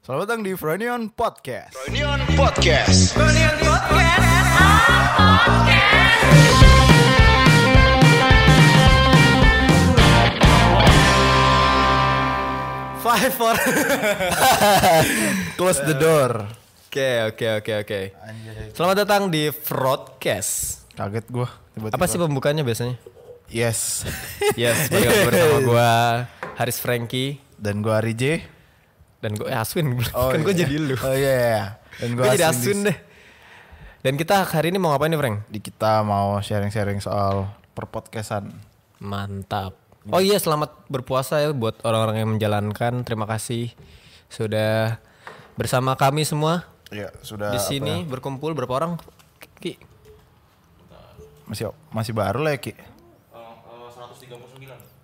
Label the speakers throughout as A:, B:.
A: Selamat datang di Fronion Podcast.
B: Union Podcast.
A: Five for close the door.
C: Oke oke oke oke. Selamat datang di Broadcast.
A: Kaget gua tiba-tiba.
C: Apa sih pembukanya biasanya?
A: Yes.
C: Yes, balik lagi bersama gua Haris Franky
A: Dan gua Ari J.
C: dan gue Aswin. kan gue
A: iya.
C: jadi lu.
A: Oh iya. iya. Dan
C: gue
A: gua,
C: jadi
A: Aswin
C: Aswin
A: di-
C: deh. Dan kita hari ini mau ngapain nih, Frank?
A: Di kita mau sharing-sharing soal perpodcastan.
C: Mantap. Oh iya, selamat berpuasa ya buat orang-orang yang menjalankan. Terima kasih sudah bersama kami semua
A: Iya, sudah
C: di
A: apa
C: sini berkumpul berapa orang? Ki.
A: ya? Masih masih baru lah ya, Ki.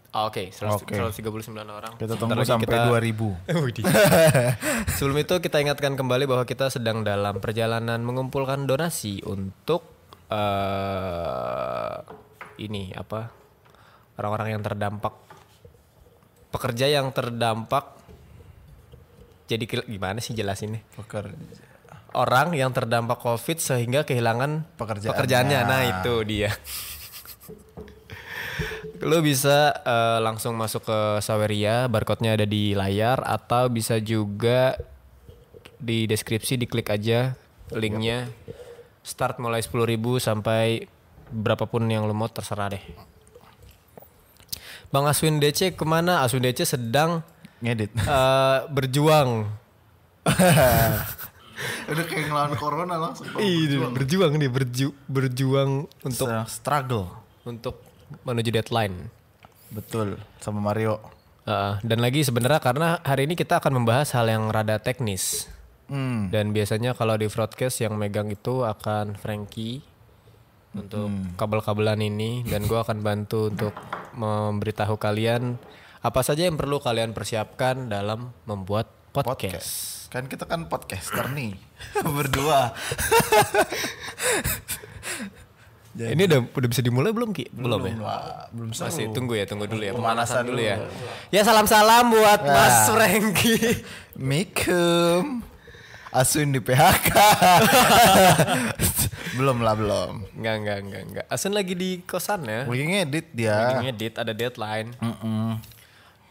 C: Ah, Oke,
A: Oke.
C: 100 139 orang.
A: Kita
C: Sebentar
A: tunggu
C: lagi
A: sampai
C: kita-
A: 2000.
C: Sebelum itu kita ingatkan kembali bahwa kita sedang dalam perjalanan mengumpulkan donasi untuk eh ini apa orang-orang yang terdampak pekerja yang terdampak jadi ke- gimana sih jelasinnya
A: Pekerja.
C: orang yang terdampak covid sehingga kehilangan
A: Pekerjaannya.
C: pekerjaannya nah itu dia lo bisa eh, langsung masuk ke Saweria barcode-nya ada di layar atau bisa juga di deskripsi diklik aja linknya start mulai 10.000 sampai berapapun yang lo mau terserah deh Bang Aswin DC kemana? Aswin DC sedang
A: Ngedit.
C: eh, berjuang
A: Udah kayak ngelawan corona langsung.
C: Iya, berjuang nih, berju, berjuang untuk
A: struggle.
C: untuk menuju deadline.
A: Betul, sama Mario.
C: Heeh, dan lagi sebenarnya karena hari ini kita akan membahas hal yang rada teknis.
A: Hmm.
C: Dan biasanya kalau di broadcast yang megang itu akan Frankie untuk
A: Hmm.
C: kabel-kabelan ini dan gua akan bantu untuk memberitahu kalian apa saja yang perlu kalian persiapkan dalam membuat podcast.
A: podcast. Kan kita kan podcaster nih. Berdua.
C: Ini udah udah bisa dimulai belum Ki? Belum, ya?
A: Wah, belum seru.
C: Masih tunggu ya, tunggu dulu ya.
A: Pemanasan
C: Pemanasan, dulu
A: dulu. Nah.
C: ya. Ya salam-salam buat Mas Franky.
A: Mikum. Asun di PHK. belum lah, belum.
C: Enggak, enggak, enggak, enggak. Asun lagi di kosan ya.
A: Lagi ngedit
C: Lagi
A: dia.
C: ngedit, ada deadline.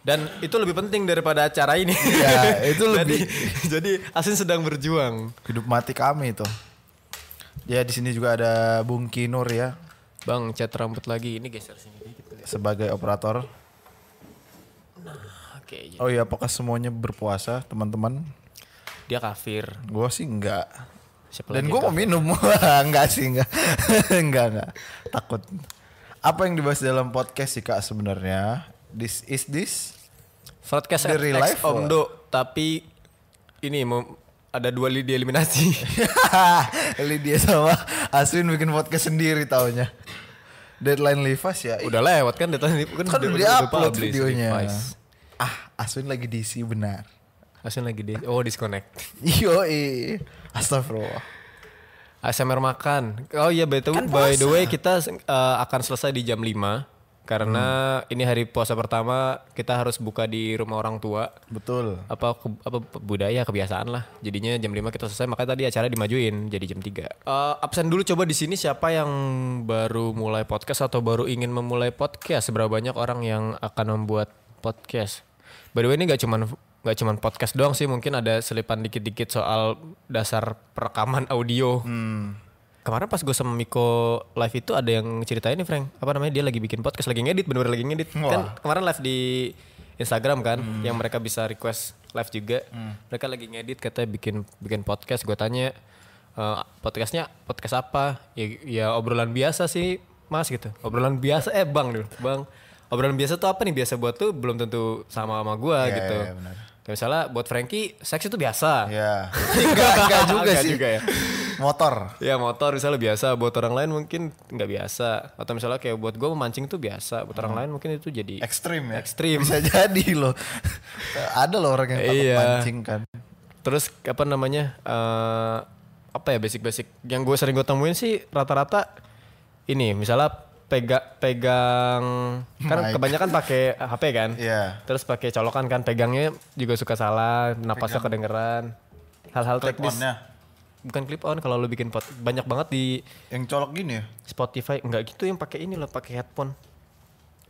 C: Dan itu lebih penting daripada acara ini.
A: Ya, itu
C: Jadi- jadi Asun sedang berjuang.
A: Hidup mati kami tuh. Ya di sini juga ada Bung Kinur ya
C: Bang, cat rambut lagi. Ini geser sini dikit. kali.
A: sebagai operator.
C: Oke. ya.
A: Oh iya, apakah semuanya berpuasa, teman-teman?
C: Dia kafir.
A: Gue sih enggak.
C: Siapa
A: Dan
C: lagi
A: gue
C: yang
A: mau minum. Wah, enggak sih, enggak. enggak, enggak. Takut. Apa yang dibahas dalam podcast sih, Kak, sebenarnya? This is this?
C: Broadcast
A: Di
C: at
A: real
C: X
A: life,
C: Omdo, tapi ini mau ada dua lidi eliminasi.
A: Lydia sama Aswin bikin podcast sendiri taunya. Deadline Livas ya.
C: udah lewat kan datanya
A: Kan
C: kan, udah-
A: udah
C: udah
A: upload
C: publish di
A: videonya.
C: Vice.
A: Ah, Aswin lagi diisi benar.
C: Asun lagi di oh disconnect.
A: Yoi. Astagfirullah.
C: ASMR makan. Oh iya by the,
A: Kan
C: by the way kita eh, akan selesai di jam 5 karena
A: Hmm.
C: ini hari puasa pertama kita harus buka di rumah orang tua.
A: Betul.
C: Apa ke- apa pe- budaya kebiasaan lah. Jadinya jam 5 kita selesai makanya tadi acara dimajuin jadi jam 3. Eh, absen dulu coba di sini siapa yang baru mulai podcast atau baru ingin memulai podcast. Seberapa banyak orang yang akan membuat podcast. By the way ini gak cuman nggak cuman podcast doang sih mungkin ada selipan dikit-dikit soal dasar perekaman audio. Kemarin pas gue sama Miko live itu ada yang ceritain nih Frank, apa namanya dia lagi bikin podcast, lagi ngedit, bener-bener lagi ngedit. Kan kemarin live di Instagram kan,
A: Hmm.
C: yang mereka bisa request live juga. Mereka lagi ngedit, katanya bikin bikin podcast. Gue tanya "Eh, podcastnya podcast apa? Ya, ya obrolan biasa sih Mas gitu. Obrolan biasa, eh Bang dulu, Bang. Obrolan biasa tuh apa nih? Biasa buat tuh belum tentu sama sama gue
A: Iya,
C: gitu.
A: iya, benar.
C: Kayak misalnya buat Frankie, seks itu biasa.
A: Ya. enggak, enggak juga
C: Enggak
A: sih.
C: juga ya.
A: Motor.
C: Ya motor misalnya biasa, buat orang lain mungkin nggak biasa. Atau misalnya kayak buat gue memancing tuh biasa, buat orang
A: Hmm.
C: lain mungkin itu jadi
A: Ekstrim ya.
C: Ekstrim.
A: Bisa jadi loh. Ada loh orang yang takut
C: Iya.
A: mancing kan.
C: Terus apa namanya? eh apa ya basic-basic yang gue sering gue temuin sih rata-rata ini misalnya pega pegang kan
A: Mic.
C: kebanyakan pakai HP kan.
A: Iya.
C: Terus pakai colokan kan pegangnya juga suka salah, napasnya kedengeran. Hal-hal teknis.
A: Clip-on-nya.
C: Bukan clip on kalau lu bikin pot banyak banget di
A: Yang colok gini ya?
C: Spotify enggak gitu yang pakai ini loh, pakai headphone.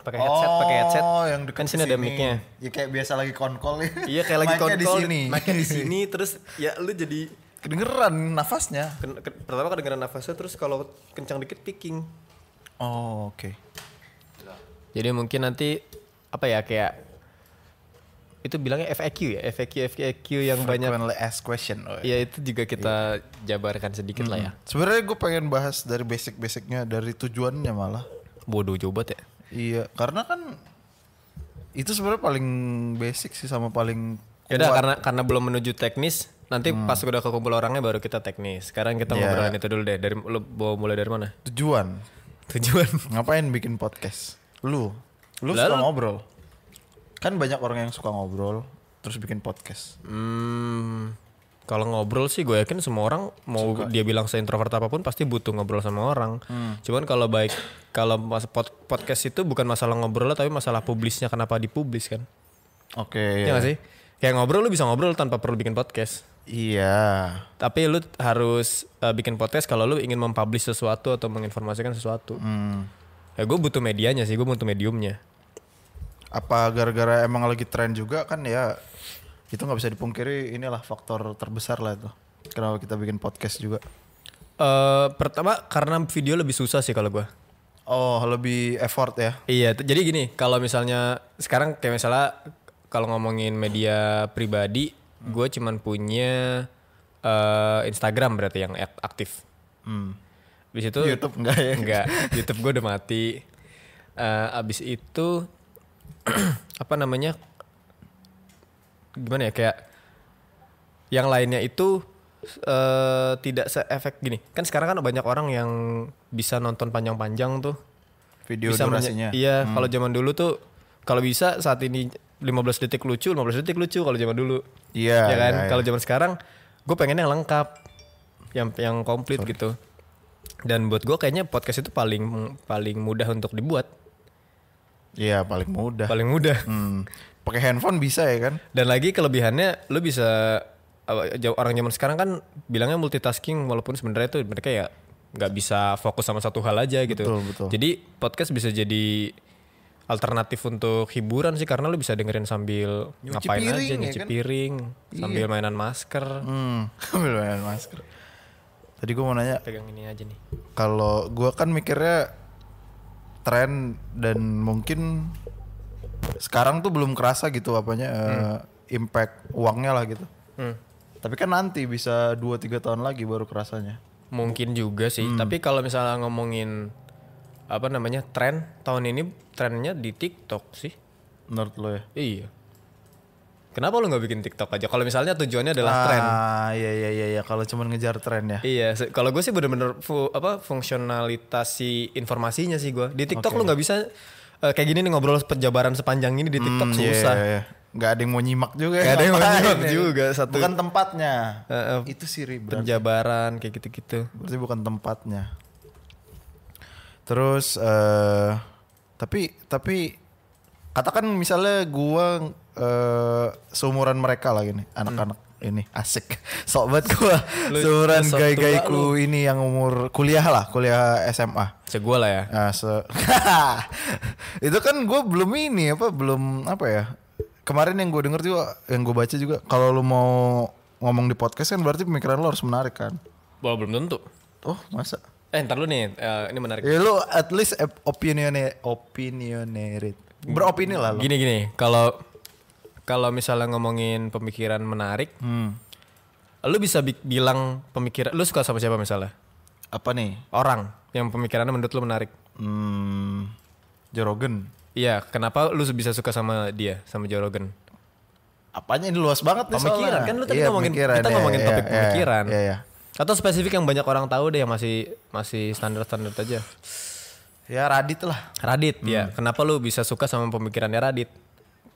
C: Pakai headset, pakai headset.
A: Oh, yang deket
C: kan sini ada
A: sini.
C: mic-nya.
A: Ya kayak biasa lagi konkol ya.
C: Iya kayak lagi
A: Mic-nya
C: kontrol
A: di sini.
C: mic-nya di sini terus ya lu jadi
A: Kedengeran nafasnya.
C: ken- ke- pertama kedengeran nafasnya terus kalau kencang dikit picking.
A: Oh, oke.
C: Jadi mungkin nanti apa ya kayak itu bilangnya FAQ ya, FAQ FAQ yang banyak.
A: Frequently asked question. oh ya.
C: Ya itu juga kita jabarkan sedikit lah ya.
A: Sebenarnya gue pengen bahas dari basic-basicnya, dari tujuannya malah.
C: Bodoh coba ya.
A: Iya, karena kan itu sebenarnya paling basic sih sama paling
C: Ya udah karena karena belum menuju teknis, nanti pas udah kekumpul orangnya baru kita teknis. Sekarang kita
A: Iya.
C: ngobrolin itu dulu deh. Dari lu mau mulai dari mana?
A: tujuan.
C: Tujuan.
A: Ngapain bikin podcast? Lu, lu
C: Lah,
A: suka
C: lu-
A: ngobrol. Kan banyak orang yang suka ngobrol terus bikin podcast.
C: Hmm, kalau ngobrol sih gue yakin semua orang mau dia bilang seintrovert apapun pasti butuh ngobrol sama orang. Cuman kalau baik kalau mas pod- podcast itu bukan masalah ngobrol tapi masalah publisnya kenapa dipublis kan?
A: Oke. ya.
C: Iya nggak sih? Kayak ngobrol lu bisa ngobrol tanpa perlu bikin podcast.
A: Iya.
C: Tapi lu harus eh, bikin podcast kalau lu ingin mempublish sesuatu atau menginformasikan sesuatu.
A: Hmm.
C: Ya gue butuh medianya sih, gue butuh mediumnya.
A: Apa gara-gara emang lagi tren juga kan ya itu nggak bisa dipungkiri inilah faktor terbesar lah itu. Kenapa kita bikin podcast juga?
C: Eh pertama karena video lebih susah sih kalau gue.
A: Oh, lebih effort ya.
C: Iya, t- jadi gini, kalau misalnya sekarang kayak misalnya kalau ngomongin media pribadi,
A: Hmm.
C: gue cuman punya eh, Instagram berarti yang ak- aktif.
A: Hmm.
C: Abis itu
A: YouTube enggak ya?
C: enggak, YouTube gue udah mati. Eh, abis itu apa namanya? Gimana ya kayak yang lainnya itu eh tidak seefek gini. Kan sekarang kan banyak orang yang bisa nonton panjang-panjang tuh
A: Video
C: bisa menye-
A: durasinya. Hmm.
C: Iya, kalau zaman dulu tuh kalau bisa saat ini 15 detik lucu, 15 detik lucu kalau zaman dulu.
A: Iya,
C: Ya kan?
A: iya, iya.
C: Kalau zaman sekarang gue pengen yang lengkap. Yang yang komplit gitu. Dan buat gue kayaknya podcast itu paling paling mudah untuk dibuat,
A: Iya, paling mudah.
C: paling mudah.
A: Hmm. Pakai handphone bisa ya kan?
C: Dan lagi kelebihannya lu bisa apa, ja- orang zaman sekarang kan bilangnya multitasking walaupun sebenarnya itu mereka ya nggak bisa fokus sama satu hal aja gitu.
A: Betul, betul.
C: Jadi podcast bisa jadi alternatif untuk hiburan sih karena lu bisa dengerin sambil
A: Nyuci
C: ngapain
A: piring,
C: aja
A: ya
C: nyuci
A: kan?
C: piring, sambil mainan masker.
A: Hmm. Ambil mainan masker. Tadi gue mau nanya,
C: Pegang ini aja nih.
A: kalau gua kan mikirnya tren dan mungkin sekarang tuh belum kerasa gitu apanya
C: Hmm.
A: eh, impact uangnya lah gitu. Tapi kan nanti bisa 2-3 tahun lagi baru kerasanya.
C: Mungkin juga sih,
A: Hmm.
C: tapi kalau misalnya ngomongin apa namanya tren tahun ini trennya di TikTok sih.
A: Menurut lo ya?
C: Iya. Kenapa lu nggak bikin TikTok aja? Kalau misalnya tujuannya adalah tren.
A: Ah, iya iya iya iya kalau cuman ngejar tren ya.
C: Iya, se- kalau gue sih bener-bener fu- apa fungsionalitas si informasinya sih gue. Di TikTok lu nggak bisa eh, kayak gini nih ngobrol penjabaran sepanjang ini di TikTok
A: Hmm, iya,
C: susah.
A: iya, iya. Nggak ada yang mau nyimak juga.
C: Nggak ada yang mau
A: ngapain
C: nyimak
A: ya.
C: juga, satu.
A: Bukan tempatnya.
C: Heeh.
A: Itu sih ribet.
C: Penjabaran kayak gitu-gitu.
A: Berarti bukan tempatnya. Terus eh tapi tapi katakan misalnya gua eh seumuran mereka lah gini, anak-anak ini asik. Sok banget gua
C: Lu-
A: seumuran
C: lu sok tua
A: gay-gayku ini yang umur kuliah lah, kuliah SMA.
C: Segua lah ya.
A: Nah, se- itu kan gue belum ini apa belum apa ya kemarin yang gue denger juga yang gue baca juga kalau lu mau ngomong di podcast kan berarti pemikiran lo harus menarik kan
C: Wah, belum tentu.
A: oh masa
C: Eh, ntar lu nih, eh, ini menarik.
A: ya lu at least opinioner opinionated beropini lah lo
C: Gini-gini, kalau kalau misalnya ngomongin pemikiran menarik,
A: hmm.
C: lu bisa bi- bilang pemikiran lu suka sama siapa misalnya?
A: apa nih
C: Orang yang pemikirannya menurut lu menarik.
A: hmm. Jorogen
C: Iya, kenapa lu bisa suka sama dia, sama Joe Rogan?
A: apanya ini luas banget nih
C: Pemikiran
A: soalnya.
C: kan lu tadi
A: Iya,
C: ngomongin
A: pemikiran,
C: kita
A: iya,
C: ngomongin
A: iya,
C: topik
A: iya,
C: pemikiran.
A: iya, iya.
C: Atau spesifik yang banyak orang tahu deh yang masih masih standar-standar aja.
A: ya Radit Hmm. lah
C: Radit ya. Kenapa lu bisa suka sama pemikirannya Radit?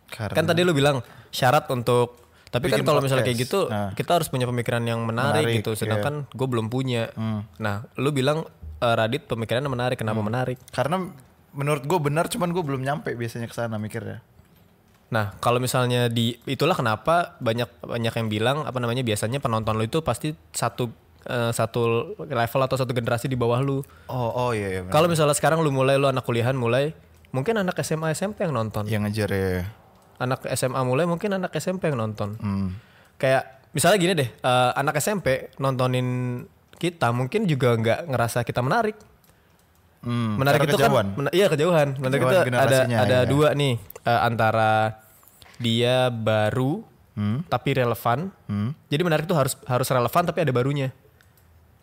A: karena
C: Kan tadi lu bilang syarat untuk tapi
A: Bikin
C: kan kalau misalnya kayak
A: podcast.
C: gitu
A: Nah.
C: kita harus punya pemikiran yang
A: Menarik,
C: menarik,
A: iya. Hmm.
C: gitu sedangkan gue belum punya. Nah, lu bilang eh, Radit pemikirannya menarik. Kenapa menarik?
A: Karena menurut gue benar, cuman gue belum nyampe biasanya ke sana mikirnya.
C: Nah, kalau misalnya di itulah kenapa banyak banyak yang bilang apa namanya biasanya penonton lu itu pasti satu eh, satu level atau satu generasi di bawah lu.
A: Oh, oh iya, iya benar.
C: Kalau misalnya sekarang lu mulai lu anak kuliahan mulai, mungkin anak SMA SMP yang nonton.
A: yang ngejar ya.
C: Anak SMA mulai mungkin anak SMP yang nonton.
A: Hmm.
C: Kayak misalnya gini deh, eh, anak SMP nontonin kita mungkin juga nggak ngerasa kita menarik.
A: Hmm,
C: menarik
A: karena
C: itu
A: kejauhan.
C: kan mena- iya kejauhan menarik
A: Kejauhan
C: itu ada
A: generasinya,
C: ada
A: iya.
C: dua nih eh, antara dia baru
A: Hmm.
C: tapi relevan jadi menarik itu harus harus relevan tapi ada barunya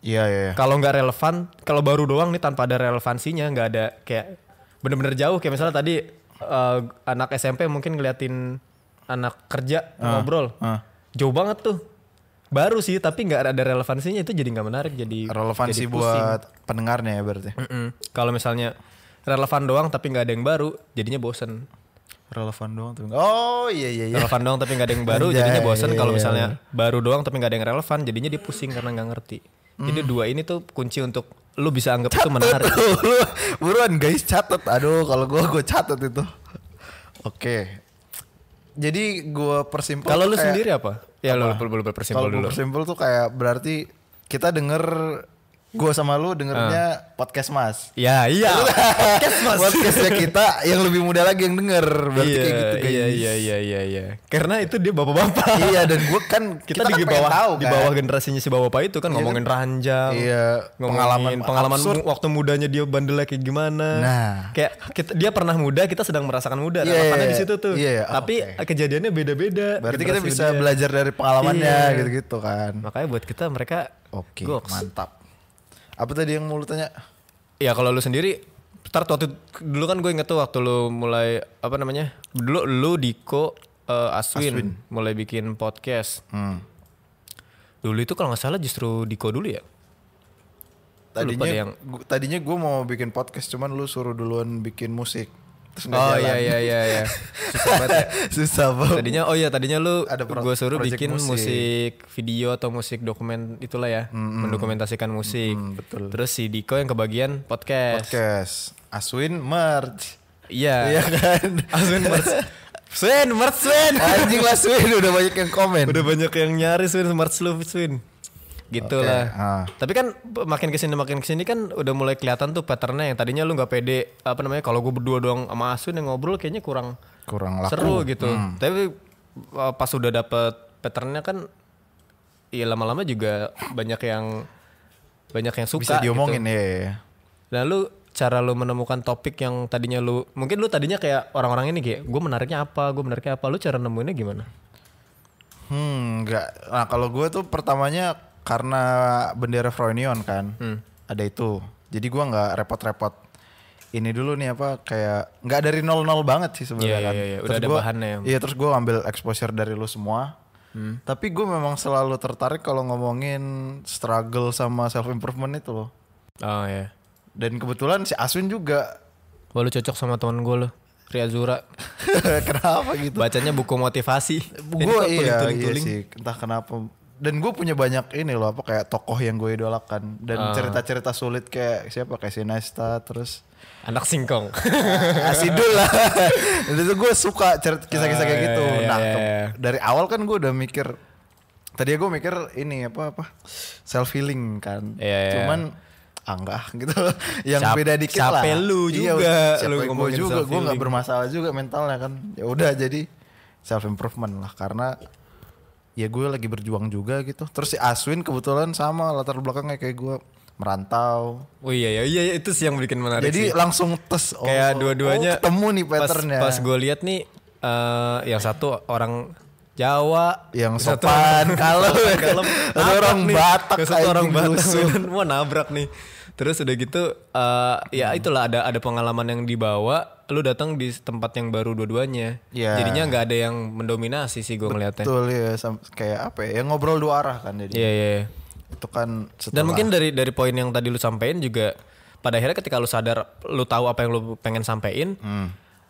A: Iya, iya, iya.
C: kalau nggak relevan kalau baru doang nih tanpa ada relevansinya nggak ada kayak bener-bener jauh kayak misalnya tadi eh, anak SMP mungkin ngeliatin anak kerja ngobrol
A: ah.
C: jauh banget tuh baru sih tapi nggak ada relevansinya itu jadi nggak menarik jadi
A: Relevansi
C: jadi pusing.
A: buat pendengarnya ya berarti.
C: Mm-mm. Kalau misalnya relevan doang tapi nggak ada yang baru, jadinya bosen.
A: Relevan doang tuh. Oh, iya iya iya.
C: Relevan doang tapi nggak ada yang baru,
A: Anjay,
C: jadinya bosen. Kalau
A: iya.
C: misalnya baru doang tapi nggak ada yang relevan, jadinya dia pusing karena nggak ngerti.
A: Mm.
C: Jadi dua ini tuh kunci untuk lu bisa anggap itu menarik.
A: Tuh, lu buruan guys catat. Aduh, kalau gua gua catat itu. Oke. Jadi gua persimpel
C: Kalau
A: tuh
C: lu
A: kayak-
C: sendiri apa? Ya lu
A: Kalau
C: perlu
A: gua
C: berpersimpul dulu.
A: persimpel tuh kayak berarti kita denger gua sama lu dengernya
C: Ah.
A: podcast Mas.
C: Ya iya. Podcast mas.
A: Podcastnya kita yang lebih muda lagi yang denger berarti
C: Iya,
A: kayak gitu guys.
C: iya iya iya iya iya. Karena itu dia bapak-bapak.
A: Iya, dan gua kan
C: Kita,
A: kan
C: di
A: pengen
C: bawah
A: tahu
C: di
A: kan.
C: bawah generasinya si bapak itu kan ngomongin ranjang.
A: Iya, pengalaman
C: ngomongin pengalaman
A: absurd.
C: mu- waktu mudanya dia bandelnya kayak gimana.
A: Nah.
C: kayak kita, dia pernah muda, kita sedang merasakan muda.
A: Iya,
C: Relevannya
A: iya,
C: di situ tuh.
A: iya, iya. Oh,
C: Tapi kejadiannya beda-beda.
A: Berarti kita
C: generasi
A: bisa
C: dia.
A: belajar dari pengalamannya
C: Iya.
A: gitu-gitu Oh. kan.
C: Makanya buat kita mereka
A: Oke,
C: goks.
A: mantap. Apa tadi yang mau lu tanya?
C: Ya kalau lu sendiri start waktu dulu kan gue inget tuh waktu lu mulai apa namanya? Dulu lu Diko eh, Aswin,
A: Aswin.
C: mulai bikin podcast.
A: Hmm.
C: Dulu itu kalau nggak salah justru Diko dulu ya. Lu lupa
A: Tadinya
C: deh yang-
A: gu- tadinya gue mau bikin podcast cuman lu suruh duluan bikin musik. Terus nggak
C: Oh
A: jalan.
C: iya iya iya iya. Susah banget ya.
A: Susah banget.
C: Tadinya oh iya tadinya lu
A: Ada pro-
C: gue suruh
A: project
C: bikin musik.
A: musik.
C: video atau musik dokumen itulah ya, mendokumentasikan musik. betul. Terus si Diko yang kebagian podcast.
A: Podcast Aswin merge.
C: Iya.
A: Iya kan?
C: Aswin Merch. Swin, Merch Swin.
A: Anjing lah Swin udah banyak yang komen.
C: Udah banyak yang nyari Swin Smart Slow Swin. Gitu
A: Oke,
C: lah.
A: ah.
C: Tapi kan p- makin kesini makin kesini kan udah mulai kelihatan tuh patternnya yang tadinya lu nggak pede apa namanya kalau gue berdua doang sama Asun yang ngobrol kayaknya kurang
A: Kurang laku.
C: seru gitu.
A: Hmm.
C: Tapi uh, pas udah dapet patternnya kan ya lama-lama juga banyak yang banyak yang
A: Bisa
C: suka.
A: diomongin ya.
C: Lalu cara lu menemukan topik yang tadinya lu mungkin lu tadinya kayak orang-orang ini kayak gue menariknya apa, gue menariknya apa, lu cara nemuinnya gimana?
A: Hmm, nggak. Nah, kalau gue tuh pertamanya karena bendera Froynion kan.
C: Hmm.
A: Ada itu. Jadi gua nggak repot-repot. Ini dulu nih apa kayak nggak dari nol-nol banget sih sebenarnya
C: Iya,
A: kan.
C: iya, iya. Udah
A: Terus
C: ada
A: gua-
C: bahannya. Hmm.
A: Iya, terus gue ambil exposure dari lu semua. Tapi gue memang selalu tertarik kalau ngomongin struggle sama self improvement itu loh.
C: Oh ya.
A: Dan kebetulan si Aswin juga
C: Wah lu cocok sama teman gue lu, Riazura.
A: kenapa gitu?
C: Bacanya buku motivasi. Ini
A: gue
C: kok
A: iya, iya
C: tuling-tuling-tuling.
A: sih entah kenapa dan gue punya banyak ini loh apa kayak tokoh yang gue idolakan dan cerita-cerita sulit kayak siapa kayak Sinesta terus
C: Anak singkong.
A: Asidul lah itu gue suka cerita kisah-kisah kayak
C: Ah,
A: gitu
C: iya, iya,
A: nah
C: iya,
A: ke-
C: iya.
A: dari awal kan gue udah mikir tadi gue mikir ini apa apa self healing kan
C: Iya, iya.
A: cuman ah enggak gitu yang
C: Siap-
A: beda dikit lah
C: siapa lu
A: Iya,
C: juga,
A: siapa
C: lu
A: gue juga
C: ngomongin
A: gue nggak
C: self-healing.
A: bermasalah juga mentalnya kan ya udah jadi self improvement lah karena ya gue lagi berjuang juga gitu terus si Aswin kebetulan sama latar belakangnya kayak gue merantau
C: Oh iya iya iya itu sih yang bikin menarik
A: jadi
C: sih.
A: langsung tes oh,
C: Kayak dua-duanya
A: oh, ketemu nih patternnya
C: Pas, pas gue lihat nih eh yang satu orang Jawa,
A: yang sopan kalau
C: kalem,
A: ada
C: nabrak
A: orang
C: nih.
A: Batak gitu.
C: Yang satu orang Batak
A: lusuh.
C: kan, wah nabrak nih. Terus udah gitu eh ya itulah ada ada pengalaman yang dibawa, lu datang di tempat yang baru dua-duanya.
A: Iya.
C: Jadinya nggak ada yang mendominasi sih gue ngeliatnya.
A: betul ya sam- kayak apa ya yang ngobrol dua arah kan jadi
C: Iya iya. iya.
A: itu kan
C: Dan
A: setelah
C: mungkin dari dari poin yang tadi lu sampein juga pada akhirnya ketika lu sadar lu tahu apa yang lu pengen sampein,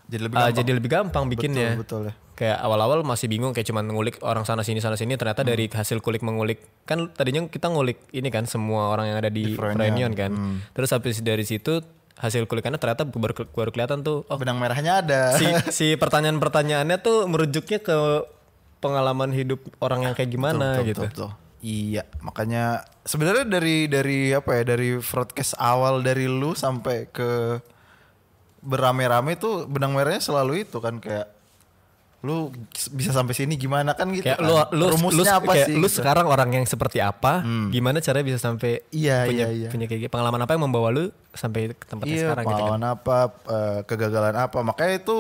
A: Jadi lebih
C: Ah,
A: gampang.
C: jadi lebih gampang bikinnya.
A: Hmm. betul ya.
C: Kayak awal-awal masih bingung kayak cuman ngulik orang sana sini sana sini ternyata
A: Hmm.
C: dari hasil kulik mengulik kan tadinya kita ngulik ini kan semua orang yang ada di,
A: Di Hmm. Froenion.
C: Frenion kan. Terus habis dari situ hasil kulikannya ternyata baru, baru kelihatan tuh oh
A: Benang merahnya ada.
C: si si pertanyaan-pertanyaannya tuh merujuknya ke pengalaman hidup orang yang kayak gimana gitu.
A: Betul. Iya, makanya sebenarnya dari dari apa ya dari broadcast awal dari lu sampai ke berame-rame tuh benang merahnya selalu itu kan kayak lu bisa sampai sini gimana kan gitu.
C: Kayak
A: kan.
C: lu lu lu,
A: rumusnya apa
C: kayak
A: sih? gitu.
C: lu
A: Hmm.
C: sekarang orang yang seperti apa? Gimana caranya bisa sampai
A: Iya, iya,
C: punya
A: iya.
C: punya kayak gitu? pengalaman apa yang membawa lu sampai ke tempatnya
A: Iya,
C: sekarang gitu kan?
A: pengalaman apa, eh, kegagalan apa. Makanya itu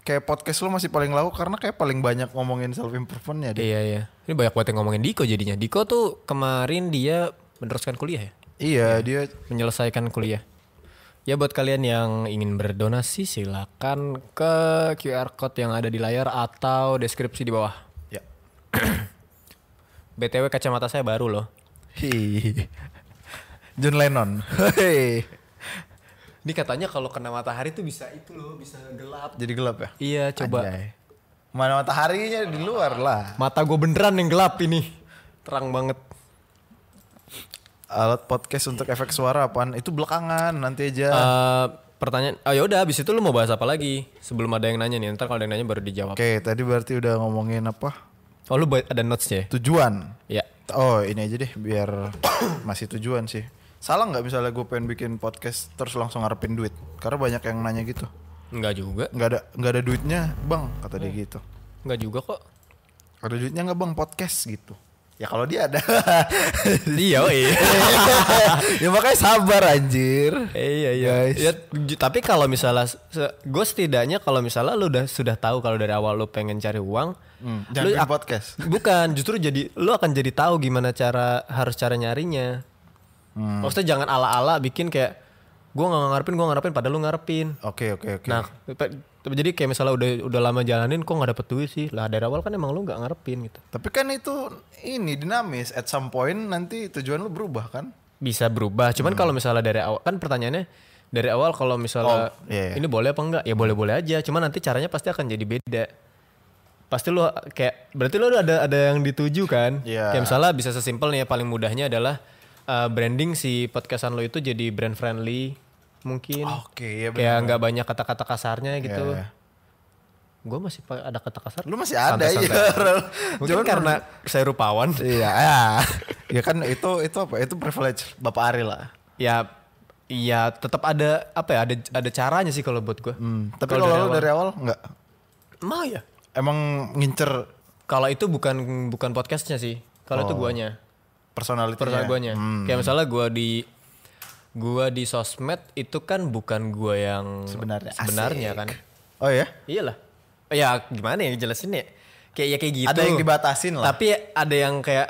A: kayak podcast lu masih paling laku karena kayak paling banyak ngomongin self improvement ya.
C: Iya iya. Ini banyak banget yang ngomongin Diko jadinya. Diko tuh kemarin dia meneruskan kuliah ya,
A: Iya, dia
C: menyelesaikan kuliah. Ya buat kalian yang ingin berdonasi silakan ke QR code yang ada di layar atau deskripsi di bawah.
A: ya.
C: BTW kacamata saya baru loh.
A: Hi. John Lennon. Hei.
C: Ini katanya kalau kena matahari tuh bisa itu loh, bisa gelap.
A: Jadi gelap ya?
C: Iya, coba.
A: Anjay. Mana mataharinya di luar lah.
C: Mata gue beneran yang gelap ini. Terang banget.
A: Alat podcast untuk efek suara apaan? Itu belakangan nanti aja.
C: Eh, pertanyaan, oh yaudah abis itu lu mau bahas apa lagi? Sebelum ada yang nanya nih, ntar kalau ada yang nanya baru dijawab.
A: Oke, tadi berarti udah ngomongin apa?
C: Oh lu buat- ada notesnya ya?
A: Tujuan.
C: Ya.
A: Oh ini aja deh biar masih tujuan sih. Salah nggak misalnya gue pengen bikin podcast terus langsung ngarepin duit? Karena banyak yang nanya gitu.
C: Enggak juga.
A: Nggak ada nggak ada duitnya bang kata dia gitu.
C: Enggak juga kok.
A: Ada duitnya nggak bang podcast gitu? Ya kalau dia ada.
C: iya, iya.
A: ya makanya sabar anjir.
C: iya, iya.
A: Guys.
C: Ya, j- tapi kalau misalnya gue setidaknya kalau misalnya lu udah sudah tahu kalau dari awal lu pengen cari uang,
A: Hmm, jangan
C: lu
A: bikin
C: ak-
A: podcast.
C: Bukan, justru jadi lu akan jadi tahu gimana cara harus cara nyarinya.
A: Hmm.
C: Maksudnya jangan ala-ala bikin kayak gua nggak ngarepin, gua ngarepin padahal lu ngarepin.
A: Oke oke oke.
C: Nah, pe- jadi kayak misalnya udah udah lama jalanin kok nggak dapet duit sih. Lah dari awal kan emang lu nggak ngarepin gitu.
A: Tapi kan itu ini dinamis. At some point nanti tujuan lu berubah kan?
C: bisa berubah. Cuman
A: Hmm.
C: kalau misalnya dari awal kan pertanyaannya dari awal kalau misalnya
A: Oh, iya, iya.
C: ini boleh apa enggak? Ya boleh-boleh aja. Cuman nanti caranya pasti akan jadi beda. Pasti lu kayak berarti lu ada ada yang dituju kan?
A: Iya.
C: Kayak misalnya bisa sesimpel nih ya paling mudahnya adalah uh, branding si podcastan lo itu jadi brand friendly mungkin.
A: Oke ya
C: kayak nggak banyak kata-kata kasarnya gitu.
A: Iya.
C: Gue masih pa- ada kata kasar.
A: Lu masih ada
C: Santai-santai.
A: ya. Rel.
C: Mungkin
A: Cuman-
C: karena saya rupawan.
A: Iya. ya. ya kan itu itu apa? Itu privilege Bapak Ari lah.
C: ya ya tetap ada apa ya ada ada caranya sih Hmm. kalau buat gue
A: Hmm, Tapi kalau lu dari awal nggak
C: mau ya
A: emang ngincer
C: kalau itu bukan bukan podcastnya sih kalau
A: Oh.
C: itu guanya
A: personality
C: personal guanya
A: Hmm,
C: kayak misalnya gua di gua di sosmed itu kan bukan gua yang
A: Sebenarnya.
C: sebenarnya kan
A: Oh ya.
C: iyalah ya gimana ya jelasin ya kayak ya kayak gitu
A: Ada yang dibatasin lah.
C: tapi ada yang kayak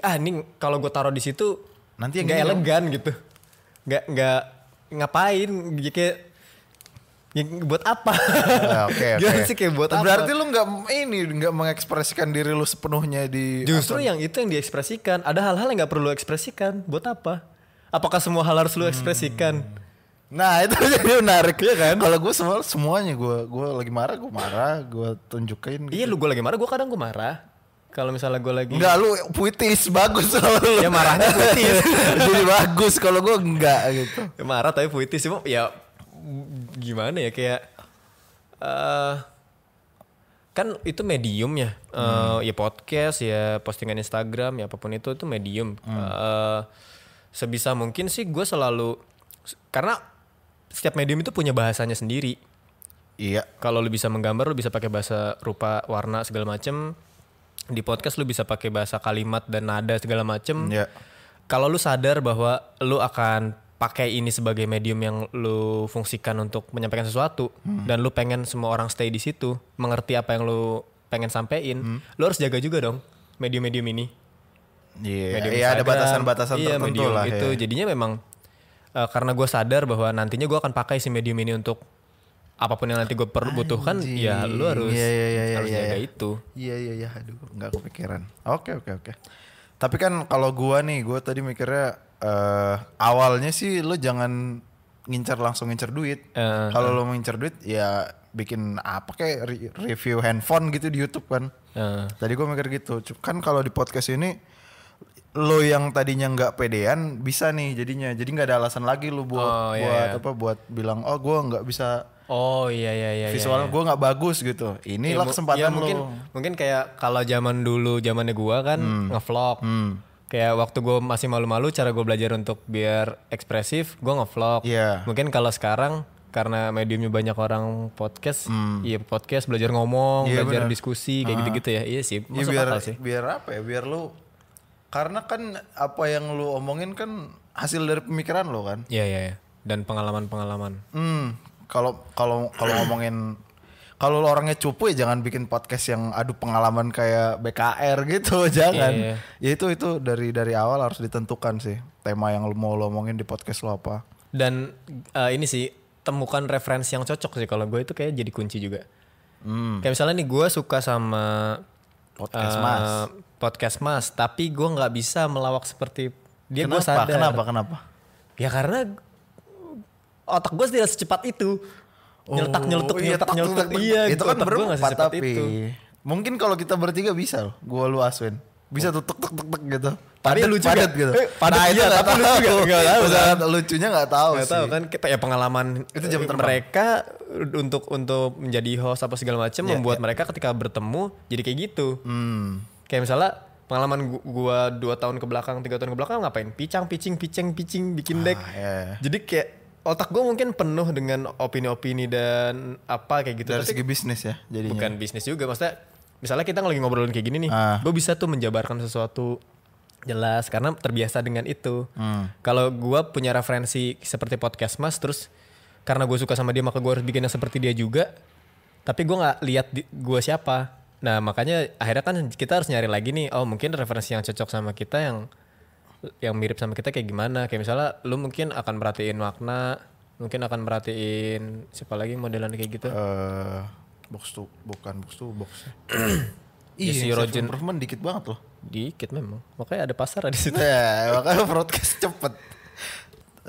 C: ah ini kalau gue taruh di situ
A: Nanti yang
C: nggak
A: gini
C: elegan gitu nggak nggak ngapain ya kayak ya buat apa
A: Ya, Oke oke.
C: Gimana sih kayak buat apa?
A: Berarti lu nggak ini nggak mengekspresikan diri lu sepenuhnya di
C: justru yang itu yang diekspresikan ada hal-hal yang nggak perlu ekspresikan buat apa apakah semua hal harus lu ekspresikan
A: Nah itu jadi menarik
C: Iya
A: ya kan? Kalau gue semua semuanya gue gue lagi marah gue marah gue tunjukin.
C: iya lu gue lagi marah gue kadang gue marah kalau misalnya gue lagi
A: Enggak lu puitis bagus kalau lu.
C: Ya, marahnya puitis.
A: jadi bagus kalau gue enggak gitu.
C: Ya marah tapi puitis cuma ya gimana ya kayak eh kan itu medium ya Eh, ya podcast ya postingan Instagram ya apapun itu itu medium Eh, sebisa mungkin sih gue selalu karena setiap medium itu punya bahasanya sendiri
A: Iya.
C: kalau lu bisa menggambar lu bisa pakai bahasa rupa warna segala macem di podcast lu bisa pakai bahasa kalimat dan nada segala macem
A: Iya.
C: kalau lu sadar bahwa lu akan pakai ini sebagai medium yang lu fungsikan untuk menyampaikan sesuatu dan lu pengen semua orang stay di situ, mengerti apa yang lu pengen sampein, lu harus jaga juga dong medium-medium ini.
A: Iya.
C: Medium
A: Iya ada
C: Instagram,
A: batasan-batasan
C: iya,
A: tertentu
C: medium
A: lah.
C: Itu
A: ya.
C: jadinya memang eh, karena gue sadar bahwa nantinya gue akan pakai si medium ini untuk apapun yang nanti gue butuhkan, ya lu harus
A: Iya, iya, iya, iya,
C: harus
A: iya,
C: jaga
A: iya.
C: itu.
A: Iya iya iya aduh nggak kepikiran. Oke oke oke. Tapi kan kalau gua nih gua tadi mikirnya eh awalnya sih lu jangan ngincer langsung ngincer duit.
C: Eh.
A: Kalau lo mau ngincer duit ya bikin apa kayak re- review handphone gitu di YouTube kan.
C: Eh.
A: Tadi gue mikir gitu. Cu- Kan kalau di podcast ini lo yang tadinya nggak pedean bisa nih jadinya. Jadi nggak ada alasan lagi lo buat
C: Oh, iya,
A: buat apa buat bilang oh gue nggak bisa
C: Oh iya iya iya. iya.
A: visual gue nggak bagus gitu.
C: Ya,
A: Inilah
C: mu-
A: kesempatan
C: ya,
A: lo.
C: mungkin mungkin kayak kalau zaman dulu zamannya gua kan
A: Hmm.
C: ngevlog. Kayak waktu gua masih malu-malu cara gua belajar untuk biar ekspresif, gua ngevlog.
A: Iya.
C: Mungkin kalau sekarang karena mediumnya banyak orang podcast, iya podcast belajar ngomong,
A: Hmm. Iya,
C: belajar
A: benar.
C: diskusi kayak gitu-gitu ya. Iya sih,
A: Ya,
C: masuk
A: biar
C: akal sih.
A: biar apa ya? Biar lu karena kan apa yang lu omongin kan hasil dari pemikiran lo kan.
C: Iya iya iya. Dan pengalaman-pengalaman.
A: Hmm, kalau kalau kalau ngomongin kalau lu orangnya cupu ya jangan bikin podcast yang adu pengalaman kayak BKR gitu, jangan.
C: Iya,
A: Ya itu itu dari dari awal harus ditentukan sih tema yang lu mau lu omongin di podcast lu apa.
C: Dan eh, ini sih temukan referensi yang cocok sih kalau gue itu kayak jadi kunci juga.
A: Hmm.
C: Kayak misalnya nih gue suka sama
A: Podcast
C: eh,
A: Mas.
C: podcast mas, tapi gue nggak bisa melawak seperti dia gue
A: kenapa?
C: sadar.
A: Kenapa? Kenapa?
C: Ya karena otak gue tidak secepat itu. Nyeletak nyeletuk
A: Oh, iya,
C: nyeletak
A: tak,
C: nyeletuk.
A: tak, tak.
C: Iya,
A: itu kan
C: otak gue nggak
A: berempat
C: secepat
A: tapi. Oh,
C: itu.
A: Mungkin kalau kita bertiga bisa loh, gua lu Aswin. Bisa tuh tek tek tek tek gitu.
C: Oh. Tapi
A: Padet-
C: lu juga.
A: padet gitu.
C: Eh, padet
A: nah, itu
C: iya,
A: nggak
C: tapi lu
A: tahu.
C: juga nggak tahu
A: Masalah lucunya nggak tahu
C: Gak
A: sih.
C: tahu kan kita ya pengalaman
A: Itu jam
C: eh,
A: terbang.
C: mereka untuk untuk menjadi host apa segala macam
A: Iya,
C: membuat mereka ketika bertemu jadi kayak gitu.
A: Hmm.
C: Kayak misalnya pengalaman gu- gua dua tahun ke belakang, tiga tahun ke belakang ngapain? Picang, picing, picing, picing, bikin deck.
A: Ah, iya, iya.
C: Jadi kayak otak gua mungkin penuh dengan opini-opini dan apa kayak gitu.
A: Dari
C: Tapi
A: segi bisnis ya jadinya.
C: bukan bisnis juga maksudnya misalnya kita lagi ngobrolin kayak gini nih
A: Ah.
C: gue bisa tuh menjabarkan sesuatu jelas karena terbiasa dengan itu
A: Hmm.
C: kalau gue punya referensi seperti podcast mas terus karena gue suka sama dia maka gue harus bikin yang seperti dia juga tapi gue nggak lihat gue siapa nah makanya akhirnya kan kita harus nyari lagi nih oh mungkin referensi yang cocok sama kita yang yang mirip sama kita kayak gimana kayak misalnya lu mungkin akan merhatiin makna mungkin akan merhatiin siapa lagi modelan kayak gitu
A: Eh, box tuh bukan box tuh box. Iya,
C: Ya, si
A: self
C: Rogen-
A: improvement dikit banget loh.
C: Dikit memang. Makanya ada pasar di situ.
A: Ya, makanya broadcast cepet.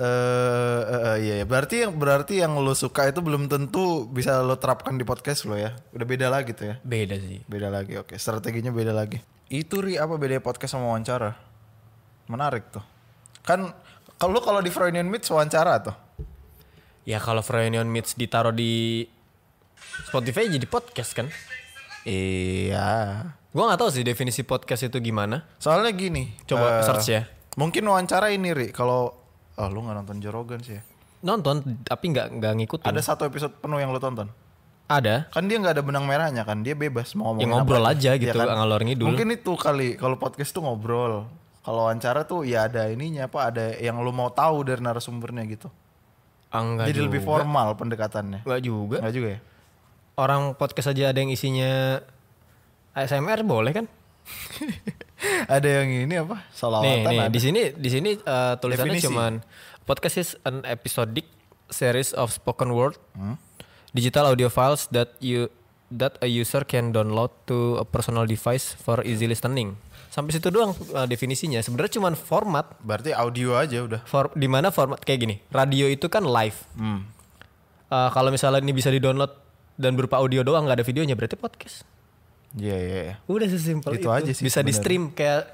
A: Eh, eh, eh, iya, iya. berarti yang berarti yang lo suka itu belum tentu bisa lo terapkan di podcast lo ya. Udah beda lagi tuh ya.
C: Beda sih.
A: Beda lagi, oke. Strateginya beda lagi. Itu ri apa bedanya podcast sama wawancara? Menarik tuh. Kan kalau lu kalau di Freudian Meets wawancara tuh.
C: Ya kalau Freudian Meets ditaruh di Spotify jadi podcast kan?
A: Iya.
C: Gua nggak tahu sih definisi podcast itu gimana.
A: Soalnya gini,
C: Coba
A: eh,
C: search ya.
A: Mungkin wawancara ini ri kalau oh, lu nggak nonton Jorogan sih ya.
C: Nonton tapi nggak nggak ngikutin.
A: Ada satu episode penuh yang lu tonton.
C: Ada.
A: Kan dia nggak ada benang merahnya kan, dia bebas mau ngomong.
C: Ya ngobrol aja gitu ngalor
A: kan?
C: ngidul.
A: Mungkin itu kali kalau podcast tuh ngobrol. Kalau wawancara tuh ya ada ininya apa ada yang lu mau tahu dari narasumbernya gitu.
C: Ah, nggak
A: Jadi
C: juga.
A: lebih formal pendekatannya.
C: Nggak juga.
A: Enggak juga ya?
C: Orang podcast aja ada yang isinya ASMR boleh kan?
A: ada yang ini apa? Salawatan
C: Nih, nih
A: Oh, ada.
C: di sini di sini eh, tulisannya
A: Definisi.
C: cuman podcast is an episodic series of spoken word
A: Hmm?
C: digital audio files that you that a user can download to a personal device for easy listening. Sampai situ doang eh, definisinya. Sebenarnya cuman format
A: Berarti audio aja udah.
C: for di mana format kayak gini. Radio itu kan live.
A: Hmm.
C: Eh, kalau misalnya ini bisa di-download dan berupa audio doang nggak ada videonya berarti podcast.
A: Iya, iya, iya.
C: Udah sesimpel
A: Itu
C: itu.
A: aja sih
C: Bisa di stream kayak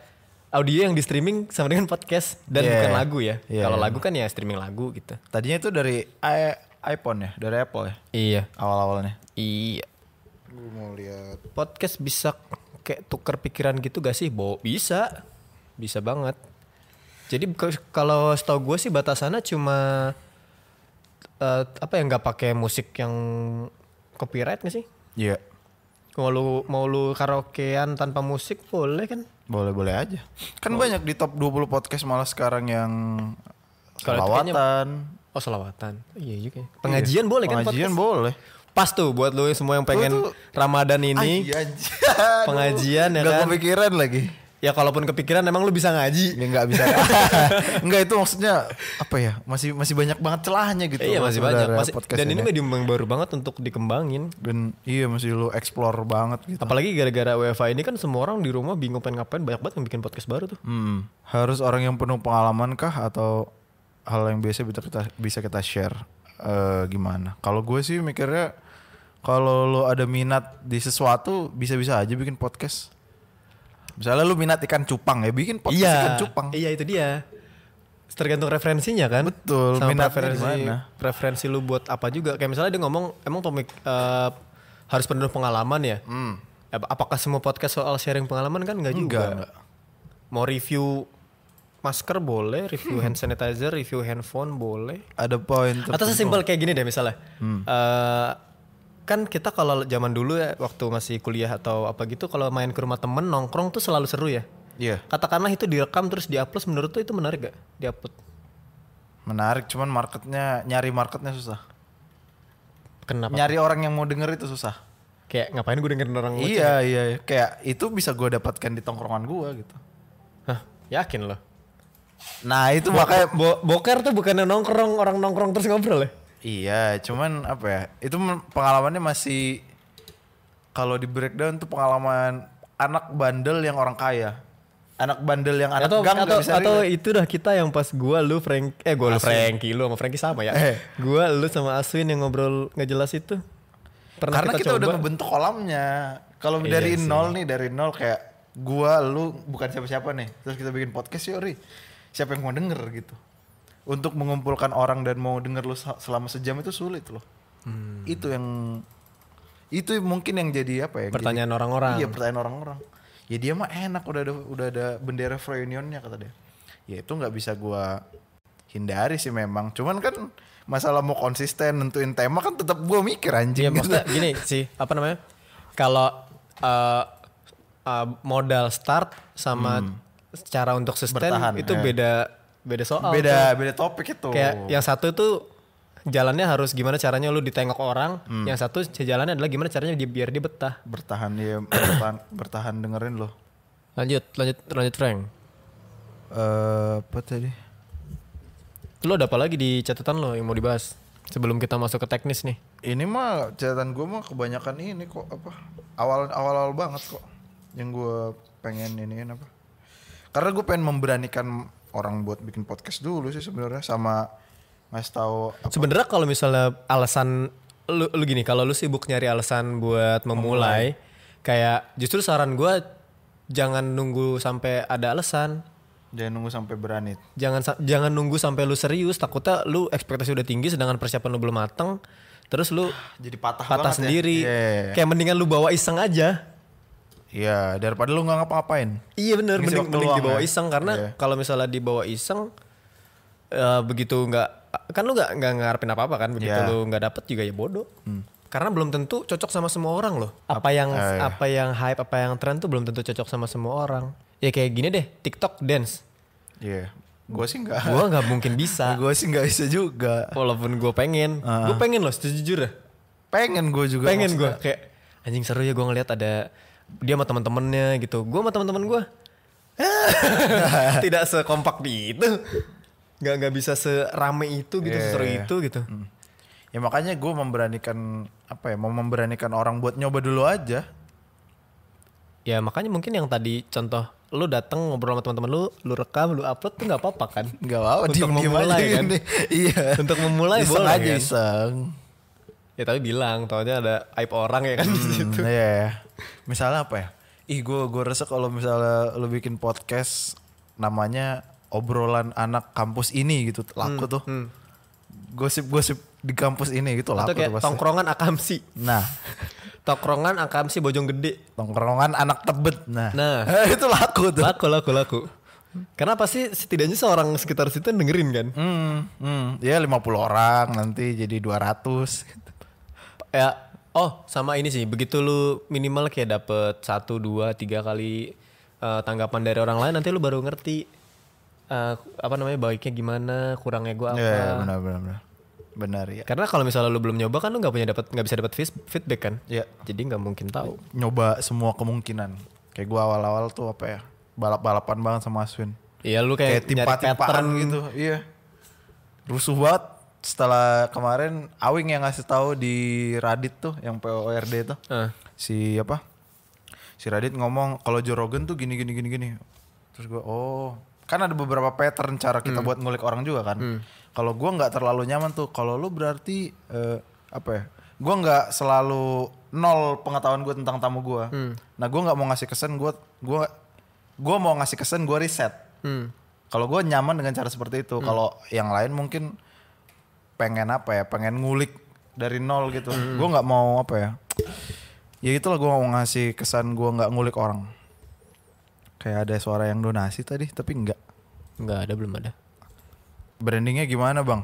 C: audio yang di streaming sama dengan podcast dan
A: Yeah.
C: bukan lagu ya.
A: Yeah.
C: Kalau lagu kan ya streaming lagu gitu.
A: Tadinya itu dari i- iPhone ya, dari Apple ya
C: Iya.
A: awal-awalnya.
C: Iya.
A: Gue mau lihat.
C: Podcast bisa kayak tuker pikiran gitu gak sih? Bo bisa. Bisa banget. Jadi ke- kalau setahu gue sih batasannya cuma eh, apa yang nggak pakai musik yang copyright gak sih?
A: Iya.
C: Mau lu mau lu karaokean tanpa musik boleh kan?
A: Boleh-boleh aja. Kan banyak di top 20 podcast malah sekarang yang
C: Kalau itu kayaknya-
A: selawatan.
C: Oh selawatan. Iya juga. ya. Pengajian boleh kan? podcast?
A: Pengajian boleh.
C: Pas tuh buat lu Ah, iya. semua yang pengen
A: Lu tuh-
C: Ramadan ini.
A: Pengajian.
C: Pengajian ya
A: Gak
C: kan?
A: kepikiran lagi.
C: Ya kalaupun kepikiran emang lu bisa ngaji.
A: Ya nggak bisa. Enggak itu maksudnya apa ya? Masih masih banyak banget celahnya gitu.
C: Iya masih banyak.
A: saudara
C: Masih,
A: podcast
C: dan ini medium yang baru banget untuk dikembangin.
A: dan iya masih lu explore banget gitu.
C: Apalagi gara-gara WFA ini kan semua orang di rumah bingung pengen ngapain banyak banget yang bikin podcast baru tuh.
A: Hmm. Harus orang yang penuh pengalaman kah atau hal yang biasa bisa kita bisa kita share eh, gimana? Kalau gue sih mikirnya kalau lo ada minat di sesuatu bisa-bisa aja bikin podcast. Misalnya lu minat ikan cupang ya bikin podcast ikan cupang.
C: Iya itu dia. Tergantung referensinya kan.
A: Betul,
C: Sama
A: minatnya
C: preferensi
A: gimana.
C: preferensi lu buat apa juga. Kayak misalnya dia ngomong emang pemik eh, harus penuh pengalaman ya. Ap- Apakah semua podcast soal sharing pengalaman kan nggak juga?
A: Enggak, enggak.
C: Mau review masker boleh, review hand sanitizer, review handphone boleh.
A: Ada poin
C: Atau
A: tertentu. Hmm.
C: sesimpel kayak gini deh misalnya. Eh, kan kita kalau zaman dulu ya waktu masih kuliah atau apa gitu kalau main ke rumah temen nongkrong tuh selalu seru ya.
A: Iya,
C: Katakanlah itu direkam terus diupload menurut tuh itu menarik gak? Diupload.
A: menarik cuman marketnya nyari marketnya susah.
C: Kenapa?
A: Nyari orang yang mau denger itu susah.
C: Kayak ngapain gue dengerin orang ngoceh?
A: Iya, iya, iya. kayak itu bisa gue dapatkan di tongkrongan gue gitu.
C: Hah, yakin lo?
A: Nah, itu makanya
C: Bo- boker tuh bukannya nongkrong, orang nongkrong terus ngobrol ya?
A: Iya, cuman apa ya? Itu men- pengalamannya masih kalau di breakdown tuh pengalaman anak bandel yang orang kaya. Anak bandel yang anak
C: atau
A: gang nggak
C: atau,
A: bisa
C: atau
A: relate.
C: itu dah kita yang pas gua lu Frank eh gua lu Franky lu sama Franky sama ya.
A: Eh.
C: Gua lu sama Aswin yang ngobrol nggak jelas itu. Pernah
A: Karena kita,
C: kita, coba.
A: udah membentuk kolamnya. Kalau
C: Iya
A: dari
C: sih.
A: nol nih, dari nol kayak gua lu bukan siapa-siapa nih. Terus kita bikin podcast yuk, Ri. Siapa yang mau denger gitu. Untuk mengumpulkan orang dan mau denger lu se- selama sejam itu sulit loh.
C: Hmm.
A: Itu yang itu mungkin yang jadi apa ya? yang jadi-
C: pertanyaan orang-orang.
A: Iya pertanyaan orang-orang. Ya dia mah enak udah ada udah ada bendera Froyunionnya kata dia. Ya itu nggak bisa gua hindari sih memang. Cuman kan masalah mau konsisten nentuin tema kan tetap gua mikir anjing.
C: Iya
A: gitu.
C: maksudnya gini sih apa namanya kalau eh, eh, modal start sama cara untuk sustain
A: Bertahan,
C: itu
A: ya.
C: beda beda Oh. soal. tuh.
A: beda beda topik itu.
C: Kayak ya- yang satu itu jalannya harus gimana caranya lu ditengok orang, yang satu jalannya adalah gimana caranya dia biar dia betah.
A: bertahan ya bertahan, bertahan dengerin loh.
C: Lanjut, lanjut, lanjut Frank.
A: Eh apa tadi?
C: Lu ada apa lagi di catatan lo yang mau dibahas sebelum kita masuk ke teknis nih?
A: Ini mah catatan gua mah kebanyakan ini kok apa awal awal awal banget kok yang gua pengen ini apa? Karena gue pengen memberanikan orang buat bikin podcast dulu sih sebenarnya sama ngasih tahu
C: Sebenarnya kalau misalnya alasan lu, lu gini, kalau lu sibuk nyari alasan buat memulai, kayak justru saran gua jangan nunggu sampai ada alasan.
A: jangan nunggu sampai berani.
C: Jangan sa- jangan nunggu sampai lu serius, takutnya lu ekspektasi udah tinggi sedangkan persiapan lu belum mateng. Terus lu
A: Jadi patah
C: patah
A: banget ya.
C: sendiri.
A: Iya, iya, iya.
C: Kayak mendingan lu bawa iseng aja.
A: Iya, daripada lu nggak ngapa-ngapain.
C: Iya bener,
A: Ngisi
C: mending,
A: waktu
C: mending
A: luang
C: dibawa
A: ya.
C: iseng karena
A: Iya.
C: kalau misalnya dibawa iseng eh, begitu nggak kan lu nggak nggak ngarepin apa apa kan begitu
A: Iya.
C: lu nggak dapet juga ya bodoh. Karena belum tentu cocok sama semua orang loh. Apa yang
A: eh, iya.
C: apa yang hype, apa yang tren tuh belum tentu cocok sama semua orang. Ya kayak gini deh, TikTok dance.
A: Iya. Gua sih nggak.
C: Gua nggak mungkin bisa.
A: Gua Ah. sih nggak bisa juga.
C: Walaupun gue pengen, gue pengen loh, sejujurnya.
A: Pengen gue juga.
C: pengen
A: maksudnya.
C: gue kayak anjing seru ya gue ngeliat ada dia sama teman-temannya gitu gue sama teman-teman gue tidak sekompak di itu nggak nggak bisa serame itu gitu
A: Iya,
C: seseru
A: iya, iya.
C: itu gitu
A: Ya makanya gue memberanikan apa ya? Mau memberanikan orang buat nyoba dulu aja.
C: ya makanya mungkin yang tadi contoh lu datang ngobrol sama teman-teman lu lu rekam lu upload tuh nggak apa-apa kan
A: Gak apa-apa.
C: Untuk memulai, kan?
A: iya.
C: Untuk memulai
A: iseng
C: boleh,
A: aja
C: kan?
A: iseng.
C: ya tapi bilang tahunya ada aib orang ya kan di situ.
A: Hmm, iya, iya. Misalnya apa ya? Ih gue gue resek kalau misalnya lu bikin podcast namanya obrolan anak kampus ini gitu laku
C: Hmm,
A: tuh. Gosip-gosip di kampus ini gitu
C: atau
A: laku
C: kayak
A: tuh pasti.
C: tongkrongan akamsi
A: Nah,
C: tongkrongan akamsi bojong gede
A: tongkrongan anak tebet. Nah,
C: Nah.
A: itu laku tuh.
C: laku laku laku karena pasti setidaknya seorang sekitar situ dengerin kan
A: Hmm, hmm. Ya 50 orang nanti jadi 200 gitu.
C: Ya, oh sama ini sih. Begitu lu minimal kayak dapet satu, dua, tiga kali eh, tanggapan dari orang lain, nanti lu baru ngerti eh, apa namanya baiknya gimana, kurangnya gua apa.
A: Iya, iya, benar benar benar. Benar ya.
C: Karena kalau misalnya lu belum nyoba kan lu nggak punya dapat nggak bisa dapat fees- feedback kan.
A: Iya.
C: Jadi nggak mungkin tahu.
A: Nyoba semua kemungkinan. Kayak gua awal-awal tuh apa ya? Balap-balapan banget sama Aswin.
C: Iya lu
A: Kayak
C: kayak, nyari
A: timpa-timpaan
C: pattern
A: gitu. Iya. Rusuh banget setelah kemarin Awing yang ngasih tahu di Radit tuh yang PORD tuh.
C: Eh,
A: si apa si Radit ngomong kalau Joe Rogan tuh gini gini gini gini terus gue oh kan ada beberapa pattern cara kita buat ngulik orang juga kan. Kalau gua nggak terlalu nyaman tuh, kalau lu berarti eh, apa ya? Gua nggak selalu nol pengetahuan gue tentang tamu gua. Nah, gua nggak mau ngasih kesan gua gua gua mau ngasih kesan gua riset. Kalau gua nyaman dengan cara seperti itu, kalau yang lain mungkin pengen apa ya? Pengen ngulik dari nol gitu. Gua nggak mau apa ya? Ya itulah gua mau ngasih kesan gua nggak ngulik orang. Kayak ada suara yang donasi tadi, tapi enggak.
C: Nggak ada belum ada.
A: Brandingnya gimana bang?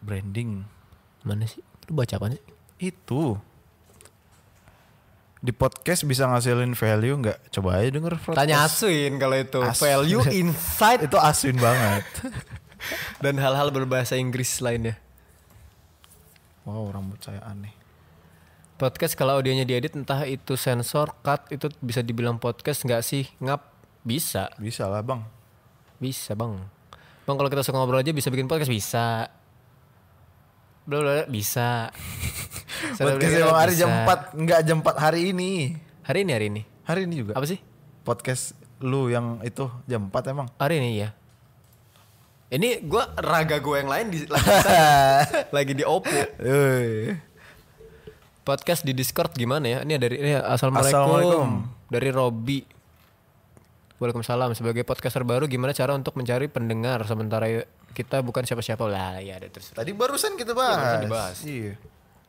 A: Branding
C: Mana sih? Lu baca apa sih?
A: itu di podcast bisa ngasilin value nggak? Coba aja denger
C: Tanya
A: podcast.
C: Asuin kalau itu.
A: Asuin.
C: Value, insight,
A: Itu asin banget.
C: dan hal-hal berbahasa Inggris lainnya.
A: wow rambut saya aneh.
C: Podcast kalau audionya diedit entah itu sensor, cut, itu bisa dibilang podcast nggak sih? Ngap? Bisa.
A: Bisa lah bang.
C: Bisa bang. Bang kalau kita suka ngobrol aja bisa bikin podcast? Bisa. Bla bla bla, bisa. Saya
A: Podcast
C: bilang,
A: bang hari
C: bisa.
A: jam 4 nggak jam 4 hari ini.
C: Hari ini hari ini.
A: Hari ini juga.
C: Apa sih?
A: Podcast lu yang itu jam 4 emang.
C: Hari ini ya. Ini gua raga gue yang lain di, lagi, lagi di Oppo.
A: Eh,
C: Podcast di Discord gimana ya? Ini dari ini assalamualaikum,
A: Assalamualaikum.
C: dari Robi. Waalaikumsalam. Sebagai podcaster baru gimana cara untuk mencari pendengar sementara kita bukan siapa-siapa lah ya ada terus.
A: Tadi barusan kita bahas. Iya.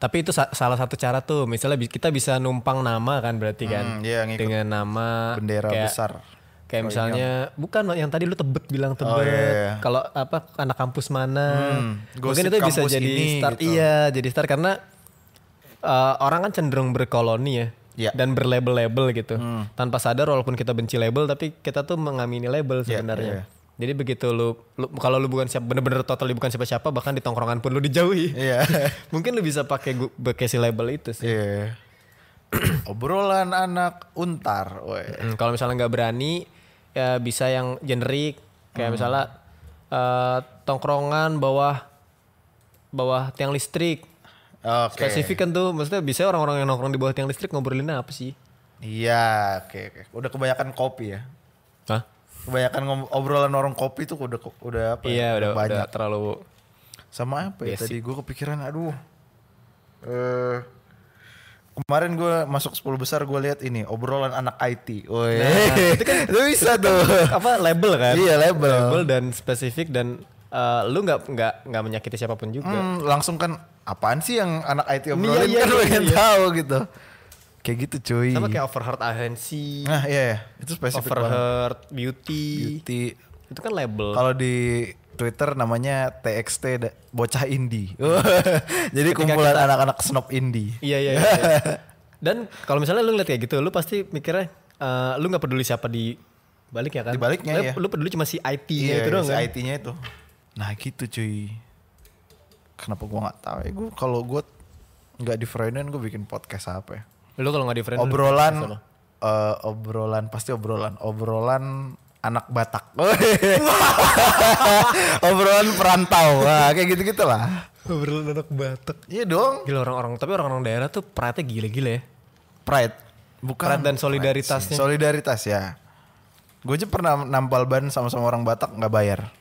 C: Tapi itu sa- salah satu cara tuh. Misalnya bi- kita bisa numpang nama kan berarti
A: Hmm,
C: kan
A: iya, ngikut
C: dengan nama
A: Bendera
C: Ah, kayak-
A: besar.
C: Kayak misalnya bukan yang tadi lu tebet bilang tebet.
A: iya, iya.
C: Kalau apa anak kampus mana?
A: Hmm, gosip
C: Mungkin itu bisa
A: kampus
C: jadi
A: ini,
C: start
A: gitu.
C: iya, jadi start karena eh, orang kan cenderung berkoloni ya.
A: Iya. Hmm.
C: Dan berlabel-label gitu. Tanpa sadar walaupun kita benci label tapi kita tuh mengamini label
A: iya.
C: sebenarnya. Jadi begitu lu, lu kalau lu bukan siapa bener-bener totally bukan siapa-siapa bahkan di tongkrongan pun lu dijauhi.
A: Iya.
C: Mungkin lu bisa pakai gu- pakai si label itu sih.
A: Iya. Obrolan anak untar, woi.
C: Hmm, kalau misalnya nggak berani ya bisa yang generik
A: Hmm.
C: kayak misalnya eh, tongkrongan bawah bawah tiang listrik.
A: Oke.
C: Spesifik kan tuh maksudnya bisa orang-orang yang nongkrong di bawah tiang listrik ngobrolin apa sih?
A: Iya, oke oke. Udah kebanyakan kopi ya.
C: Hah?
A: Kebanyakan ngom- obrolan orang kopi tuh udah udah apa ya,
C: Iya udah,
A: banyak.
C: udah terlalu
A: Sama apa ya tadi gue kepikiran aduh. Eh kemarin gue masuk 10 besar gue lihat ini obrolan anak IT. Woi.
C: Nah,
A: itu kan lu bisa tuh.
C: apa label kan?
A: Iya, label.
C: Label dan spesifik dan eh, lu nggak nggak nggak menyakiti siapapun juga.
A: Hmm, langsung kan apaan sih yang anak IT obrolin
C: iya,
A: kan
C: iya,
A: pengen
C: iya.
A: tahu gitu. Kayak gitu cuy.
C: Sama kayak overheard agency,
A: Nah iya, iya. itu spesifik banget.
C: overheard beauty.
A: Beauty.
C: Itu kan label.
A: Kalau di Twitter namanya TXT da- bocah indie. Jadi kumpulan anak-anak snob indie.
C: Iya iya. iya. Dan kalau misalnya lu ngeliat kayak gitu, lu pasti mikirnya eh, lu nggak peduli siapa di balik ya kan?
A: Di baliknya,
C: lu,
A: iya.
C: Lu peduli cuma si IT nya
A: Iya,
C: itu doang
A: si
C: kan?
A: IT-nya itu. Nah, gitu cuy. Kenapa gua nggak tahu ya? Gua kalau gua nggak di Freudian gua bikin podcast apa ya?
C: Lu kalau nggak different.
A: Obrolan eh, obrolan pasti obrolan obrolan anak Batak. obrolan perantau. Wah, kayak gitu-gitu lah.
C: Obrolan anak Batak.
A: Iya dong.
C: Gila orang-orang, tapi orang-orang daerah tuh pride gila-gila ya.
A: Pride. Bukan
C: Pride dan solidaritasnya.
A: Solidaritas ya. Gue aja pernah nampal ban sama-sama orang Batak nggak bayar.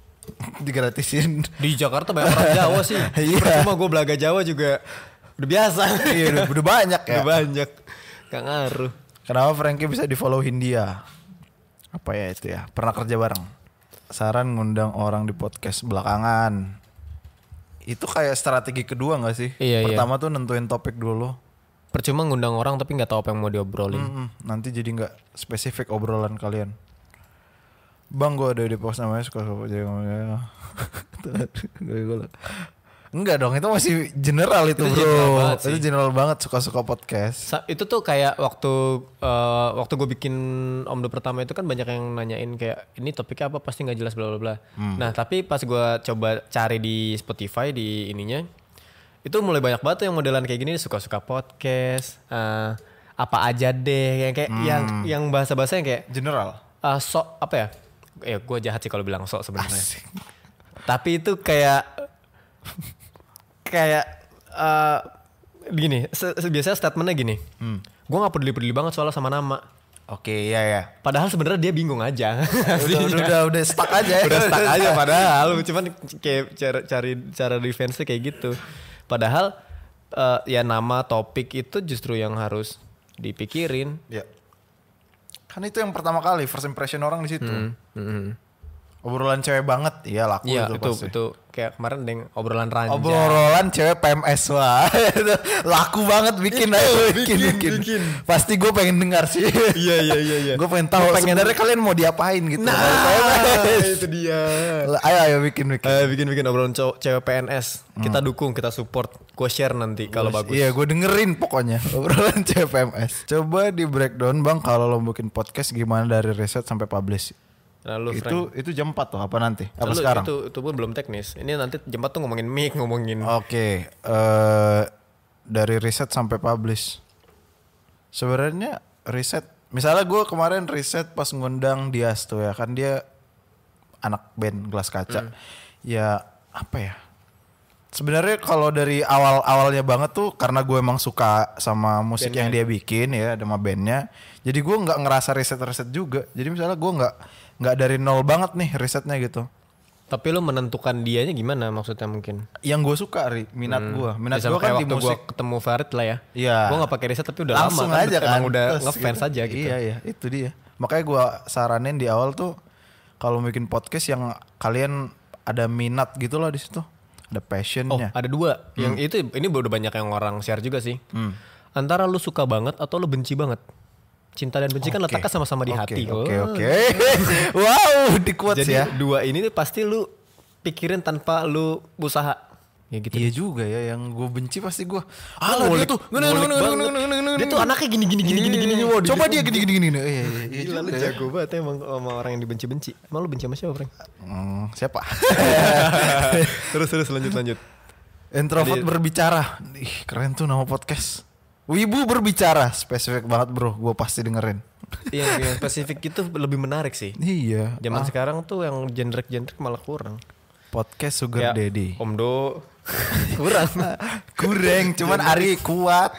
A: Digratisin.
C: Di Jakarta banyak orang Jawa sih.
A: Iya.
C: Percuma gue belaga Jawa juga udah biasa.
A: Iya udah, udah banyak ya.
C: Udah banyak. Gak ngaruh.
A: Kenapa Frankie bisa di follow Hindia? Apa ya itu ya? Pernah kerja bareng. Saran ngundang orang di podcast belakangan. Itu kayak strategi kedua nggak sih?
C: Iya, iya.
A: Pertama tuh nentuin topik dulu.
C: Percuma ngundang orang tapi nggak tahu apa yang mau diobrolin.
A: Mm-mm, nanti jadi nggak spesifik obrolan kalian. Bang gue ada di pos namanya suka suka jadi ngomongnya. Enggak dong itu masih general itu,
C: Itu
A: bro.
C: general banget sih.
A: itu general banget suka suka podcast.
C: Sa- itu tuh kayak waktu eh, waktu gue bikin omdo pertama itu kan banyak yang nanyain kayak ini topiknya apa pasti nggak jelas bla bla bla. Nah tapi pas gue coba cari di Spotify di ininya itu mulai banyak banget tuh yang modelan kayak gini suka suka podcast eh, apa aja deh yang kayak yang yang bahasa bahasa yang kayak
A: General.
C: eh, sok apa ya? Ya gue jahat sih kalau bilang sok sebenarnya.
A: Asik.
C: Tapi itu kayak kayak eh Hmm. gini, se- se- biasanya statementnya gini. Gue nggak peduli-peduli banget soalnya sama nama.
A: Oke, iya ya.
C: Padahal sebenarnya dia bingung aja.
A: Udah, udah, udah, udah stuck aja ya.
C: udah stuck aja padahal cuman kayak cara cari cara defense kayak gitu padahal eh, ya nama topik itu justru yang harus dipikirin
A: Ya. Kan itu yang pertama kali first impression orang di situ.
C: Mm-mm.
A: Obrolan cewek banget, iya laku
C: Hmm, Iya
A: itu,
C: itu itu,
A: pasti.
C: kayak kemarin deng obrolan ranjang
A: Obrolan cewek PMS wah itu laku banget bikin aja bikin, bikin. Pasti gue pengen dengar sih.
C: iya iya iya iya Nah,
A: gue pengen tahu sebenarnya kalian mau diapain gitu. Kalau saya PMS.
C: itu dia
A: Lah, Ayo ayo bikin bikin.
C: bikin bikin Eh, obrolan cow- cewek PNS kita
A: Hmm.
C: dukung kita support gue share nanti kalau bagus
A: Iya gue dengerin pokoknya obrolan cewek PMS. Coba di breakdown bang kalau lo bikin podcast gimana dari riset sampai publish.
C: lalu
A: itu itu jam 4 tuh apa nanti? Apa
C: Lalu
A: sekarang?
C: itu, itu pun belum teknis ini nanti jembat tuh ngomongin mic ngomongin
A: Oh. Oke, eh dari riset sampai publish. Sebenarnya riset, misalnya gue kemarin riset pas ngundang Dias tuh ya kan dia anak band gelas
C: Hmm.
A: kaca. Ya apa ya? Sebenarnya kalau dari awal awalnya banget tuh karena gue emang suka sama musik yang dia bikin ya sama bandnya. Jadi gue nggak ngerasa riset riset juga. Jadi misalnya gue nggak nggak dari nol banget nih risetnya gitu.
C: Tapi lo menentukan dianya gimana maksudnya mungkin?
A: Yang gue suka Ri, minat gue, minat
C: Ya, sama
A: gue
C: kayak
A: kan di
C: waktu
A: musik.
C: gua ketemu Farid lah ya.
A: Iya.
C: Gue gak pakai riset tapi udah
A: langsung
C: lama
A: aja kan
C: Emang udah
A: Terus
C: ngefans
A: gitu.
C: aja gitu.
A: iya iya itu dia makanya gua saranin di awal tuh kalau bikin podcast yang kalian ada minat gitu loh di situ ada
C: Oh
A: passionnya
C: ada dua. Yang
A: Hmm.
C: itu ini udah banyak yang orang share juga sih. Antara lu suka banget atau lu benci banget. Cinta dan benci kan
A: Oke.
C: letaknya sama-sama di
A: Oke,
C: hati.
A: oke
C: Oh.
A: oke wow dikuat
C: Jadi gitu.
A: ya
C: dua ini tuh pasti lu pikirin tanpa lu usaha. Ya gitu.
A: iya juga ya yang gue benci pasti gue
C: Lu
A: ah dia
C: ngulik-
A: tuh
C: ngulik banget. Dia tuh anaknya gini gini gini gini gini. Wah,
A: coba dia gini gini gini gini. Iya, iya, iya
C: Gila lu
A: juga.
C: jago banget emang sama orang yang dibenci-benci. Emang lu benci sama siapa, Frank?
A: Hmm, siapa
C: terus terus lanjut lanjut.
A: Introvert berbicara. Ih, keren tuh nama podcast. Wibu berbicara, spesifik banget bro, gue pasti dengerin.
C: Iya, yang spesifik itu lebih menarik sih.
A: Iya.
C: Zaman sekarang tuh yang genrek-genrek malah kurang. Ya,
A: Podcast Sugar Daddy.
C: Om Do kurang.
A: Kurang, cuman Ari kuat.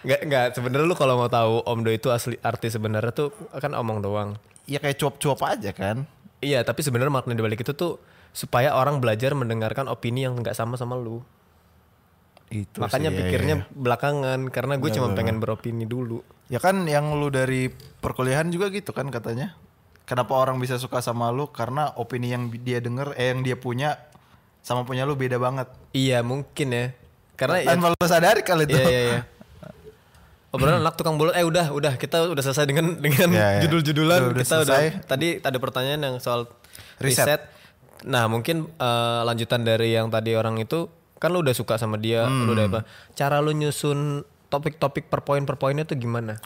C: Nggak nggak sebenarnya lu kalau mau tahu Om Do itu asli arti sebenarnya tuh kan omong doang.
A: Ya kayak cuap-cuap aja kan.
C: Iya, tapi sebenarnya makna dibalik itu tuh supaya orang belajar mendengarkan opini yang nggak sama sama lu.
A: Itu sih,
C: Makanya
A: ya,
C: pikirnya
A: ya,
C: belakangan karena
A: Iya,
C: gue cuma pengen beropini dulu.
A: ya. Ya kan yang lu dari perkuliahan juga gitu kan katanya. Kenapa orang bisa suka sama lu karena opini yang dia denger eh yang dia punya sama punya lu beda banget.
C: Iya, mungkin ya. Karena ya
A: Tanpa lu sadari kali itu.
C: Iya iya iya. Obrolan anak tukang bola. Eh udah udah kita udah selesai dengan dengan
A: Iya, iya.
C: judul-judulan
A: Udah, udah
C: kita
A: selesai.
C: udah. Tadi ada pertanyaan yang soal riset.
A: Riset.
C: Nah mungkin eh, lanjutan dari yang tadi orang itu kan lu udah suka sama dia, lu
A: Hmm.
C: udah apa? Cara lu nyusun topik-topik per poin per poinnya tuh gimana?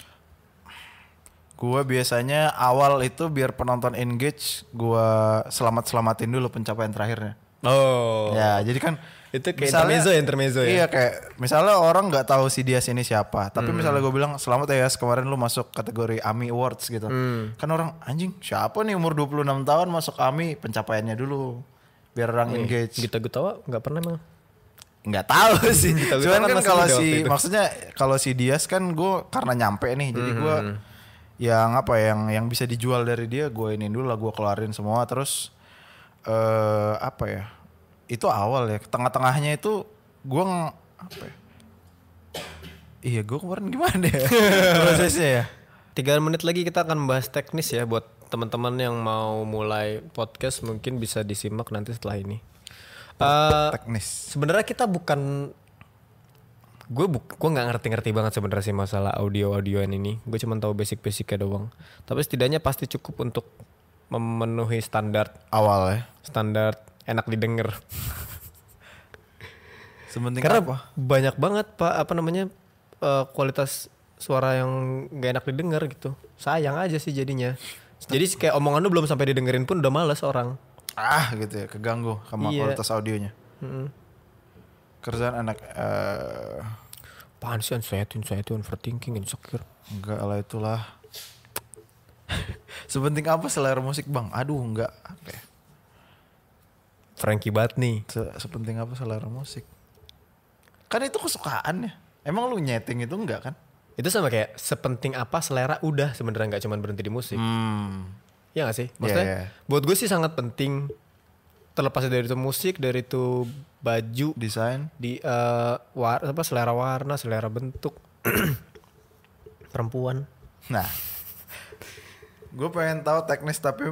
A: Gua biasanya awal itu biar penonton engage, gua selamat-selamatin dulu pencapaian terakhirnya.
C: Oh.
A: Ya, jadi kan
C: Itu kayak intermezzo ya, intermezzo ya?
A: Iya, kayak misalnya orang nggak tahu si dia sini siapa, tapi
C: Hmm.
A: misalnya gue bilang selamat ya Yas, kemarin lu masuk kategori AMI Awards gitu.
C: Hmm.
A: Kan orang anjing, siapa nih umur 26 tahun masuk AMI pencapaiannya dulu biar orang engage.
C: Gita Gutawa nggak pernah emang.
A: nggak tahu sih
C: Kita- kita
A: cuman
C: kan
A: kan
C: masih
A: kalau
C: muda waktu
A: si
C: itu.
A: maksudnya kalau si Dias kan gue karena nyampe nih jadi gue
C: Mm-hmm.
A: yang apa yang yang bisa dijual dari dia gue ini dulu lah gue keluarin semua terus eh apa ya itu awal ya tengah-tengahnya itu gue ng- apa ya? iya gue kemarin gimana ya prosesnya ya
C: Tiga menit lagi kita akan membahas teknis ya buat teman-teman yang mau mulai podcast mungkin bisa disimak nanti setelah ini. Eh,
A: teknis
C: sebenarnya kita bukan gue buk gue nggak ngerti-ngerti banget sebenarnya sih masalah audio audioan ini gue cuma tahu basic-basicnya doang tapi setidaknya pasti cukup untuk memenuhi standar
A: awal ya
C: standar enak didengar
A: sementing
C: karena
A: apa
C: banyak banget pak apa namanya eh, kualitas suara yang nggak enak didengar gitu sayang aja sih jadinya jadi kayak omongan lu belum sampai didengerin pun udah males orang
A: ah gitu ya keganggu sama
C: Iya.
A: kualitas audionya
C: Mm-mm.
A: kerjaan anak eh
C: Apaan sih anxiety, anxiety, overthinking, insecure.
A: Enggak lah itulah. Sepenting apa selera musik bang? Aduh enggak. Apa ya?
C: Frankie banget nih.
A: Se- sepenting apa selera musik? Kan itu kesukaan ya. Emang lu nyeting itu enggak kan?
C: Itu sama kayak sepenting apa selera udah sebenarnya nggak cuma berhenti di musik.
A: Hmm.
C: Iya gak sih? Maksudnya
A: Iya, iya.
C: buat gue sih sangat penting terlepas dari itu musik, dari itu baju, di,
A: Desain.
C: eh, war, apa selera warna, selera bentuk. Perempuan.
A: Nah. gue pengen tahu teknis tapi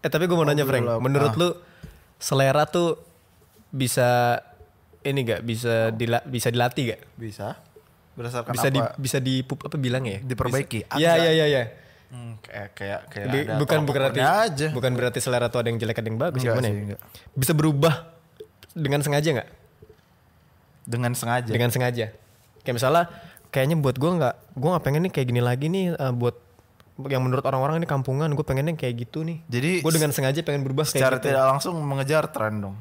C: Eh tapi gue mau nanya Frank,
A: belum. Ah.
C: menurut lu selera tuh bisa ini gak bisa dila- bisa dilatih gak?
A: bisa berdasarkan
C: Bisa
A: apa?
C: di bisa di apa bilang ya?
A: Diperbaiki.
C: Bisa- Iya iya iya iya.
A: Hmm, kayak kayak kayak
C: Di-
A: ada
C: bukan bukan
A: tolak
C: berarti
A: ukurnya aja.
C: bukan berarti selera tuh ada yang jelek ada yang bagus
A: Enggak
C: gimana
A: sih,
C: ya?
A: enggak.
C: Bisa berubah dengan sengaja nggak?
A: Dengan sengaja.
C: Dengan sengaja. Kayak misalnya kayaknya buat gue nggak gue nggak pengen nih kayak gini lagi nih eh, buat yang menurut orang-orang ini kampungan gue pengennya kayak gitu nih.
A: Jadi
C: gue dengan sengaja pengen berubah
A: secara
C: kayak gitu.
A: tidak langsung mengejar tren dong.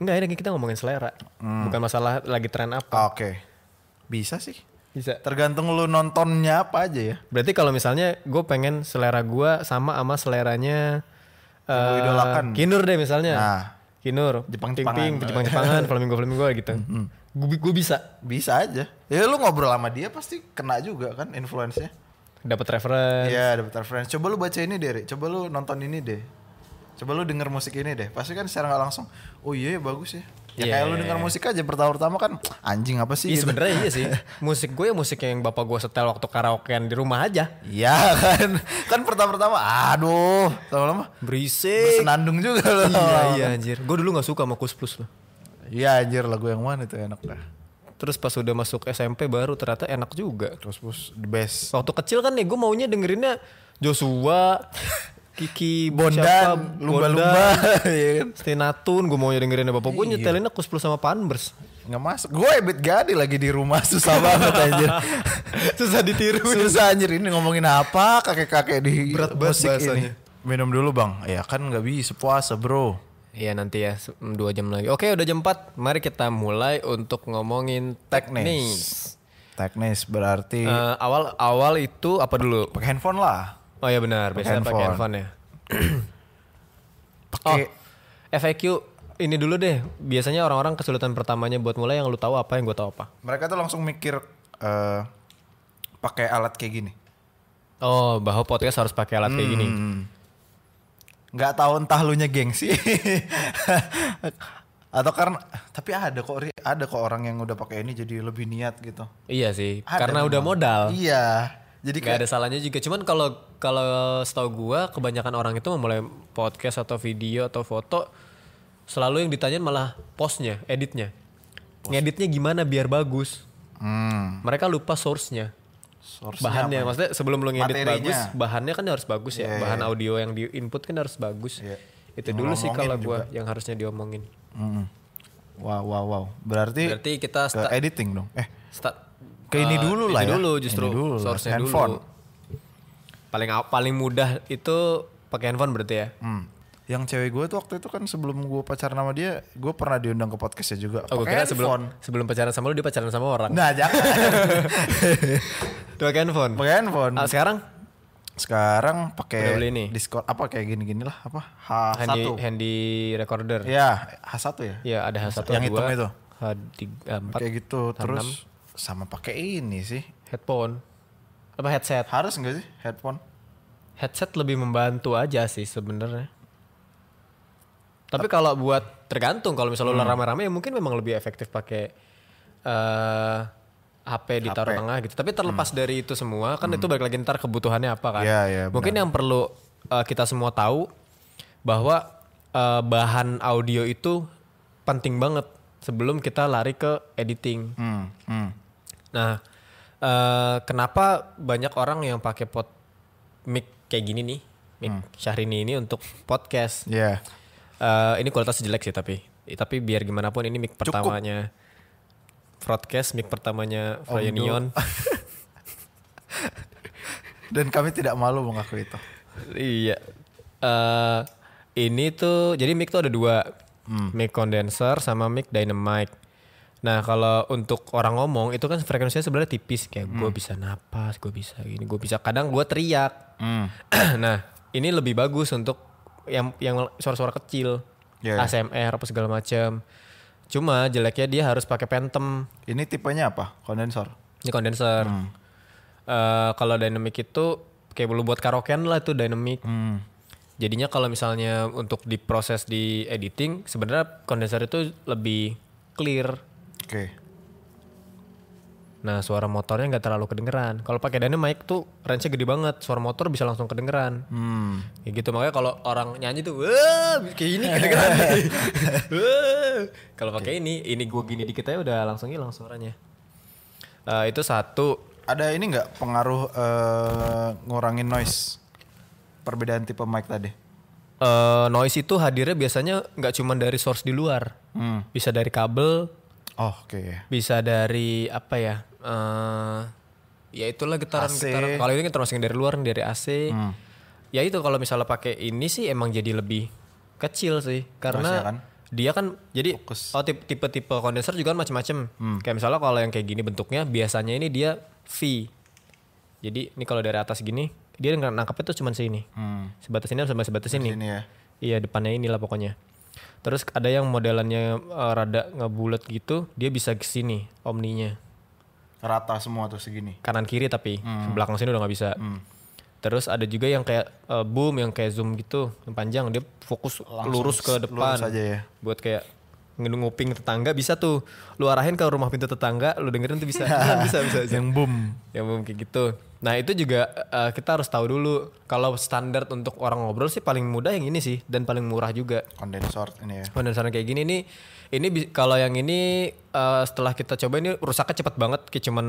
C: Enggak, ini kita ngomongin selera.
A: Hmm.
C: Bukan masalah lagi tren apa.
A: Ah, Oke. Bisa sih.
C: Bisa.
A: Tergantung lu nontonnya apa aja ya.
C: Berarti kalau misalnya gue pengen selera gue sama sama seleranya
A: Yang lu
C: eh,
A: idolakan.
C: Kinur deh misalnya.
A: Nah.
C: Kinur,
A: Jepang-Jepangan.
C: Jepang Jepangan, Flamingo Flamingo gitu. Gue gue bisa
A: Bisa aja. Ya lu ngobrol sama dia pasti kena juga kan influence-nya.
C: dapat referensi.
A: Iya, dapat referensi. Coba lu baca ini deh, Ri. coba lu nonton ini deh. Coba lu denger musik ini deh. Pasti kan secara nggak langsung, oh iya ya bagus ya. Ya
C: Iya,
A: kayak lu
C: iya,
A: denger musik aja pertama-tama kan anjing apa sih
C: Iya
A: gitu.
C: sebenarnya iya sih. Musik gue ya musik yang bapak gue setel waktu karaokean di rumah aja.
A: Iya kan. Kan pertama-tama aduh, lama-lama
C: Berisik.
A: bersenandung juga lu.
C: Iya iya anjir. Gue dulu nggak suka sama Kus Plus loh.
A: Iya anjir lagu yang mana itu enak dah.
C: Terus pas udah masuk SMP baru ternyata enak juga.
A: Terus push the best.
C: Waktu kecil kan nih gue maunya dengerinnya Joshua, Kiki, siapa,
A: Bondan, lumba-lumba iya kan.
C: Stinatun, gue maunya dengerinnya bapak gue nyetelinnya Kus Plus sama Panbers.
A: Nggak masuk. Gue Ebit Gadi lagi di rumah susah banget anjir.
C: Susah ditiru. ya.
A: susah anjir ini ngomongin apa kakek-kakek di
C: Berat banget
A: musik
C: bahasanya.
A: ini. Minum dulu bang. Ya kan nggak bisa puasa bro.
C: Iya nanti ya se- dua jam lagi. Oke udah jam 4 Mari kita mulai untuk ngomongin teknis.
A: Teknis. Teknis berarti
C: Eh, awal awal itu apa dulu?
A: pakai handphone lah.
C: Oh ya benar biasanya pakai
A: handphone.
C: handphone ya. Oh
A: Pakai
C: FAQ ini dulu deh. Biasanya orang-orang kesulitan pertamanya buat mulai yang lu tahu apa yang gue tahu apa.
A: mereka tuh langsung mikir eh pakai alat kayak gini.
C: Oh bahwa podcast harus pakai alat kayak gini.
A: nggak tahu entah lu nya gengsi atau karena tapi ada kok Ri, ada kok orang yang udah pakai ini jadi lebih niat gitu
C: Iya sih
A: Ada
C: karena udah
A: memang.
C: modal.
A: iya jadi
C: Gak
A: kayak
C: ada salahnya juga. Cuman kalau kalau setahu gua kebanyakan orang itu memulai podcast atau video atau foto selalu yang ditanyain malah postnya, editnya. Ngeditnya gimana biar bagus.
A: hmm,
C: Mereka lupa source-nya.
A: source
C: Bahannya maksudnya sebelum lu ngedit
A: Materinya.
C: bagus, bahannya kan harus bagus ya. Bahan audio yang di input kan harus bagus.
A: Iya.
C: Itu
A: Yang
C: dulu sih
A: ngomongin
C: kalau gua yang harusnya diomongin.
A: hmm. wow wow wow berarti,
C: Berarti kita
A: ke
C: sta-
A: editing dong eh
C: sta-
A: ke ini
C: eh,
A: dulu lah
C: itu
A: ya.
C: dulu justru
A: Ini dulu lah,
C: source-nya
A: handphone.
C: dulu. Paling paling mudah itu pakai handphone berarti ya.
A: hmm. yang cewek gue tuh waktu itu kan sebelum gue pacaran sama dia gue pernah diundang ke podcastnya juga
C: Oh, gue
A: Pakai
C: kira sebelum
A: handphone.
C: sebelum pacaran sama lu dia pacaran sama orang.
A: nah jangan
C: Dia pakai handphone.
A: pakai handphone
C: Ah, sekarang
A: sekarang
C: Udah
A: pakai
C: beli ini?
A: Discord apa kayak gini-gini lah apa
C: handy
A: H1
C: handy recorder. Iya,
A: ya H1 ya
C: ada H1
A: Yang hitam itu?
C: H3
A: kayak gitu terus sama pakai ini sih
C: headphone. Apa headset?
A: harus nggak sih headphone
C: Headset lebih membantu aja sih sebenarnya. Tapi kalau buat tergantung kalau
A: Hmm.
C: misalnya lu rame-rame ya mungkin memang lebih efektif pakai eh HP ditaruh tengah gitu. Tapi terlepas dari itu semua kan itu balik lagi ntar kebutuhannya apa kan.
A: Hmm. Iya, iya,
C: mungkin yang perlu eh, kita semua tahu bahwa eh, bahan audio itu penting banget sebelum kita lari ke editing.
A: hmm, hmm.
C: Nah, eh, kenapa banyak orang yang pakai pot mic kayak gini nih, mic Syahrini ini untuk podcast?
A: ya
C: Eh, ini kualitas jelek sih tapi, Eh, tapi biar gimana pun ini mic pertamanya broadcast, mic pertamanya Froyonion.
A: dan kami tidak malu mengakui itu
C: iya. Eh, ini tuh jadi mic tuh ada dua, mic condenser sama mic dynamic. Nah kalau untuk orang ngomong itu kan frekuensinya sebenarnya tipis kayak gue bisa napas, gue bisa gini, gue bisa kadang gue teriak.
A: hmm.
C: nah ini lebih bagus untuk yang yang suara-suara kecil
A: Ya, ya.
C: ASMR apa segala macam cuma jeleknya dia harus pakai pentem
A: ini tipenya apa kondensor
C: Ini kondenser. Eh, kalau dynamic itu kayak lu buat karaokean lah itu dynamic. Jadinya kalau misalnya untuk diproses di editing, sebenarnya kondenser itu lebih clear.
A: Oke.
C: Nah suara motornya nggak terlalu kedengeran. Kalau pakai dynamic tuh range-nya gede banget. Suara motor bisa langsung kedengeran.
A: Hmm.
C: Ya gitu makanya kalau orang nyanyi tuh wah kayak ini kedengeran. nih. Wah. kalau pakai ini, ini gua gini dikit aja udah langsung hilang suaranya. Eh, itu satu.
A: Ada ini nggak pengaruh eh, ngurangin noise? Perbedaan tipe mic tadi.
C: Eh, noise itu hadirnya biasanya nggak cuma dari source di luar.
A: Hmm.
C: Bisa dari kabel,
A: Oh, oke. ya.
C: bisa dari apa ya? Eh ya itulah
A: AC.
C: getaran-getaran. Kalau ini kan termasuk yang dari luar nih, dari AC.
A: Hmm.
C: Ya itu kalau misalnya pakai ini sih emang jadi lebih kecil sih karena
A: Noise-nya kan?
C: dia kan jadi
A: Fokus. Hmm.
C: oh tipe- tipe-tipe kondenser juga kan macam-macam. Kayak misalnya kalau yang kayak gini bentuknya biasanya ini dia V. Jadi ini kalau dari atas gini dia nggak nangkapnya tuh cuma sini.
A: Hmm.
C: Sebatas ini sama sebatas ini.
A: Ini ya.
C: Iya depannya inilah pokoknya. Terus ada yang modelannya eh, rada ngebulat gitu, dia bisa ke sini omninya.
A: Rata semua tuh segini.
C: Kanan kiri tapi
A: Hmm.
C: belakang sini udah nggak bisa. Terus ada juga yang kayak eh, boom yang kayak zoom gitu, yang panjang dia fokus lurus ke depan.
A: Lurus aja ya.
C: Buat kayak nguping tetangga bisa tuh. Lu arahin ke rumah pintu tetangga, lu dengerin tuh bisa. bisa bisa. bisa.
A: Yang boom.
C: Ya mungkin gitu. Nah itu juga eh, kita harus tahu dulu kalau standar untuk orang ngobrol sih paling mudah yang ini sih dan paling murah juga.
A: Kondensor ini ya.
C: Kondensator kayak gini nih, ini bi- kalau yang ini eh, setelah kita coba ini rusaknya cepet banget, kayak cuman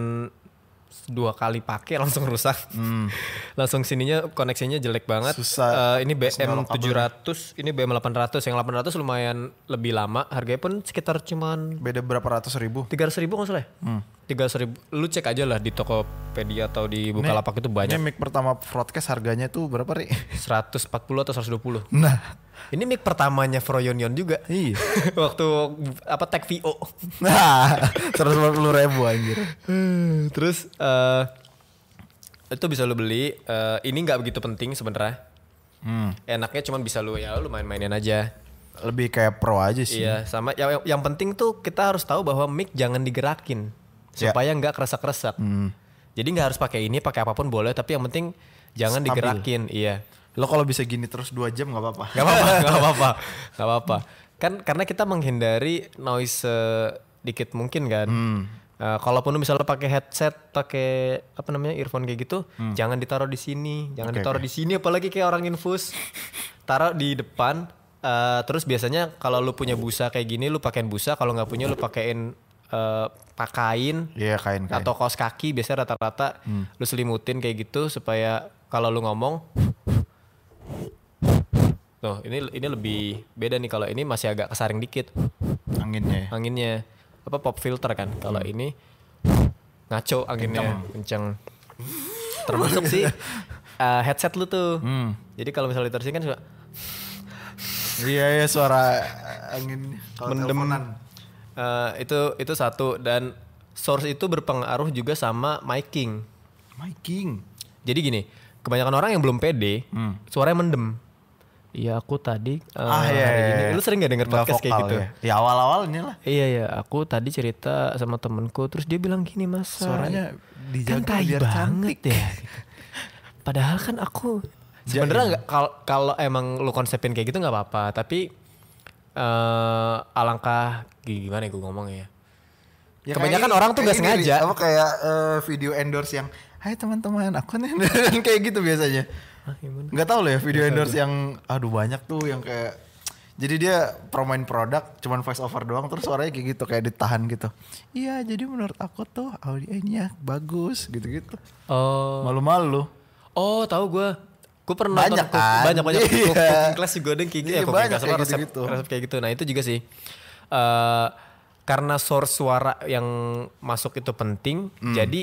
C: dua kali pakai langsung rusak. langsung sininya koneksinya jelek
A: Hmm.
C: banget.
A: Susah.
C: Eh, ini BM 700, ini BM 800. Yang 800 lumayan lebih lama, harganya pun sekitar cuman
A: Beda berapa ratus ribu?
C: 300 ribu nggak salah ya?
A: Hmm.
C: 300 ribu, lu cek aja lah di Tokopedia atau di Bukalapak itu
A: Ini
C: banyak.
A: mic pertama broadcast harganya tuh berapa, Ri?
C: 140 atau 120.
A: Nah.
C: Ini mic pertamanya Froyonion juga.
A: Iya.
C: Waktu apa tag VO.
A: Nah, terus puluh ribu anjir.
C: Hmm, Terus eh itu bisa lu beli. eh, ini nggak begitu penting sebenarnya.
A: Hmm.
C: Enaknya cuman bisa lu ya lu main-mainin aja.
A: Lebih kayak pro aja sih.
C: Iya, sama yang, yang- yang penting tuh kita harus tahu bahwa mic jangan digerakin
A: Ya. Hmm.
C: supaya nggak keresak-keresak. Jadi nggak harus pakai ini, pakai apapun boleh, tapi yang penting jangan
A: Stabil.
C: digerakin. Iya.
A: Lo kalau bisa gini terus dua jam nggak apa-apa.
C: Gak apa-apa, gak apa-apa, gak apa-apa. Kan karena kita menghindari noise dikit mungkin kan.
A: Hmm.
C: Eh, kalaupun lu misalnya pakai headset, pakai apa namanya earphone kayak gitu, jangan ditaruh di sini, jangan
A: Hmm. Oke,
C: ditaruh di sini, apalagi kayak orang infus. Taruh di depan. eh, terus biasanya kalau lu punya busa kayak gini, lu pakein busa. Kalau nggak punya, lu pakein eh, pakain
A: Iya, kain kain.
C: atau kaos kaki biasanya rata-rata lu selimutin kayak gitu supaya kalau lu ngomong Tuh, ini ini lebih beda nih kalau ini masih agak kesaring dikit
A: anginnya. ya.
C: anginnya. Apa pop filter kan? Kalau ini ngaco anginnya kenceng. Termasuk sih eh, headset lu tuh.
A: Hmm.
C: Jadi kalau misalnya ditaruh sini kan suka
A: Iya, iya suara eh, angin kalau
C: mendem.
A: teleponan.
C: Eh, itu itu satu dan source itu berpengaruh juga sama miking.
A: Miking.
C: Jadi gini, kebanyakan orang yang belum pede, suaranya mendem. Hmm. Iya aku tadi eh,
A: Ah, iya,
C: hari
A: iya,
C: gini.
A: iya.
C: Lu sering gak denger
A: Nggak
C: podcast kayak
A: vokal
C: gitu?
A: Ya, ya awal-awalnya lah.
C: Iya ya, aku tadi cerita sama temenku, terus dia bilang gini mas,
A: Suaranya
C: kan
A: dijaga
C: tai
A: biar
C: banget ya. Padahal kan aku iya. sebenarnya nggak- kal- kalau emang lu konsepin kayak gitu nggak apa-apa, tapi eh alangkah gimana ya gue ngomongnya ya.
A: Ya,
C: Kebanyakan
A: kayak
C: orang tuh
A: ini-
C: nggak
A: kayak ini,
C: sengaja.
A: Ri. Apa kayak eh, video endorse yang Hai teman-teman, aku nih kayak gitu biasanya.
C: Ah, gimana?
A: Nggak tahu loh ya video endorse yang aduh banyak tuh yang kayak jadi dia promoin produk cuman voice over doang terus suaranya kayak gitu kayak ditahan gitu. Iya, jadi menurut aku tuh audionya bagus gitu-gitu.
C: Oh,
A: Malu-malu.
C: Oh tahu gue Gue pernah
A: Banyak
C: nonton
A: kan?
C: banyak banyak
A: Iya.
C: cooking class juga ada yang kayak gitu
A: Iya,
C: ya, cooking
A: banyak
C: class apa,
A: kayak
C: resep,
A: gitu-gitu.
C: resep kayak gitu. Nah itu juga sih eh, karena source suara yang masuk itu penting. Jadi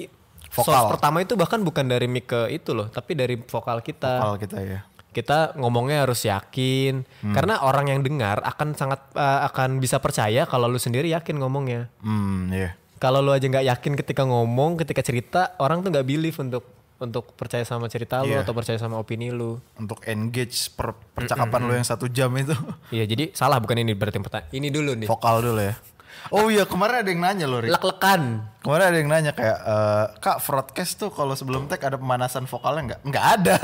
C: source
A: Hmm. Vokal.
C: pertama itu bahkan bukan dari mic ke itu loh, tapi dari vokal kita.
A: Kalau kita ya.
C: Kita ngomongnya harus yakin
A: Hmm.
C: karena orang yang dengar akan sangat eh, akan bisa percaya kalau lu sendiri yakin ngomongnya.
A: Hmm, iya.
C: Kalau lu aja nggak yakin ketika ngomong, ketika cerita, orang tuh nggak believe untuk untuk percaya sama cerita lu
A: Iya.
C: atau percaya sama opini lu.
A: Untuk engage per- percakapan lo yang satu jam itu
C: Iya, jadi salah bukan ini berarti pertanyaan. Ini dulu nih.
A: vokal dulu ya. Oh iya kemarin ada yang nanya loh Rick.
C: Lek-lekan.
A: Kemarin ada yang nanya kayak eh, Kak broadcast tuh kalau sebelum tag ada pemanasan vokalnya nggak? Nggak ada.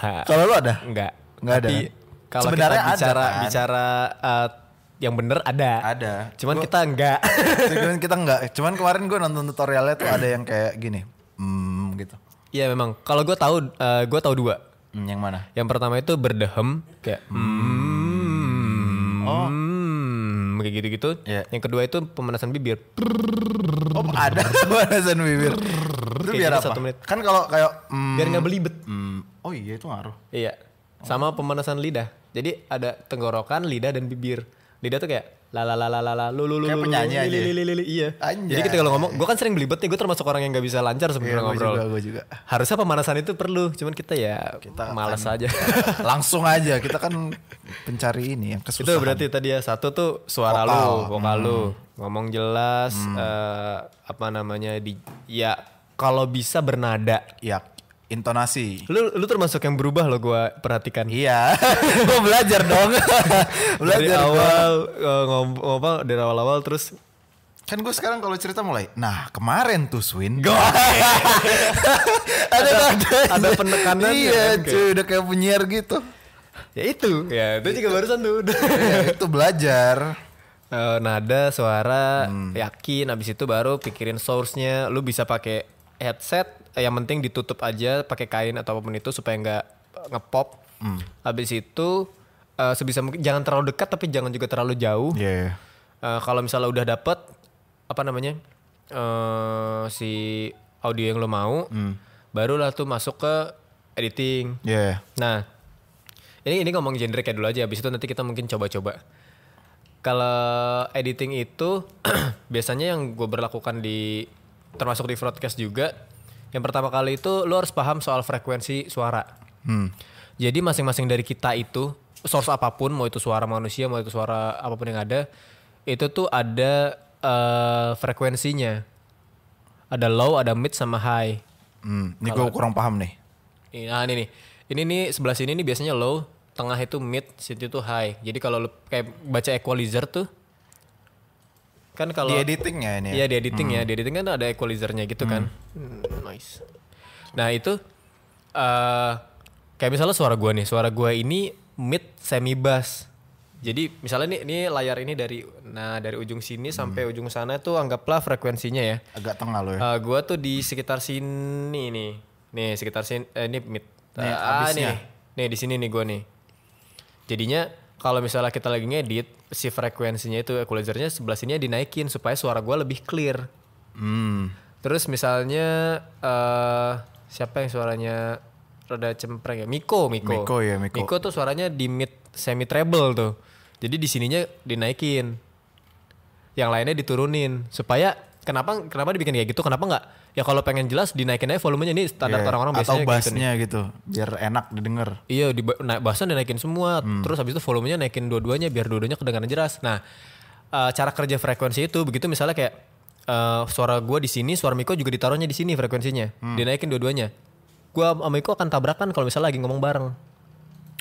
C: Ha.
A: kalau lu ada?
C: Enggak.
A: Nggak ada.
C: Tapi kalau kita
A: Sebenarnya ada,
C: bicara
A: kan?
C: bicara eh, yang bener ada.
A: Ada.
C: Cuman kita enggak.
A: Cuman kita nggak. Cuman kemarin gue nonton tutorialnya tuh ada yang kayak gini. Hmm gitu.
C: Iya memang. Kalau gue tahu eh, gue tahu dua.
A: Hmm, yang mana?
C: Yang pertama itu berdehem kayak hmm,
A: Oh.
C: hmm, kayak gitu-gitu.
A: Iya.
C: Yang kedua itu pemanasan bibir.
A: Oh ada pemanasan bibir. itu
C: Oke,
A: biar
C: jadi
A: apa?
C: satu menit.
A: Kan kalau kayak hmm,
C: Biar nggak belibet.
A: hmm, oh iya itu ngaruh.
C: Iya. Sama pemanasan lidah. Jadi ada tenggorokan, lidah dan bibir. Lidah tuh kayak la la la la la la lu lu lu
A: Kayak
C: lu, lu,
A: penyanyi
C: lu,
A: aja
C: li,
A: ya?
C: li, li, li, li, iya.
A: Anjay.
C: Jadi kita kalau ngomong, gue kan sering belibet nih, gue termasuk orang yang gak bisa lancar sebenarnya
A: Iya, gua
C: ngobrol.
A: juga, gua juga.
C: Harusnya pemanasan itu perlu, cuman kita ya
A: Kita
C: malas
A: akan-
C: aja.
A: Langsung aja kita kan pencari ini yang
C: itu
A: kesusahan.
C: berarti tadi ya satu tuh suara lu,
A: Vokal. Hmm.
C: vokal lu, ngomong jelas eh, apa namanya di ya kalau bisa bernada.
A: ya intonasi.
C: Lu lu termasuk yang berubah loh gue perhatikan.
A: Iya, gue belajar dong.
C: dari
A: belajar gua.
C: awal eh, ngom- ngomong dari awal-awal terus
A: Kan gue sekarang kalau cerita mulai. Nah kemarin tuh Swin. ada ada,
C: ada penekanannya
A: Iya,
C: kan, kayak-
A: cuy udah kayak penyiar gitu.
C: ya itu ya itu juga barusan tuh
A: ya, itu belajar.
C: Eh, nada suara yakin abis itu baru pikirin source-nya lu bisa pakai headset eh, yang penting ditutup aja pakai kain atau apapun itu supaya nggak eh, ngepop habis itu eh, sebisa mungkin jangan terlalu dekat tapi jangan juga terlalu jauh
A: Iya.
C: Eh, kalau misalnya udah dapet apa namanya eh si audio yang lo mau, barulah tuh masuk ke editing.
A: Iya.
C: Nah, ini ini ngomong genre kayak dulu aja. Habis itu nanti kita mungkin coba-coba. Kalau editing itu biasanya yang gue berlakukan di termasuk di broadcast juga. Yang pertama kali itu lo harus paham soal frekuensi suara. Jadi masing-masing dari kita itu source apapun, mau itu suara manusia, mau itu suara apapun yang ada, itu tuh ada eh, frekuensinya. Ada low, ada mid, sama high.
A: Hmm, ini gue kurang paham nih.
C: Ini- Nah ini nih, ini nih sebelah sini nih biasanya low, tengah itu mid, situ itu high. Jadi kalau lu kayak baca equalizer tuh, kan kalau
A: Di editingnya ini.
C: Iya di editing ya, di editing kan ada equalizernya gitu kan. Hmm, nice. Nah itu eh kayak misalnya suara gua nih, suara gua ini mid semi bass. Jadi misalnya nih ini layar ini dari nah dari ujung sini sampai ujung sana tuh anggaplah frekuensinya ya.
A: Agak tengah lo ya.
C: Eh, gua tuh di sekitar sini nih. Nih sekitar sini eh, ini mid.
A: Nih,
C: Eh, ah,
A: abisnya.
C: nih. Nih di sini nih gua nih. Jadinya kalau misalnya kita lagi ngedit si frekuensinya itu equalizernya sebelah sini dinaikin supaya suara gua lebih clear.
A: Hmm.
C: Terus misalnya eh siapa yang suaranya rada cempreng ya? Miko, Miko.
A: Miko, ya, Miko.
C: tuh suaranya di mid semi treble tuh. Jadi di sininya dinaikin. Yang lainnya diturunin supaya kenapa kenapa dibikin kayak gitu? Kenapa nggak? Ya kalau pengen jelas dinaikin aja volumenya ini standar
A: Iya,
C: orang-orang
A: atau
C: biasanya gitu nih.
A: bassnya gitu, biar enak didengar.
C: Iya, di naik bassnya dinaikin semua.
A: Hmm.
C: Terus habis itu volumenya naikin dua-duanya biar dua-duanya kedengaran jelas. Nah, eh, cara kerja frekuensi itu begitu misalnya kayak eh, suara gua di sini, suara Miko juga ditaruhnya di sini frekuensinya.
A: Hmm.
C: Dinaikin dua-duanya. Gua sama Miko akan tabrakan kalau misalnya lagi ngomong bareng.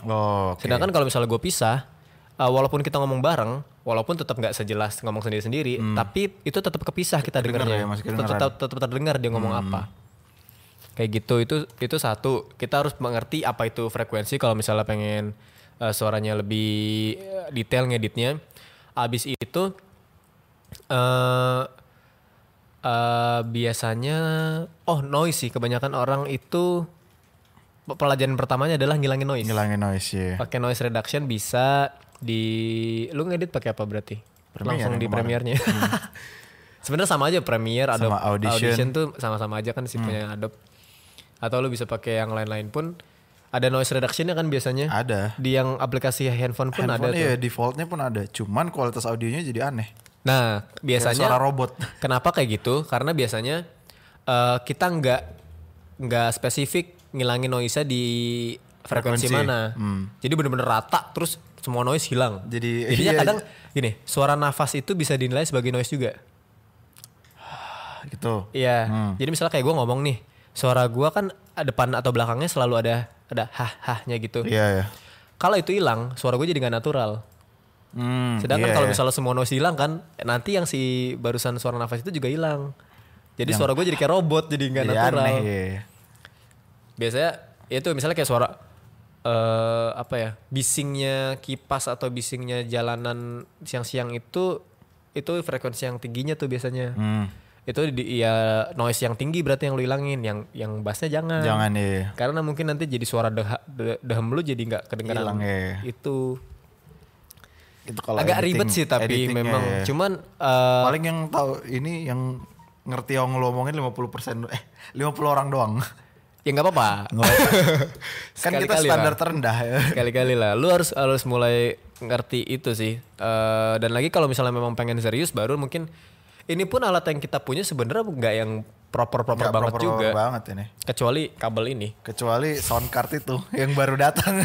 A: Oh, oke.
C: Sedangkan kalau misalnya gue pisah, eh, walaupun kita ngomong bareng, walaupun tetap nggak sejelas ngomong sendiri-sendiri, tapi itu tetap kepisah kita
A: Kedengar
C: dengarnya.
A: Hmm. ya, masih Hmm.
C: tetap,
A: kedengaran.
C: tetap, tetap terdengar dia ngomong apa. Kayak gitu, itu itu satu. Kita harus mengerti apa itu frekuensi kalau misalnya pengen eh, suaranya lebih eh, detail ngeditnya. Abis itu eh eh, biasanya oh noise sih kebanyakan orang itu pe- pelajaran pertamanya adalah ngilangin noise
A: Ngilangin noise ya.
C: pakai noise reduction bisa di lu ngedit pakai apa berarti
A: Premiere
C: langsung
A: yang
C: di
A: kemarin. Hmm.
C: premiernya sebenarnya sama aja Premiere Adobe
A: Sama Audition. Hmm.
C: tuh sama-sama aja kan si punya Adobe atau lu bisa pakai yang lain-lain pun ada noise reductionnya kan biasanya
A: Ada.
C: di yang aplikasi handphone pun ada
A: Handphone
C: tuh
A: ya defaultnya pun ada, cuman kualitas audionya jadi aneh.
C: nah
A: Kayak
C: biasanya
A: suara robot.
C: Kenapa kayak gitu? Karena biasanya eh, kita nggak nggak spesifik ngilangin noise-nya di
A: Frekuensi.
C: frekuensi,
A: Hmm.
C: mana. Jadi bener-bener rata terus semua noise hilang.
A: Jadi-
C: jadinya
A: iya.
C: kadang gini, suara nafas itu bisa dinilai sebagai noise juga.
A: gitu.
C: Iya. Jadi misalnya kayak gue ngomong nih, suara gua kan depan atau belakangnya selalu ada ada hah-hahnya gitu.
A: Iya ya.
C: Kalau itu hilang, suara gue jadi nggak natural.
A: Hmm, iya,
C: Sedangkan kalau
A: iya.
C: misalnya semua noise hilang kan, nanti yang si barusan suara nafas itu juga hilang. Jadi suara gue jadi kayak robot, jadi nggak
A: Jadi
C: natural.
A: aneh, iya.
C: Biasanya itu misalnya kayak suara eh apa ya bisingnya kipas atau bisingnya jalanan siang-siang itu itu frekuensi yang tingginya tuh biasanya
A: Hmm,
C: itu di, ya noise yang tinggi berarti yang lu hilangin yang yang bassnya jangan
A: jangan iya.
C: karena mungkin nanti jadi suara deha, de- dehem lu jadi nggak kedengeran
A: Hilang, ya.
C: itu
A: Itu kalau
C: agak
A: editing-
C: ribet sih tapi
A: editingnya,
C: memang
A: iya.
C: cuman eh,
A: paling yang tahu ini yang ngerti yang lo omongin 50% do- eh 50 orang doang.
C: ya nggak apa-apa
A: kan kita
C: Sekali-kali
A: standar
C: lah.
A: terendah ya.
C: kali-kali lah lu harus harus mulai ngerti itu sih Eh, dan lagi kalau misalnya memang pengen serius baru mungkin ini pun alat yang kita punya sebenarnya nggak yang proper proper
A: Nggak
C: banget
A: proper
C: juga
A: banget ini.
C: kecuali kabel ini
A: Kecuali sound card itu yang baru datang.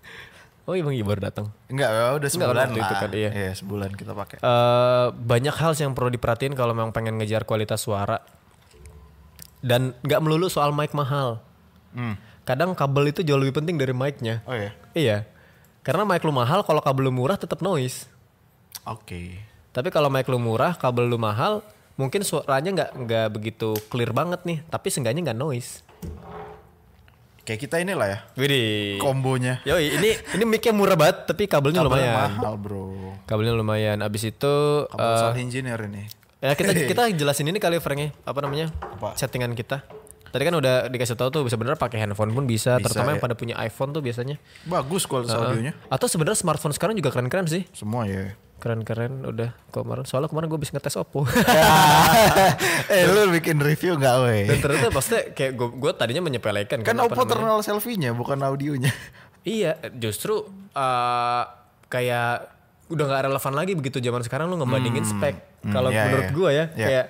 C: oh iya bang iya, baru datang
A: Enggak, ya udah sebulan
C: waktu
A: lah.
C: itu kan, iya.
A: sebulan kita pakai.
C: Eh, banyak hal yang perlu diperhatiin kalau memang pengen ngejar kualitas suara dan nggak melulu soal mic mahal
A: Hmm.
C: kadang kabel itu jauh lebih penting dari mic-nya
A: Oh ya.
C: Iya. Karena mic lu mahal kalau kabel lu murah tetap noise.
A: Oke.
C: Tapi kalau mic lu murah, kabel lu mahal, mungkin suaranya nggak nggak begitu clear banget nih, tapi seenggaknya nggak noise.
A: Kayak kita inilah ya
C: Widih.
A: kombonya.
C: Yoi, ini ini mic-nya murah banget tapi kabelnya
A: Kabelnya
C: Iya, lumayan. Eh.
A: mahal, Bro.
C: Kabelnya lumayan. Abis itu
A: Kabel sound engineer ini.
C: eh, ya kita kita jelasin ini kali Frank ya, apa namanya?
A: Apa?
C: Settingan kita. Tadi kan udah dikasih tahu tuh sebenarnya pakai handphone pun bisa,
A: Bisa,
C: terutama
A: ya.
C: yang pada punya iPhone tuh biasanya.
A: Bagus kualitas
C: Eh.
A: audionya.
C: Atau sebenarnya smartphone sekarang juga keren-keren sih.
A: Semua ya.
C: Keren-keren udah kemarin. Soalnya kemarin gue bisa ngetes Oppo.
A: eh lu bikin review nggak weh?
C: Dan ternyata maksudnya kayak gue tadinya menyepelekan
A: Kan
C: apa
A: Oppo
C: namanya.
A: terkenal selfie-nya bukan audionya.
C: Iya, justru eh, kayak udah nggak relevan lagi begitu zaman sekarang lu ngebandingin spek.
A: hmm,
C: Kalau
A: iya,
C: menurut
A: iya.
C: gue ya
A: Iya. Hmm,
C: kayak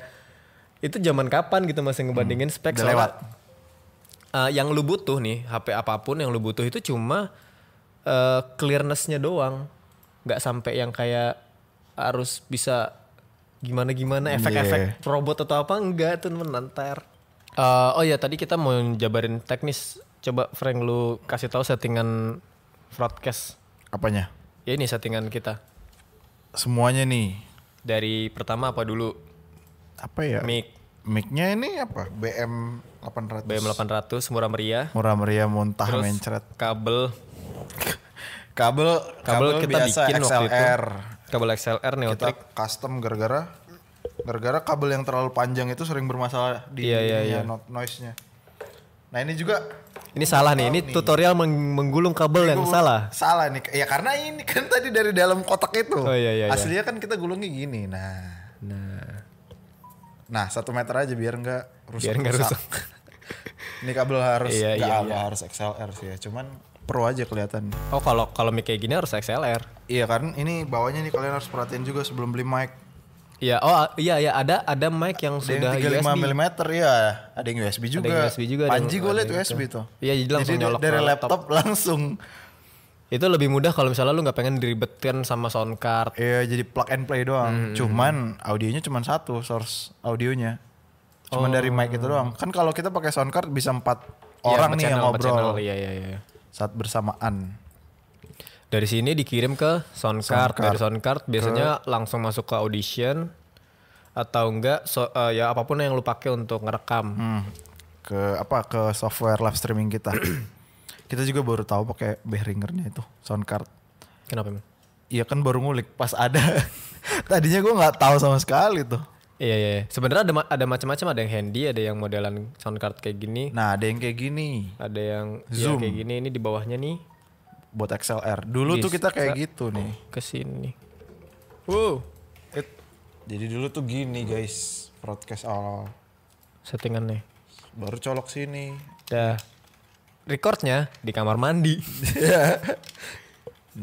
C: itu zaman kapan gitu masih ngebandingin spek
A: udah
C: soalnya,
A: lewat.
C: eh, yang lu butuh nih HP apapun yang lu butuh itu cuma eh, clearness-nya doang. nggak sampai yang kayak harus bisa gimana-gimana efek-efek
A: Iya.
C: robot atau apa enggak itu menantar. Eh, oh ya tadi kita mau jabarin teknis. Coba Frank lu kasih tahu settingan broadcast.
A: Apanya?
C: Ya ini settingan kita.
A: Semuanya nih.
C: Dari pertama apa dulu?
A: Apa ya?
C: Mic
A: Mic-nya ini apa? BM 800.
C: BM800 murah meriah.
A: Murah meriah muntah
C: Terus
A: mencret.
C: kabel
A: Kabel
C: kabel, kita
A: biasa
C: bikin
A: XLR.
C: waktu itu. Kabel XLR
A: Kita
C: Neotric.
A: custom gara-gara gara-gara kabel yang terlalu panjang itu sering bermasalah di
C: Iya, iya,
A: ininya, no- noise-nya. Nah, ini juga
C: Ini salah nih, ini tutorial meng- menggulung kabel yang
A: gua-
C: salah.
A: Salah nih. Ya karena ini kan tadi dari dalam kotak itu.
C: Oh, iya, iya, iya.
A: Aslinya kan kita gulungnya gini. Nah.
C: Nah,
A: Nah, satu meter aja biar nggak rusak.
C: biar nggak rusak.
A: Ini kabel harus
C: Iya,
A: nggak
C: iya,
A: apa, harus XLR sih ya. Cuman pro aja kelihatan.
C: Oh, kalau kalau mic kayak gini harus XLR.
A: Iya kan? Ini bawahnya nih kalian harus perhatiin juga sebelum beli mic.
C: Iya, oh a- iya ya ada ada mic yang
A: Ada yang
C: sudah
A: 35
C: USB.
A: mm ya. Ada yang USB juga.
C: USB juga, ada
A: Panji
C: yang-
A: gue
C: ada
A: liat
C: yang
A: USB tuh.
C: Iya, jadi langsung nyolok
A: dari
C: ke laptop.
A: laptop, langsung.
C: Itu lebih mudah kalau misalnya lu nggak pengen diribetkan sama sound card.
A: Iya, jadi plug and play
C: Hmm,
A: doang. Cuman audionya cuman satu source audionya. Cuman dari mic itu doang. Kan kalau kita pakai sound card bisa empat
C: Oh. Iya,
A: orang
C: empat
A: nih yang
C: channel, empat channel.
A: ngobrol
C: Iya, iya, iya.
A: saat bersamaan.
C: Dari sini dikirim ke sound card, dari sound card biasanya langsung masuk ke audition atau enggak so- eh, ya apapun yang lu pakai untuk ngerekam.
A: Hmm. ke apa ke software live streaming kita. kita juga baru tahu pakai Behringernya itu sound card.
C: Kenapa? Min?
A: Iya kan baru ngulik pas ada. Tadinya gue nggak tahu sama sekali tuh.
C: Iya, iya. iya. Sebenarnya ada ma- ada macam-macam, ada yang handy, ada yang modelan sound card kayak gini,
A: Nah ada yang kayak gini
C: ada yang
A: Zoom.
C: ya, kayak gini ini di bawahnya nih
A: buat XLR. Dulu tuh kita kayak gitu nih.
C: ke sini. Wow,
A: It- Jadi dulu tuh gini guys broadcast awal
C: settingannya.
A: baru colok sini.
C: Dah. Recordnya di kamar mandi.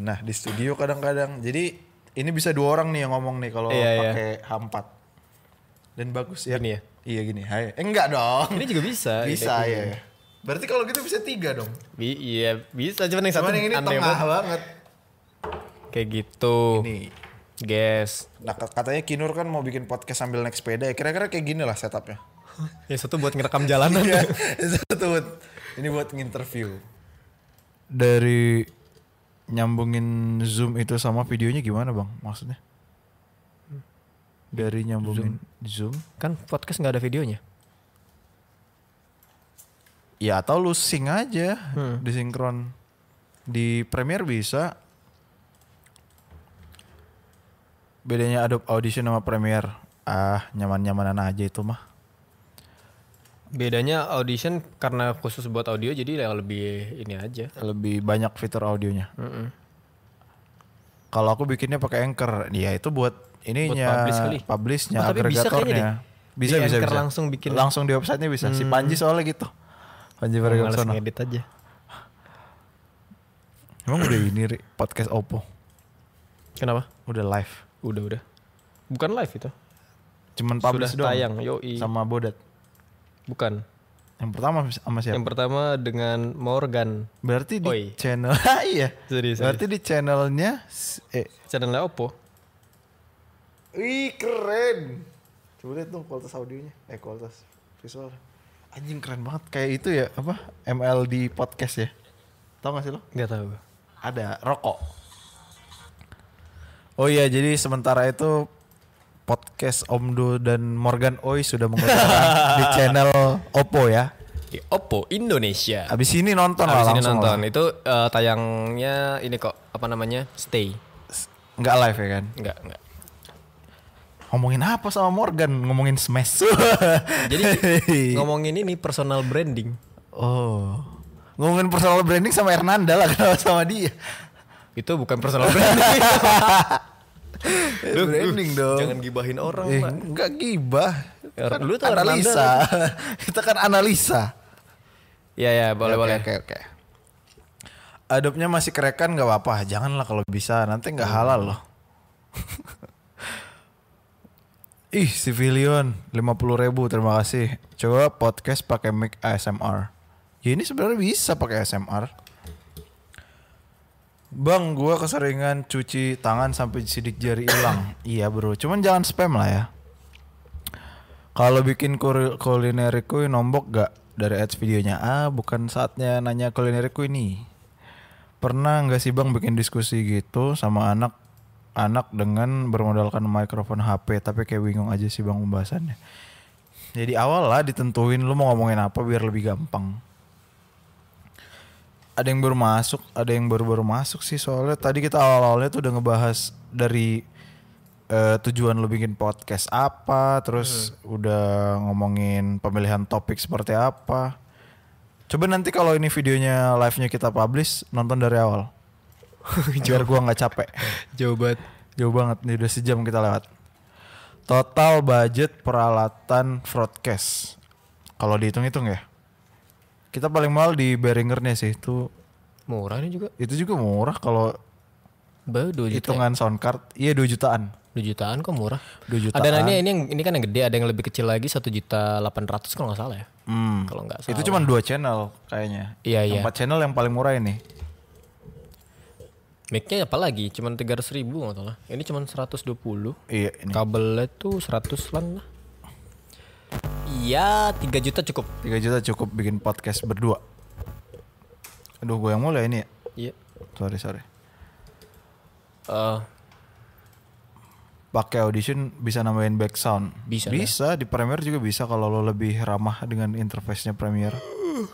A: Nah di studio kadang-kadang. Jadi ini bisa dua orang nih yang ngomong nih kalau
C: Iya, iya.
A: pakai hampat dan bagus ya.
C: Gini ya?
A: Iya gini. Hai. Eh, enggak dong.
C: ini juga bisa.
A: Bisa ya.
C: Ide-
A: Berarti kalau gitu bisa tiga dong.
C: Bi- iya, bisa cuman yang satu
A: Cuman yang ini
C: aneh
A: tengah
C: banget.
A: banget.
C: Kayak gitu.
A: Nih.
C: Guys.
A: Nah kat- katanya Kinur kan mau bikin podcast sambil naik sepeda ya. Kira-kira kayak gini lah setupnya.
C: Yang satu buat ngerekam jalanan.
A: Iya. Itu buat- ini buat nginterview. Dari nyambungin zoom itu sama videonya gimana bang maksudnya dari nyambungin zoom,
C: Kan podcast nggak ada videonya.
A: ya atau lu sync aja disinkron di Premiere bisa bedanya Adobe Audition sama Premiere ah nyaman-nyamanan aja itu mah
C: Bedanya audition karena khusus buat audio jadi ya lebih ini aja.
A: lebih banyak fitur audionya kalau aku bikinnya pakai anchor ya itu buat ininya
C: publish kali.
A: publishnya
C: Oh, tapi bisa kayaknya
A: agregatornya
C: deh.
A: bisa
C: Di
A: bisa,
C: Anchor
A: bisa.
C: langsung bikin. Hmm.
A: langsung di websitenya bisa si Panji soalnya gitu Panji
C: Males
A: Pragiwaksono
C: ngedit aja.
A: emang udah ini Ri, podcast Oppo
C: Kenapa?
A: udah live
C: Udah udah. Bukan live itu.
A: cuman publish
C: Sudah
A: doang
C: tayang. Yoi.
A: sama Bodat
C: Bukan.
A: yang pertama sama siapa
C: Yang pertama dengan Morgan.
A: berarti di
C: Oi.
A: channel iya
C: Sorry, sorry.
A: berarti di channelnya s- eh
C: Channelnya Oppo.
A: Ih keren. Coba lihat dong kualitas audionya, eh kualitas visual. Anjing keren banget kayak itu ya apa MLD podcast ya. Tahu gak sih lo?
C: Gak tahu.
A: Ada rokok. Oh iya jadi sementara itu podcast Omdo dan Morgan Oi sudah menggunakan di channel Oppo ya.
C: Di Oppo Indonesia.
A: Abis ini nonton lah
C: Abis ini
A: langsung.
C: nonton. Itu eh, tayangnya ini kok apa namanya? Stay.
A: Enggak live ya kan?
C: Enggak, enggak.
A: Ngomongin apa sama Morgan? Ngomongin Smash.
C: Jadi ngomongin ini personal branding.
A: Oh. Ngomongin personal branding sama Hernanda lah kenapa sama dia?
C: Itu bukan personal branding. Duh,
A: branding
C: duh,
A: dong.
C: Jangan gibahin orang,
A: Eh,
C: Pak.
A: enggak gibah.
C: Ya,
A: Kan
C: lu tuh
A: analisa.
C: Hernanda
A: Kita kan analisa.
C: Iya, ya, boleh,
A: Oke,
C: boleh.
A: Oke, oke. Adobnya masih kerekan nggak apa-apa. Janganlah kalau bisa, nanti nggak halal loh. Ih, Civilion, 50 ribu, terima kasih. Coba podcast pakai mic ASMR. Ya ini sebenarnya bisa pakai ASMR. Bang, gua keseringan cuci tangan sampai sidik jari hilang. iya bro, cuman jangan spam lah ya. Kalau bikin kur- culinary queen nombok gak dari ads videonya? Ah, bukan saatnya nanya culinary queen nih. Pernah nggak sih bang bikin diskusi gitu sama anak anak dengan bermodalkan mikrofon HP tapi kayak bingung aja sih bang pembahasannya. Jadi awal lah ditentuin lu mau ngomongin apa biar lebih gampang. Ada yang baru masuk, ada yang baru-baru masuk sih soalnya tadi kita awal-awalnya tuh udah ngebahas dari eh, tujuan lu bikin podcast apa, terus udah ngomongin pemilihan topik seperti apa. Coba nanti kalau ini videonya live-nya kita publish, nonton dari awal. Biar gua nggak capek.
C: Jauh banget.
A: Jauh banget nih udah sejam kita lewat. Total budget peralatan broadcast. Kalau dihitung-hitung ya. Kita paling mahal di Behringernya sih itu
C: Murah ini juga.
A: itu juga murah kalau
C: Baru 2 juta. ya?
A: hitungan sound card. Iya 2 jutaan.
C: 2 jutaan kok murah.
A: 2 jutaan.
C: Ada yang ini, ini yang ini kan yang gede, ada yang lebih kecil lagi 1 juta 800 kalau nggak salah ya.
A: Hmm.
C: Kalau nggak salah.
A: Itu cuma dua channel kayaknya.
C: Iya, iya.
A: Empat channel yang paling murah ini.
C: Mic-nya apa lagi? Cuman 300 ribu nggak salah. Ini cuman 120.
A: Iya ini.
C: Kabelnya tuh 100 lan lah. Iya, 3 juta cukup.
A: 3 juta cukup bikin podcast berdua. Aduh gue yang mulai ini ya.
C: Iya.
A: Sorry sorry.
C: Eh,
A: Pakai audition bisa nambahin back sound.
C: Bisa ya? lah.
A: Bisa di Premiere juga bisa kalau lo lebih ramah dengan interface-nya Premiere.
C: Uh.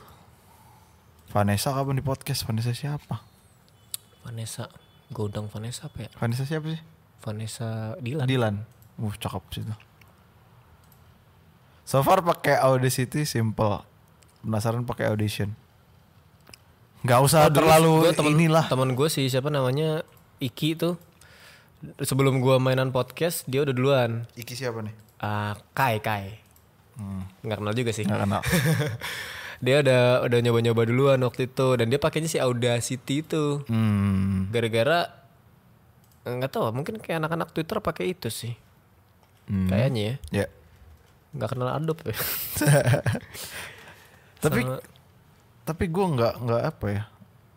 A: Vanessa kapan di podcast? Vanessa siapa?
C: Vanessa, godong Vanessa apa ya?
A: Vanessa siapa sih?
C: Vanessa Dilan.
A: Dilan. Uh cakep sih itu. So far pakai Audacity simple. Penasaran pakai Audition. Gak usah terlalu inilah.
C: Temen gue sih siapa namanya Iki tuh. Sebelum gue mainan podcast, dia udah duluan.
A: Iki siapa nih?
C: Ah, Kai Kai.
A: Hmm.
C: Nggak kenal juga sih.
A: Gak kenal.
C: Dia udah udah nyoba-nyoba duluan waktu itu dan dia pakainya si Audacity itu.
A: hmm.
C: Gara-gara nggak tahu, mungkin kayak anak-anak Twitter pakai itu sih.
A: Hmm.
C: Kayaknya ya.
A: Ya.
C: Nggak kenal Adobe. ya.
A: Tapi
C: Sama-
A: tapi gue nggak nggak apa ya.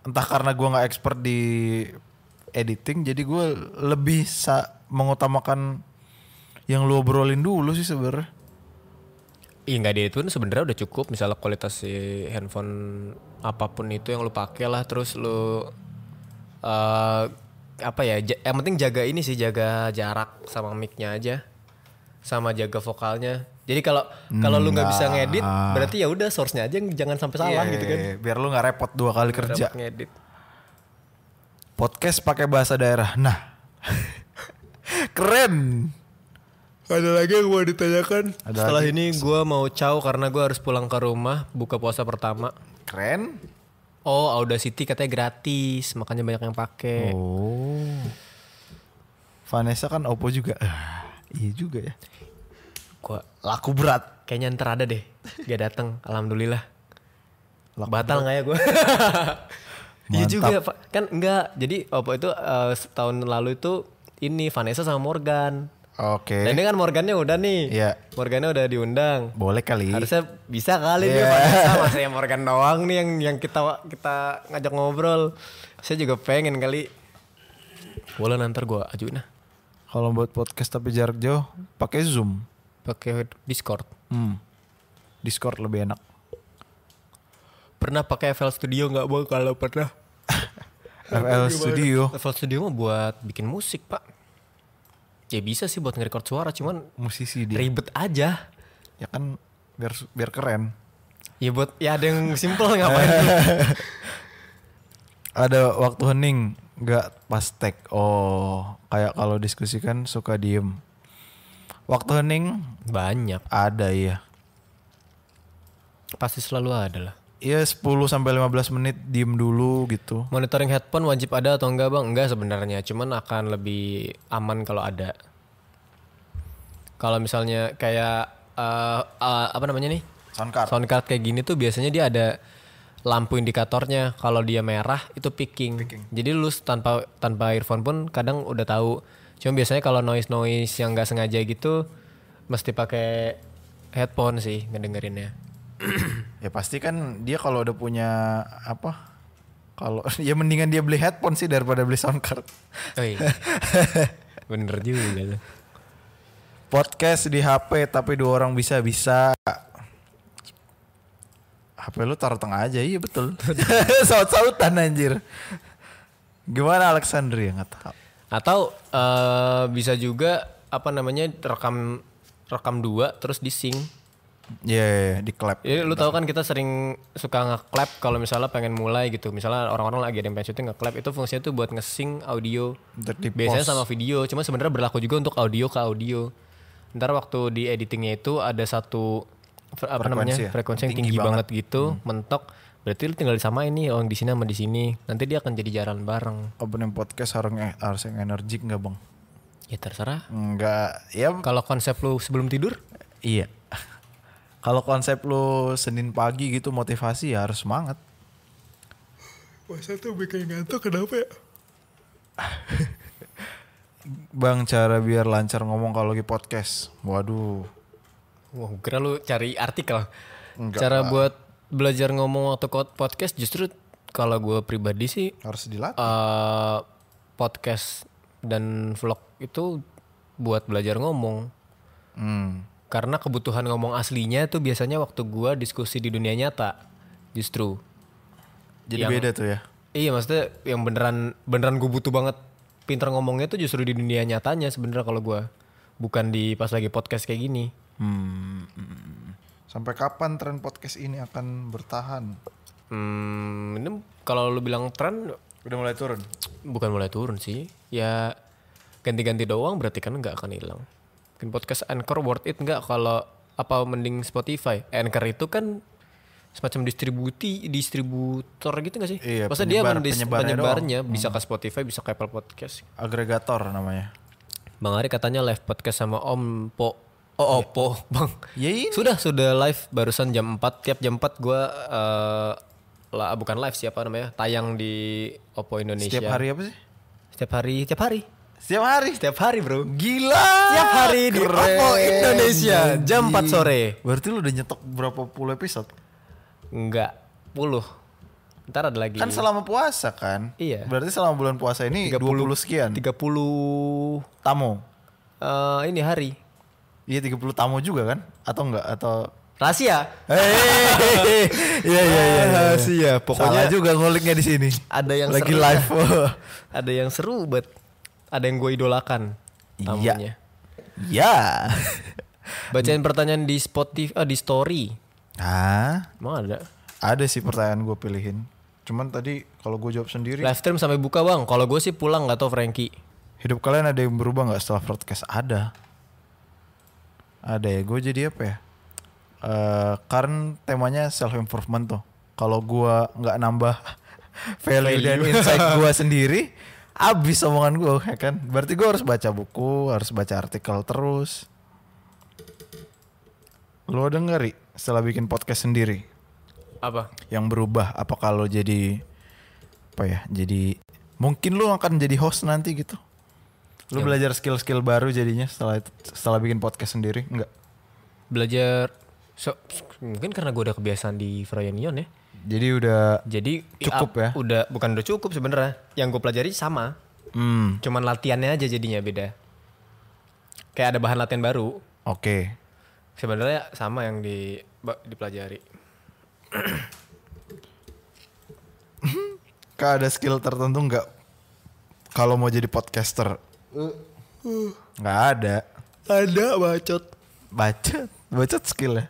A: Entah karena gue nggak expert di editing, jadi gue lebih sa- mengutamakan yang lu obrolin dulu sih sebenarnya.
C: Iya nggak dia itu sebenarnya udah cukup misalnya kualitas si handphone apapun itu yang lu pakai lah terus lu eh, apa ya ja- yang penting jaga ini sih jaga jarak sama mic-nya aja sama jaga vokalnya jadi kalau kalau lu nggak bisa
A: Hmm, Nggak.
C: ngedit berarti ya udah source-nya aja yang jangan sampai salah
A: Iya,
C: gitu kan
A: Biar lu nggak repot dua kali kerja.
C: Dapat ngedit
A: Podcast pakai bahasa daerah. Nah. Keren.
C: ada lagi yang mau ditanyakan
A: Ada
C: setelah
A: lagi.
C: ini gua mau caw karena gua harus pulang ke rumah buka puasa pertama
A: Keren.
C: oh Audacity katanya gratis makanya banyak yang pakai
A: Oh. Vanessa kan Oppo juga. Ah, iya juga ya.
C: gua
A: Laku berat.
C: Kayaknya ntar ada deh. Dia datang, alhamdulillah.
A: Lock
C: Batal nggak ya gue? Iya juga, Pak. Kan enggak. Jadi Oppo itu eh, setahun lalu itu ini Vanessa sama Morgan. Dan
A: Oke.
C: ini kan Morgannya udah nih.
A: Eh. Iya.
C: Morgannya udah diundang.
A: Boleh kali.
C: Harusnya bisa kali dia Vanessa masa yang Morgan doang nih yang yang kita kita ngajak ngobrol. Saya juga pengen kali. Boleh nanti gue ajuin lah.
A: Kalau buat podcast tapi jarak jauh, pakai Zoom.
C: Pakai Discord.
A: Hmm. Discord lebih enak.
C: Pernah pakai FL Studio nggak bang? Kalau pernah.
A: FL Studio.
C: Level studio mah buat bikin musik pak Ya bisa sih buat nge-record suara cuman
A: Musisi dia.
C: ribet aja
A: Ya kan biar biar keren.
C: Ya buat ya ada yang simple ngapain
A: Ada waktu hening nggak pas tag. Oh, kayak kalau diskusikan suka diem. Waktu hening
C: Banyak
A: ada ya.
C: Pasti selalu ada lah
A: Iya 10 sampai 15 menit diem dulu gitu.
C: Monitoring headphone wajib ada atau enggak bang? Enggak sebenarnya cuman akan lebih aman kalau ada Kalau misalnya kayak eh, eh, Apa namanya nih?
A: Soundcard.
C: Sound card kayak gini tuh biasanya dia ada lampu indikatornya. Kalau dia merah itu picking. Jadi lu tanpa tanpa earphone pun kadang udah tahu. Cuma biasanya kalau noise noise yang nggak sengaja gitu mesti pakai headphone sih ngedengerinnya.
A: Ya pasti kan dia kalau udah punya apa? Kalau ya mendingan dia beli headphone sih daripada beli soundcard.
C: Oh iya. Bener juga. tuh.
A: Podcast di HP tapi dua orang bisa bisa. HP lu taruh tengah aja, iya betul. Saut-sautan anjir. Gimana Alexandria nggak tahu.
C: Atau eh, bisa juga apa namanya rekam rekam dua terus di sync.
A: Ya ya, ya, di clap.
C: Jadi lu tahu kan kita sering suka nge-clap kalau misalnya pengen mulai gitu. Misalnya orang-orang lagi ada yang pengen syuting nge-clap itu fungsinya tuh buat nge-sync audio.
A: Ntar di
C: Biasanya
A: pause.
C: sama video, cuma sebenarnya berlaku juga untuk audio ke audio. Ntar waktu di editingnya itu ada satu fre- apa namanya
A: Frekuensi ya?
C: frekuensi yang
A: Tinggi Hmm.
C: tinggi, banget, gitu, mentok. Berarti lu tinggal disamain nih orang di sini sama di sini. Nanti dia akan jadi jalan bareng.
A: opening podcast harus yang- harus yang energik nggak bang?
C: Ya terserah.
A: Nggak, ya
C: Kalau konsep lu sebelum tidur,
A: iya. Kalau konsep lu Senin pagi gitu motivasi ya harus semangat.
B: Masa tuh bikin ngantuk kenapa ya?
A: Bang cara biar lancar ngomong kalau lagi podcast. Waduh.
C: Wah, gua kira lu cari artikel. Cara buat belajar ngomong waktu kot- podcast justru kalau gue pribadi sih
A: Harus dilatih.
C: eh podcast dan vlog itu buat belajar ngomong.
A: Hmm.
C: Karena kebutuhan ngomong aslinya itu biasanya waktu gua diskusi di dunia nyata. Justru.
A: Jadi beda tuh ya.
C: Iya maksudnya yang beneran beneran gue butuh banget pinter ngomongnya tuh justru di dunia nyatanya sebenarnya kalau gua bukan di pas lagi podcast kayak gini.
A: Hmm. Sampai kapan tren podcast ini akan bertahan?
C: Hmm, ini kalau lu bilang tren
A: Udah mulai turun.
C: bukan mulai turun sih ya ganti-ganti doang berarti kan nggak akan hilang mungkin podcast anchor worth it nggak kalau apa mending Spotify anchor itu kan semacam distributi distributor gitu nggak sih
A: Iya,
C: masa dia
A: penyebar-
C: mendis-
A: penyebarnya Hmm.
C: penyebarnya bisa ke Spotify bisa ke Apple Podcast
A: Agregator namanya.
C: Bang Ari katanya live podcast sama Om Po Oh, oh, Po, Bang.
A: Ya ini.
C: Sudah, sudah live barusan jam 4. Tiap jam 4 gua eh, lah bukan live siapa namanya? Tayang di Oppo Indonesia.
A: Setiap hari apa sih?
C: Setiap hari, tiap hari.
A: Setiap hari.
C: Setiap hari, Bro.
A: Gila.
C: Setiap hari di
A: Keren,
C: Oppo Indonesia jam
A: anjing.
C: 4 sore.
A: Berarti lu udah nyetok berapa puluh episode?
C: Enggak, 10. Ntar ada lagi.
A: Kan selama puasa kan?
C: Iya.
A: Berarti selama bulan puasa ini
C: 30
A: 20 sekian
C: 30
A: tamu.
C: eh, ini hari.
A: Iya 30 tamu juga kan? Atau enggak? Atau
C: Rahasia. Eh,
A: Hei, iya iya iya, iya. sih ya. Pokoknya
C: Salah
A: juga nguliknya di sini.
C: Ada yang
A: lagi
C: seru.
A: live.
C: Ada yang seru buat ada yang gue idolakan
A: Iya.
C: tamunya.
A: ya.
C: Bacain pertanyaan di Spotify ah, di story.
A: Ah,
C: Emang ada.
A: ada sih pertanyaan gue pilihin. Cuman tadi kalau gue jawab sendiri,
C: Live stream sampai buka, Bang. Kalau gue sih pulang nggak tau Frankie.
A: hidup kalian ada yang berubah nggak setelah podcast? Ada. Ada ya. Gue jadi apa ya? Eh, karena temanya self improvement tuh. Kalau gue nggak nambah value, dan
C: Value.
A: insight gue sendiri, abis omongan gue ya kan. Berarti gue harus baca buku, harus baca artikel terus. Lo dengeri setelah bikin podcast sendiri?
C: Apa?
A: yang berubah apakah lo jadi apa ya jadi mungkin lo akan jadi host nanti gitu lo belajar skill-skill baru jadinya setelah itu- setelah bikin podcast sendiri enggak
C: Belajar so- mungkin karena gue udah kebiasaan di Froyanion ya.
A: jadi udah
C: Jadi ah,
A: Cukup ya?
C: Udah bukan udah cukup sebenarnya. Yang gue pelajari sama.
A: hmm
C: Cuman latihannya aja jadinya beda. Kayak ada bahan latihan baru.
A: oke
C: Sebenarnya sama yang di ba- dipelajari.
A: Kak ada skill tertentu nggak kalau mau jadi podcaster nggak ada
B: Ada bacot.
A: bacot bacot skill ya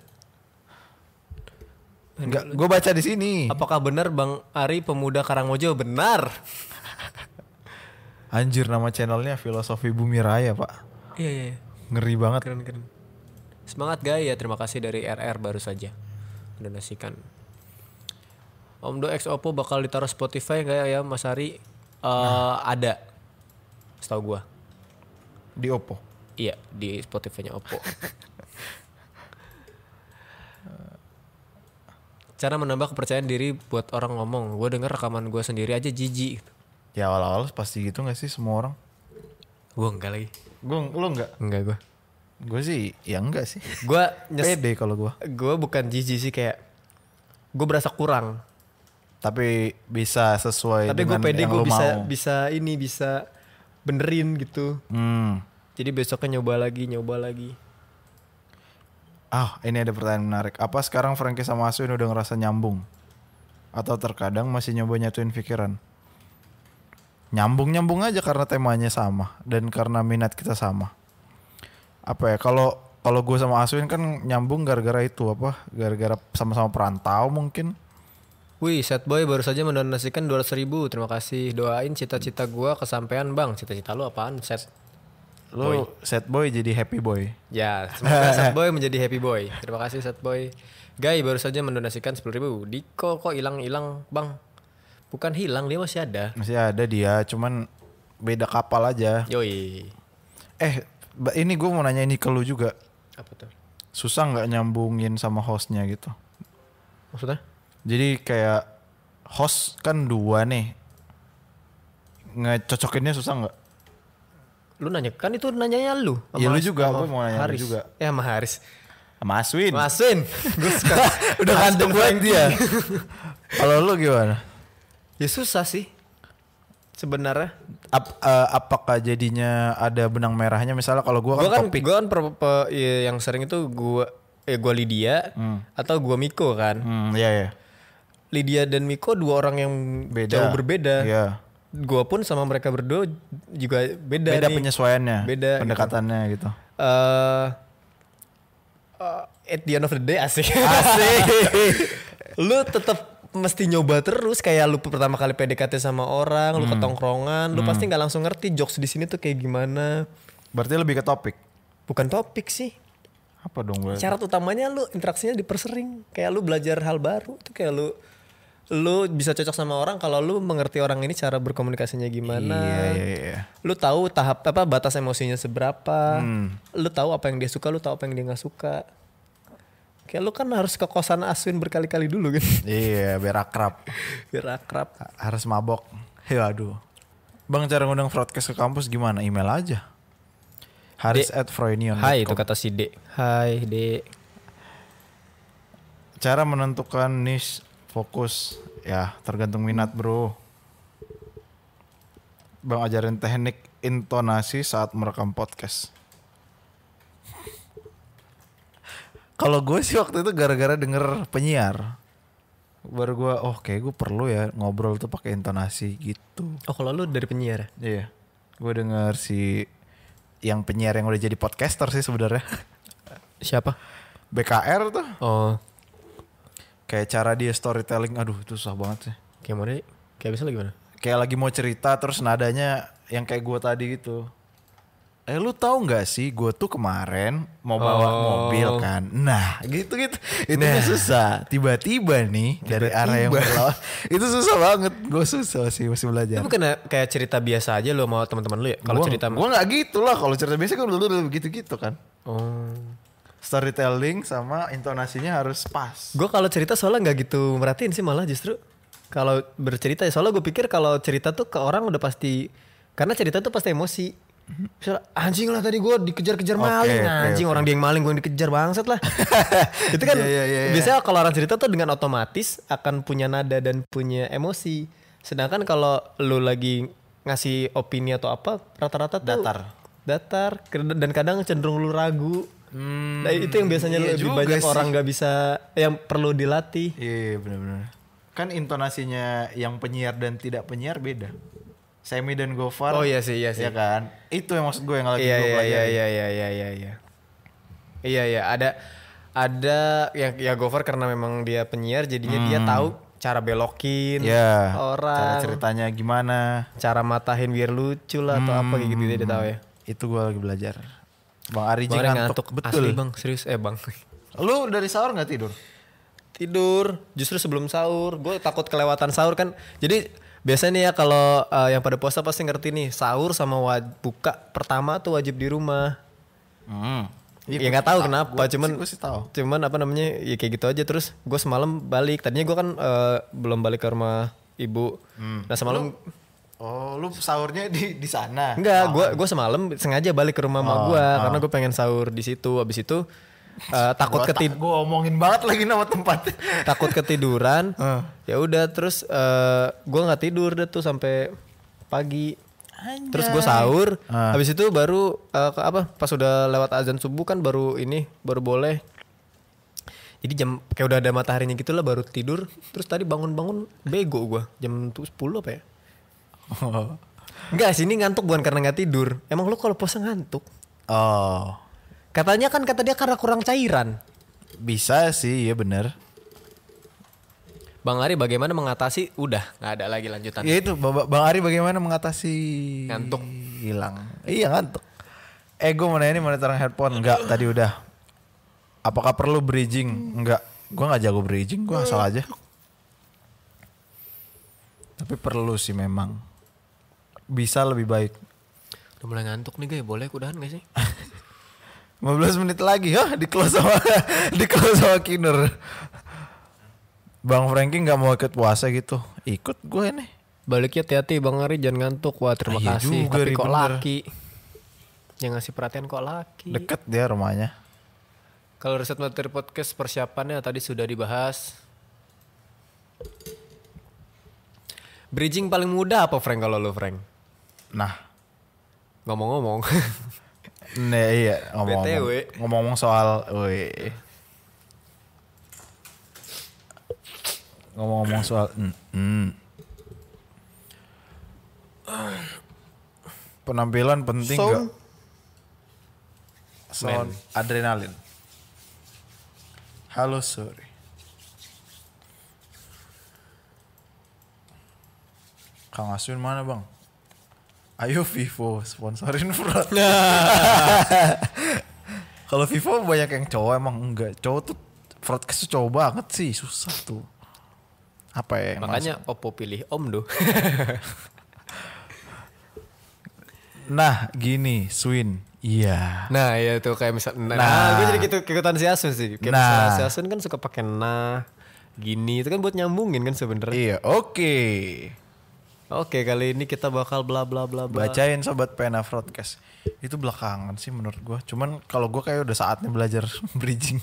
A: Enggak, gue baca di sini.
C: Apakah benar Bang Ari pemuda Karangmojo? Benar.
A: Anjir nama channelnya Filosofi Bumi Raya, Pak.
C: Iya iya. iya.
A: Ngeri banget.
C: Keren keren. Semangat gaya. Terima kasih dari RR baru saja mendonasikan. Om Do X Oppo bakal ditaruh Spotify nggak ya Mas Ari? Eh ada. Setahu gua.
A: Di Oppo.
C: Iya, di Spotify-nya Oppo. Cara menambah kepercayaan diri buat orang ngomong. Gue denger rekaman gue sendiri aja jijik.
A: Ya awal-awal pasti gitu gak sih semua orang?
C: Gue enggak lagi.
A: Gue lo enggak?
C: Enggak gue.
A: Gue sih ya enggak sih.
C: Gue nyes.
A: Pede kalau gue.
C: Gue bukan jijik sih kayak. Gue berasa kurang.
A: Tapi bisa sesuai
C: Tapi gue
A: dengan
C: pede
A: yang
C: gue
A: lo
C: bisa
A: mau.
C: bisa ini bisa benerin gitu.
A: Hmm.
C: Jadi besoknya nyoba lagi nyoba lagi.
A: Ah, ini ada pertanyaan menarik. Apa sekarang Frankie sama Asuin udah ngerasa nyambung? Atau terkadang masih nyoba nyatuin pikiran? Nyambung-nyambung aja karena temanya sama dan karena minat kita sama. Apa ya? Kalau kalau gue sama Asuin kan nyambung gara-gara itu apa? Gara-gara sama-sama perantau mungkin.
C: Wih, set boy baru saja mendonasikan 200.000 ribu. Terima kasih. Doain cita-cita gua kesampaian bang. Cita-cita lu apaan? Set.
A: Lo sad boy jadi happy boy.
C: Ya, semoga set boy menjadi happy boy. Terima kasih set boy. Guy baru saja mendonasikan 10.000 ribu. Diko kok hilang-hilang bang? Bukan hilang, dia masih ada.
A: Masih ada dia, cuman beda kapal aja.
C: Yoi.
A: Eh, ba- ini gue mau nanya ini ke lu juga.
C: Apa tuh?
A: Susah nggak nyambungin sama hostnya gitu?
C: Maksudnya?
A: Jadi kayak host kan dua nih. Ngecocokinnya susah nggak?
C: Lu nanya, kan itu nanyanya lu. sama
A: Ya, lu
C: Haris-
A: juga,
C: sama
A: gua mau nanya lu
C: Haris.
A: juga.
C: Ya sama Haris.
A: Sama Aswin.
C: Mas Win. Gua suka.
A: Udah kandung banget dia. Kalau lu gimana?
C: ya susah sih. Sebenarnya.
A: Ap- eh, apakah jadinya ada benang merahnya? Misalnya kalau gue kan,
C: Gua kan
A: topik.
C: gua kan per- pe- ya, yang sering itu gua eh gua Lydia atau gua Miko kan.
A: Hmm, ya ya.
C: Lydia dan Miko dua orang yang
A: Beda.
C: jauh berbeda.
A: Iya.
C: Gua pun sama mereka berdua juga beda
A: Beda
C: nih.
A: penyesuaiannya.
C: Beda gitu.
A: Pendekatannya gitu.
C: Eh, eh, at the end of the day asik.
A: Ah,
C: lu tetap mesti nyoba terus kayak lu pertama kali PDKT sama orang,
A: Hmm.
C: lu ketongkrongan, lu pasti nggak langsung ngerti jokes di sini tuh kayak gimana.
A: Berarti lebih ke topik.
C: Bukan topik sih.
A: Apa dong gue?
C: syarat utamanya lu interaksinya dipersering kayak lu belajar hal baru tuh kayak lu lu bisa cocok sama orang kalau lu mengerti orang ini cara berkomunikasinya gimana
A: Iya, iya, iya.
C: lu tahu tahap apa batas emosinya seberapa
A: Hmm.
C: lu tahu apa yang dia suka lu tahu apa yang dia nggak suka kayak lu kan harus ke kosan Aswin berkali-kali dulu kan
A: Iya, biar akrab.
C: biar akrab
A: Harus mabok. Ya aduh. Bang cara ngundang broadcast ke kampus gimana? Email aja. Haris at Froynion.
C: kata si D hai D
A: Cara menentukan niche fokus ya tergantung minat bro. Bang ajarin teknik intonasi saat merekam podcast. Kalau gue sih waktu itu gara-gara denger penyiar. Baru gue, oh kayak gue perlu ya ngobrol tuh pakai intonasi gitu.
C: Oh kalau lu dari penyiar ya?
A: Iya. Gue denger si yang penyiar yang udah jadi podcaster sih sebenarnya.
C: Siapa?
A: BKR tuh.
C: Oh
A: Kayak cara dia storytelling, aduh itu susah banget sih.
C: kayak mana? Kayak bisa lagi gimana?
A: Kayak lagi mau cerita terus nadanya yang kayak gue tadi gitu. Eh lu tahu nggak sih gue tuh kemarin mau bawa
C: Oh. Nah.
A: mobil kan. Nah gitu-gitu. Itu susah. Tiba-tiba nih dari arah yang berlawan. itu susah banget. Gue susah sih masih belajar.
C: Itu bukan kayak cerita biasa aja lu sama teman-teman lu ya? Kalau
A: Gua-
C: cerita
A: gua nggak gitu lah kalau cerita biasa kan dulu dulu begitu gitu kan
C: Oh.
A: storytelling sama intonasinya harus pas
C: Gue kalau cerita soalnya nggak gitu merhatiin sih malah justru kalau bercerita ya. soalnya gue pikir kalau cerita tuh ke orang udah pasti karena cerita tuh pasti emosi. Misalnya, anjing lah tadi gue dikejar-kejar
A: Oke,
C: maling
A: oke,
C: anjing orang dia yang maling gue yang dikejar bangsat lah itu kan
A: Iya, iya, iya, iya.
C: biasanya kalau orang cerita tuh dengan otomatis akan punya nada dan punya emosi sedangkan kalau lu lagi ngasih opini atau apa rata-rata tuh
A: Datar.
C: datar dan kadang cenderung lu ragu nah itu yang biasanya
A: iya
C: lebih
A: juga
C: banyak
A: sih.
C: orang nggak bisa yang perlu dilatih
A: iya benar-benar kan intonasinya yang penyiar dan tidak penyiar beda Semi dan Gofar
C: Oh, iya sih, iya sih.
A: ya kan itu yang maksud gue yang lagi
C: iya
A: gue
C: iya iya
A: pelajari.
C: iya iya iya iya iya iya iya ada ada yang ya Gofar karena memang dia penyiar jadinya dia tahu cara belokin
A: Ya,
C: orang
A: Hmm. cara
C: cara,
A: ceritanya gimana
C: matahin biar lucu lah atau apa kayak gitu dia,
A: Hmm.
C: dia tahu ya
A: itu gue lagi belajar Bang Ari
C: Bang,
A: Jing ngantuk, betul
C: asli bang serius eh bang
A: lu dari sahur nggak tidur
C: tidur justru sebelum sahur gue takut kelewatan sahur kan jadi biasanya nih ya kalau eh, yang pada puasa pasti ngerti nih sahur sama wa- buka pertama tuh wajib di rumah
A: hmm.
C: ya nggak tahu kenapa cuman
A: gue sih tahu
C: cuman apa namanya ya kayak gitu aja terus gue semalam balik tadinya gue kan eh, belum balik ke rumah ibu
A: Hmm.
C: nah semalam
A: oh lu sahurnya di di sana Ah,
C: enggak gue gue semalam sengaja balik ke rumah emak gue
A: Oh,
C: karena gue pengen sahur di situ abis itu eh, takut ketid
A: gue omongin banget lagi nama tempat
C: takut ketiduran ya udah terus eh, gue nggak tidur deh tuh sampai pagi terus gue sahur habis itu baru eh, ke apa pas udah lewat azan subuh kan baru ini baru boleh jadi jam kayak udah ada mataharinya gitu lah baru tidur terus tadi bangun-bangun bego gue jam tu- 10 apa ya
A: Oh,
C: Enggak sini ngantuk bukan karena nggak tidur emang lu kalau puasa ngantuk
A: oh
C: katanya kan kata dia karena kurang cairan
A: bisa sih ya bener
C: Bang Ari bagaimana mengatasi udah nggak ada lagi lanjutan
A: ya itu Ba- Ba- bang Ari bagaimana mengatasi
C: Ngantuk.
A: hilang iya ngantuk eh gue mau nanya nih monitoring headphone enggak tadi udah apakah perlu bridging enggak gue nggak jago bridging gue asal aja tapi perlu sih memang bisa lebih baik
C: Udah mulai ngantuk nih guys, boleh kudahan gak sih?
A: 15 menit lagi ya di close sama di close sama Kinur. Bang Franky nggak mau ikut puasa gitu. Ikut gue nih.
C: Baliknya ya, hati-hati Bang Ari jangan ngantuk. Wah terima
A: Ah, iya
C: kasih.
A: juga,
C: Tapi
A: Ri,
C: kok
A: bener.
C: laki? Yang ngasih perhatian kok laki?
A: Deket dia rumahnya.
C: Kalau riset materi podcast persiapannya tadi sudah dibahas. Bridging paling mudah apa Frank kalau lo Frank?
A: Nah,
C: Ngomong-ngomong.
A: nih iya ngomong
C: BTW.
A: ngomong soal woi. Ngomong-ngomong soal mm, mm. penampilan penting
B: Sound.
A: nggak? Sound adrenalin. Halo sorry. Kang Aswin mana bang? Ayo Vivo sponsorin Frot. Nah. Kalau Vivo banyak yang cowok emang enggak. Cowok tuh broadcast tuh cowok banget sih susah tuh. Apa ya? yang
C: Makanya Oppo pilih Om do.
A: masuk? Nah gini Swin. Iya.
C: nah ya tuh kayak misal. Nah,
A: Nah.
C: gue jadi gitu ikutan si Asun sih. Kayak
A: Nah.
C: misalnya si Asun kan suka pakai nah gini itu kan buat nyambungin kan sebenarnya.
A: Iya oke.
C: Oke kali ini kita bakal bla bla bla bla.
A: Bacain sobat pena broadcast. Itu belakangan sih menurut gua. Cuman kalau gua kayak udah saatnya belajar bridging.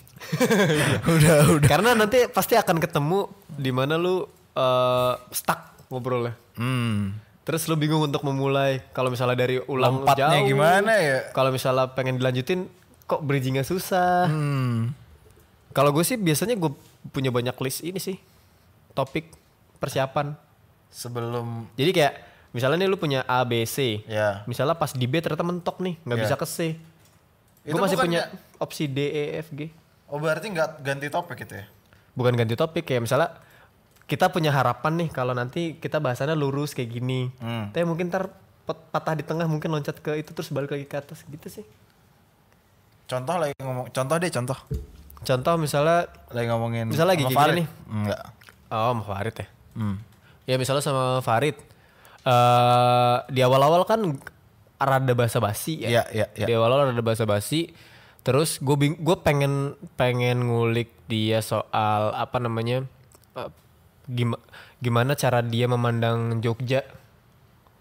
A: udah udah.
C: Karena nanti pasti akan ketemu di mana lu eh, stuck ngobrolnya.
A: Hmm.
C: Terus lu bingung untuk memulai. Kalau misalnya dari ulang
A: Lompatnya
C: jauh.
A: gimana ya?
C: Kalau misalnya pengen dilanjutin kok bridgingnya susah.
A: Hmm.
C: Kalau gue sih biasanya gue punya banyak list ini sih. Topik persiapan.
A: Sebelum
C: Jadi kayak misalnya nih lu punya A B C.
A: Ya.
C: Misalnya pas di B ternyata mentok nih, nggak
A: Ya.
C: bisa ke C.
A: Itu
C: Gue masih
A: bukan
C: punya
A: nggak-
C: opsi D E F G.
A: Oh berarti nggak ganti topik gitu ya?
C: Bukan ganti topik kayak misalnya kita punya harapan nih kalau nanti kita bahasannya lurus kayak gini. Tapi mungkin ntar pet- patah di tengah mungkin loncat ke itu terus balik lagi ke atas gitu sih.
A: Contoh lagi ngomong, contoh deh contoh.
C: Contoh misalnya
A: Lagi ngomongin.
C: Misalnya lagi
A: sama
C: kayak gini
A: Farid.
C: nih.
A: Enggak.
C: Oh, sama Farid ya. Ya misalnya sama Farid. eh di awal-awal kan rada basa-basi ya.
A: Iya, iya, iya.
C: Di awal-awal rada basa-basi. Terus gue bing- gue pengen pengen ngulik dia soal apa namanya? eh, gima- gimana cara dia memandang Jogja?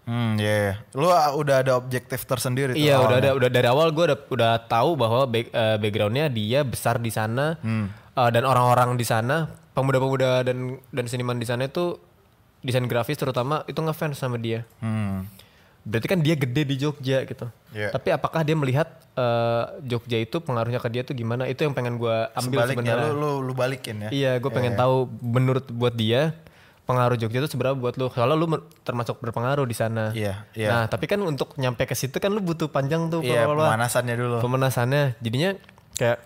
A: Hmm, iya. iya. Lu ah, udah ada objektif tersendiri. tuh
C: Iya, udah
A: awalnya.
C: ada udah dari awal gue udah udah tahu bahwa back, eh, backgroundnya dia besar di sana
A: Hmm.
C: eh, dan orang-orang di sana pemuda-pemuda dan dan seniman di sana itu desain grafis terutama itu ngefans sama dia.
A: Hmm.
C: Berarti kan dia gede di Jogja gitu.
A: Iya.
C: Tapi apakah dia melihat eh, Jogja itu pengaruhnya ke dia tuh gimana? Itu yang pengen gue ambil
A: Sebaliknya
C: sebenarnya.
A: lu, lu lu balikin ya.
C: Iya, gue pengen tahu menurut buat dia pengaruh Jogja itu seberapa buat lu. Soalnya lu mer- termasuk berpengaruh di sana.
A: Iya, iya.
C: Nah, tapi kan untuk nyampe ke situ kan lu butuh panjang tuh
A: Iya,
C: pelan-pelan.
A: pemanasannya dulu.
C: Pemanasannya. Jadinya kayak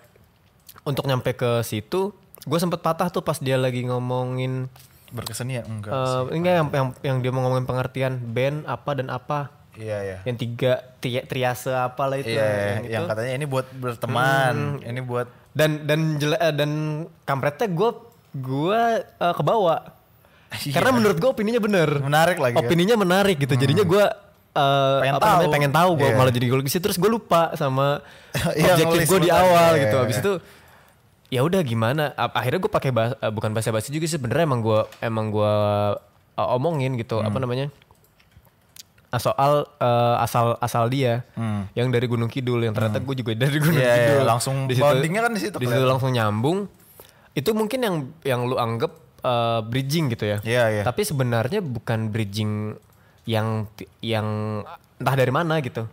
C: untuk nyampe ke situ, gue sempet patah tuh pas dia lagi ngomongin
A: Berkesenian enggak.
C: eh, enggak yang, yang yang dia mau ngomongin pengertian band apa dan apa.
A: Iya, iya.
C: Yang tiga tri- triase apalah itu
A: Iya,
C: yang itu. Hmm.
A: yang katanya ini buat berteman, ini buat
C: dan dan jele- eh, dan kampretnya gue gue kebawa
A: Iya.
C: karena menurut gue opininya bener
A: Menarik lagi ya. Hmm.
C: opininya menarik gitu jadinya gue
A: Pengen
C: pengen apa namanya,
A: tahu.
C: pengen tahu gue
A: Iya.
C: malah jadi gue terus gue lupa sama
A: Iya,
C: objektif
A: ngelis
C: gue di
A: bentar.
C: awal
A: Iya,
C: gitu
A: iya,
C: abis
A: iya.
C: itu ya udah gimana A- akhirnya gue pakai bah- eh, bukan bahasa basi juga sih sebenarnya emang gue emang gue omongin gitu apa
A: Hmm.
C: namanya Ah, soal eh, asal asal dia yang dari Gunung Kidul yang ternyata gue juga dari Gunung
A: Hmm. Iya, iya,
C: Kidul
A: langsung bondingnya kan di situ
C: di situ
A: kelihatan.
C: langsung nyambung itu mungkin yang yang lu anggap eh, bridging gitu ya
A: Iya, iya.
C: tapi sebenarnya bukan bridging yang ti- yang entah dari mana gitu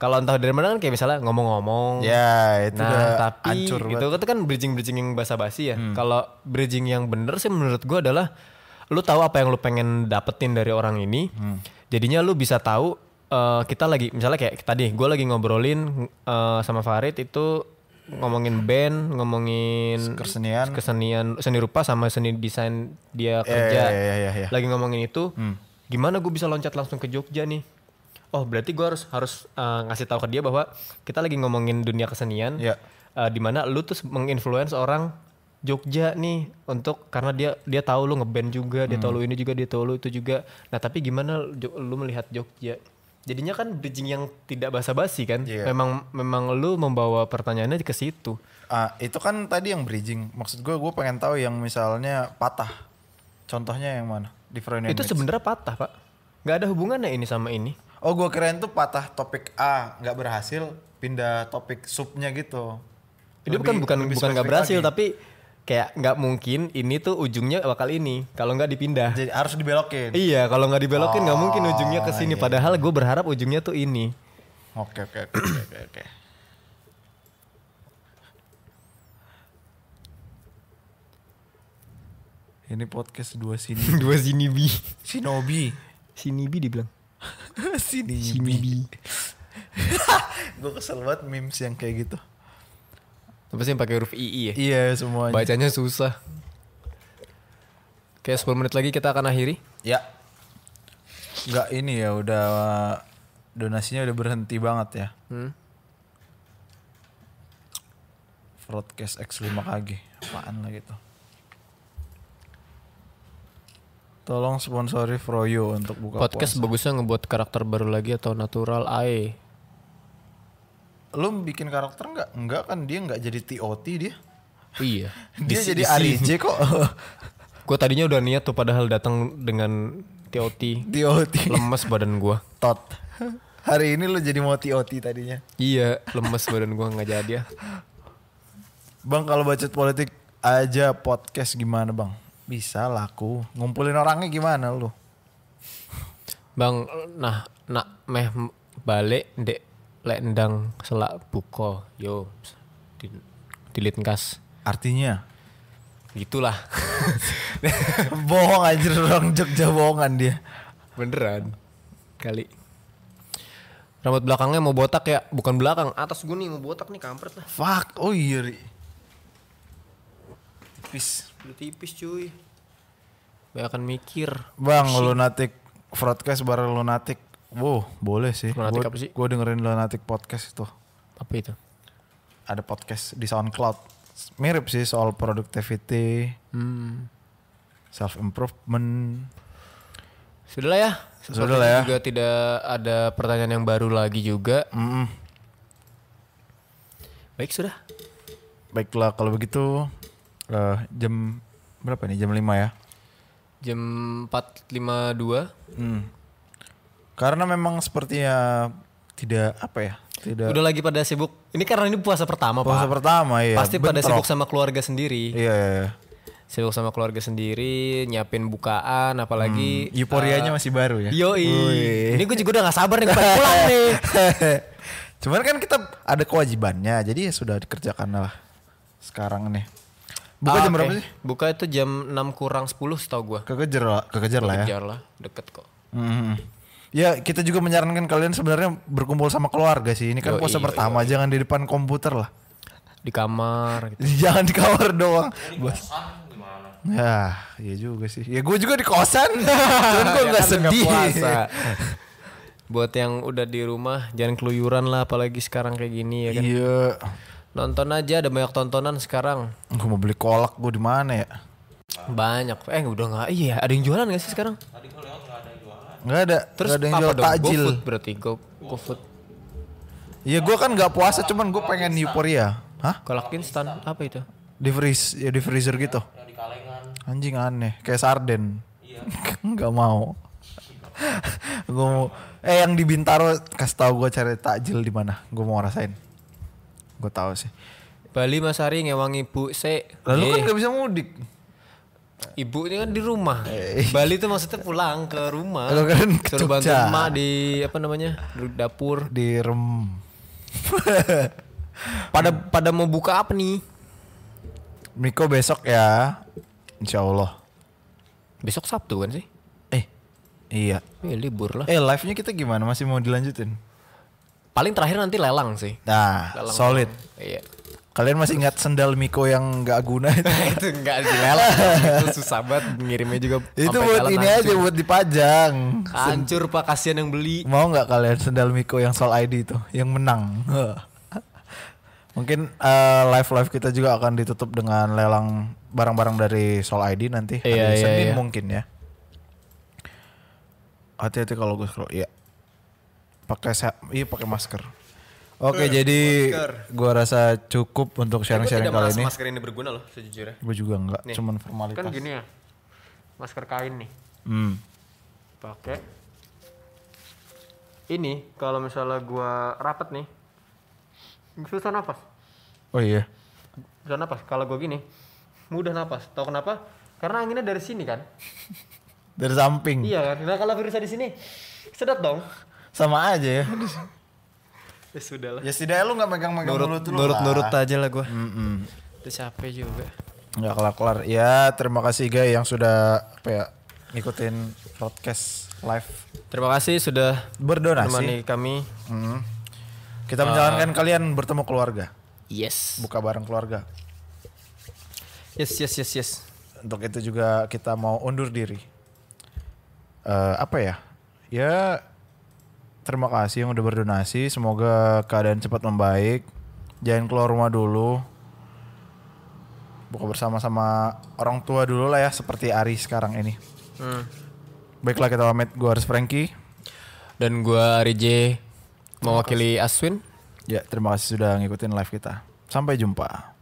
C: kalau entah dari mana kan kayak misalnya ngomong-ngomong
A: Ya, itu udah
C: nah tapi
A: hancur
C: itu itu kan bridging bridging yang basa-basi ya kalau bridging yang bener sih menurut gua adalah lu tahu apa yang lu pengen dapetin dari orang ini jadinya lu bisa tahu eh, kita lagi misalnya kayak tadi gua lagi ngobrolin eh, sama Farid itu ngomongin band ngomongin
A: Kesenian.
C: kesenian seni rupa sama seni desain dia kerja
A: iya, iya, iya, iya.
C: lagi ngomongin itu gimana gue bisa loncat langsung ke Jogja nih oh berarti gue harus harus eh, ngasih tahu ke dia bahwa kita lagi ngomongin dunia kesenian
A: Iya.
C: eh, dimana lu tuh menginfluence orang Jogja nih untuk karena dia dia tahu lu ngeband juga dia tahu lu ini juga dia tahu lu itu juga nah tapi gimana Jo- lu melihat Jogja jadinya kan bridging yang tidak basa-basi kan
A: Iya.
C: memang memang lu membawa pertanyaannya ke situ
A: Ah, itu kan tadi yang bridging. Maksud gue, gue pengen tahu yang misalnya patah. Contohnya yang mana? Di Freudian
C: itu
A: Bridge.
C: sebenarnya patah pak nggak ada hubungannya ini sama ini
A: Oh, gue keren tuh patah topik A nggak berhasil, pindah topik subnya gitu.
C: Itu
A: Lebih-
C: bukan bukan
A: lebih
C: bukan nggak
A: spesifik
C: berhasil
A: lagi.
C: tapi kayak nggak mungkin ini tuh ujungnya bakal ini kalau nggak dipindah.
A: jadi harus dibelokin.
C: iya, kalau nggak dibelokin nggak mungkin ujungnya ke sini. Padahal gue berharap ujungnya tuh ini.
A: Oke, oke, oke, oke, oke, oke. Ini podcast dua sini.
C: Dua sini bi,
A: Shinobi.
C: sini bi dibilang.
A: sini.
C: Sini bi.
A: gue kesel banget memes yang kayak gitu.
C: Apa sih yang pakai huruf ii ya?
A: Iya semuanya.
C: Bacanya susah. Kayak 10 menit lagi kita akan akhiri.
A: Ya. Enggak ini ya udah donasinya udah berhenti banget ya.
C: Hmm.
A: Broadcast X5KG. Apaan lah gitu. Tolong sponsori Froyo untuk buka
C: Podcast
A: puasa.
C: bagusnya ngebuat karakter baru lagi atau natural ae.
A: Lu bikin karakter nggak? Enggak kan dia nggak jadi TOT dia.
C: Iya.
A: Dia jadi Ari J kok.
C: Gue tadinya udah niat tuh padahal datang dengan TOT.
A: TOT.
C: Lemes badan gua.
A: Tot. Hari ini lu jadi mau TOT tadinya.
C: Iya, lemes badan gua nggak jadi ya.
A: Bang kalau budget politik aja podcast gimana bang? Bisa laku. Ngumpulin orangnya gimana lu?
C: Bang, nah nak meh m- balik ndek lek ndang selak buka yo di dilit kas.
A: Artinya
C: Gitulah.
A: bohong anjir orang Jogja bohongan dia.
C: Beneran. Kali. Rambut belakangnya mau botak ya? Bukan belakang, atas gue nih mau botak nih kampret lah.
A: Fuck, oh iya. Ri. Tipis.
C: Udah tipis cuy. Banyakan mikir.
A: Bang, lunatic broadcast bareng lunatic. Wow, boleh sih.
C: Lunatic
A: Gua-
C: apa sih?
A: Gua dengerin lunatic podcast itu.
C: Apa itu?
A: Ada podcast di SoundCloud. Mirip sih soal productivity,
C: Hmm.
A: self improvement.
C: Sudah lah ya.
A: Sudah lah ya.
C: Juga tidak ada pertanyaan yang baru lagi juga.
A: Mm-mm.
C: Baik sudah.
A: Baiklah kalau begitu eh, jam berapa nih? Jam 5 ya.
C: Jam 4.52.
A: Hmm. Karena memang sepertinya tidak apa ya? Tidak
C: Udah lagi pada sibuk. Ini karena ini puasa pertama,
A: puasa
C: Pak.
A: pertama ya.
C: Pasti pada
A: bentrok.
C: sibuk sama keluarga sendiri.
A: Iya, iya, iya.
C: Sibuk sama keluarga sendiri, nyiapin bukaan apalagi
A: Hmm,
C: eh,
A: Euforianya masih baru ya.
C: Yoi.
A: Wih.
C: Ini gue juga udah gak sabar nih pengen pulang nih.
A: Cuman kan kita ada kewajibannya, jadi ya sudah dikerjakan lah sekarang nih. Buka
C: Ah,
A: jam
C: oke.
A: berapa sih?
C: Buka itu jam 6 kurang 10 setahu gue.
A: Kekejar lah, kekejar lah ya.
C: Kejar lah, deket kok.
A: Mhm. Ya kita juga menyarankan kalian sebenarnya berkumpul sama keluarga sih. Ini kan
C: Yoi,
A: puasa
C: yoi,
A: pertama, jangan di depan komputer lah.
C: Di kamar gitu.
A: jangan di kamar doang. Bos. Ya, iya juga sih. Ya gue juga di kosan. Cuman gue
C: Ya
A: nggak
C: kan lu nggak
A: sedih.
C: puasa. Buat yang udah di rumah, jangan keluyuran lah apalagi sekarang kayak gini ya kan.
A: Iya.
C: Nonton aja ada banyak tontonan sekarang.
A: Gue mau beli kolak gue di mana ya?
C: Banyak. Eh udah nggak iya ada yang jualan gak sih sekarang?
A: Nggak ada.
C: Terus
A: nggak ada yang
C: apa
A: jual
C: dong?
A: takjil.
C: GoFood berarti Go, GoFood.
A: Iya gue kan nggak puasa cuman gue pengen euforia. Hah?
C: Kolak instan apa itu?
A: Di freeze, ya di freezer gitu. Anjing aneh, kayak sarden. nggak mau. gue mau. Eh yang di Bintaro kasih tahu gue cari takjil di mana? Gue mau ngerasain. Gue tahu sih.
C: Bali Masari ngewangi Bu Se.
A: Lalu kan
C: Eh,
A: nggak bisa mudik.
C: ibu ini kan di rumah. Bali itu maksudnya pulang ke rumah.
A: Lalu Eh. kan ke
C: Suruh bantu
A: Jogja.
C: emak di apa namanya? Di dapur.
A: Di rem.
C: Pada pada mau buka apa nih?
A: Miko besok ya. Insya Allah.
C: Besok Sabtu kan sih?
A: Eh, iya.
C: Ya libur lah.
A: Eh live-nya kita gimana? Masih mau dilanjutin?
C: Paling terakhir nanti lelang sih.
A: Nah,
C: Lelang.
A: solid.
C: Iya.
A: Kalian masih ingat sendal Miko yang nggak guna itu?
C: itu enggak dilelang. itu susah banget ngirimnya juga.
A: itu
C: sampai ya.
A: buat
C: jalan
A: ini aja
C: hancur.
A: buat dipajang.
C: Hancur Pak kasihan yang beli.
A: Mau nggak kalian sendal Miko yang soal ID itu yang menang? Mungkin live live kita juga akan ditutup dengan lelang barang-barang dari Soul ID nanti hari
C: Iya, iya,
A: Senin
C: iya.
A: mungkin ya. Hati-hati kalau gue scroll. Iya. Pakai sa- iya pakai masker. Oke, jadi gua rasa cukup untuk sharing-sharing kali ini.
C: masker ini berguna loh sejujurnya.
A: Gue juga nggak, cuman formalitas.
C: Kan gini ya. Masker kain nih.
A: Hmm.
C: pakai ini kalau misalnya gua rapet nih susah napas
A: Oh iya.
C: susah napas kalau gua gini mudah napas tau kenapa karena anginnya dari sini kan
A: Dari samping.
C: iya kan nah kalau virusnya di sini sedot dong
A: Sama aja ya.
C: ya sudah lah
A: ya setidaknya lu nggak megang-megang mulut lu lah.
C: aja lah gua
A: Mm-mm.
C: udah capek juga
A: nggak kelar kelar ya terima kasih guys yang sudah apa ya ngikutin podcast live
C: terima kasih sudah
A: berdonasi
C: menemani kami
A: Mm. kita menjalankan kalian bertemu keluarga
C: yes
A: buka bareng keluarga
C: yes yes yes yes
A: untuk itu juga kita mau undur diri Eh, apa ya ya terima kasih yang udah berdonasi semoga keadaan cepat membaik jangan keluar rumah dulu buka bersama sama orang tua dulu lah ya seperti Ari sekarang ini
C: Hmm.
A: baiklah kita pamit gue harus Frankie
C: dan gua RJ mewakili Aswin
A: ya terima kasih sudah ngikutin live kita sampai jumpa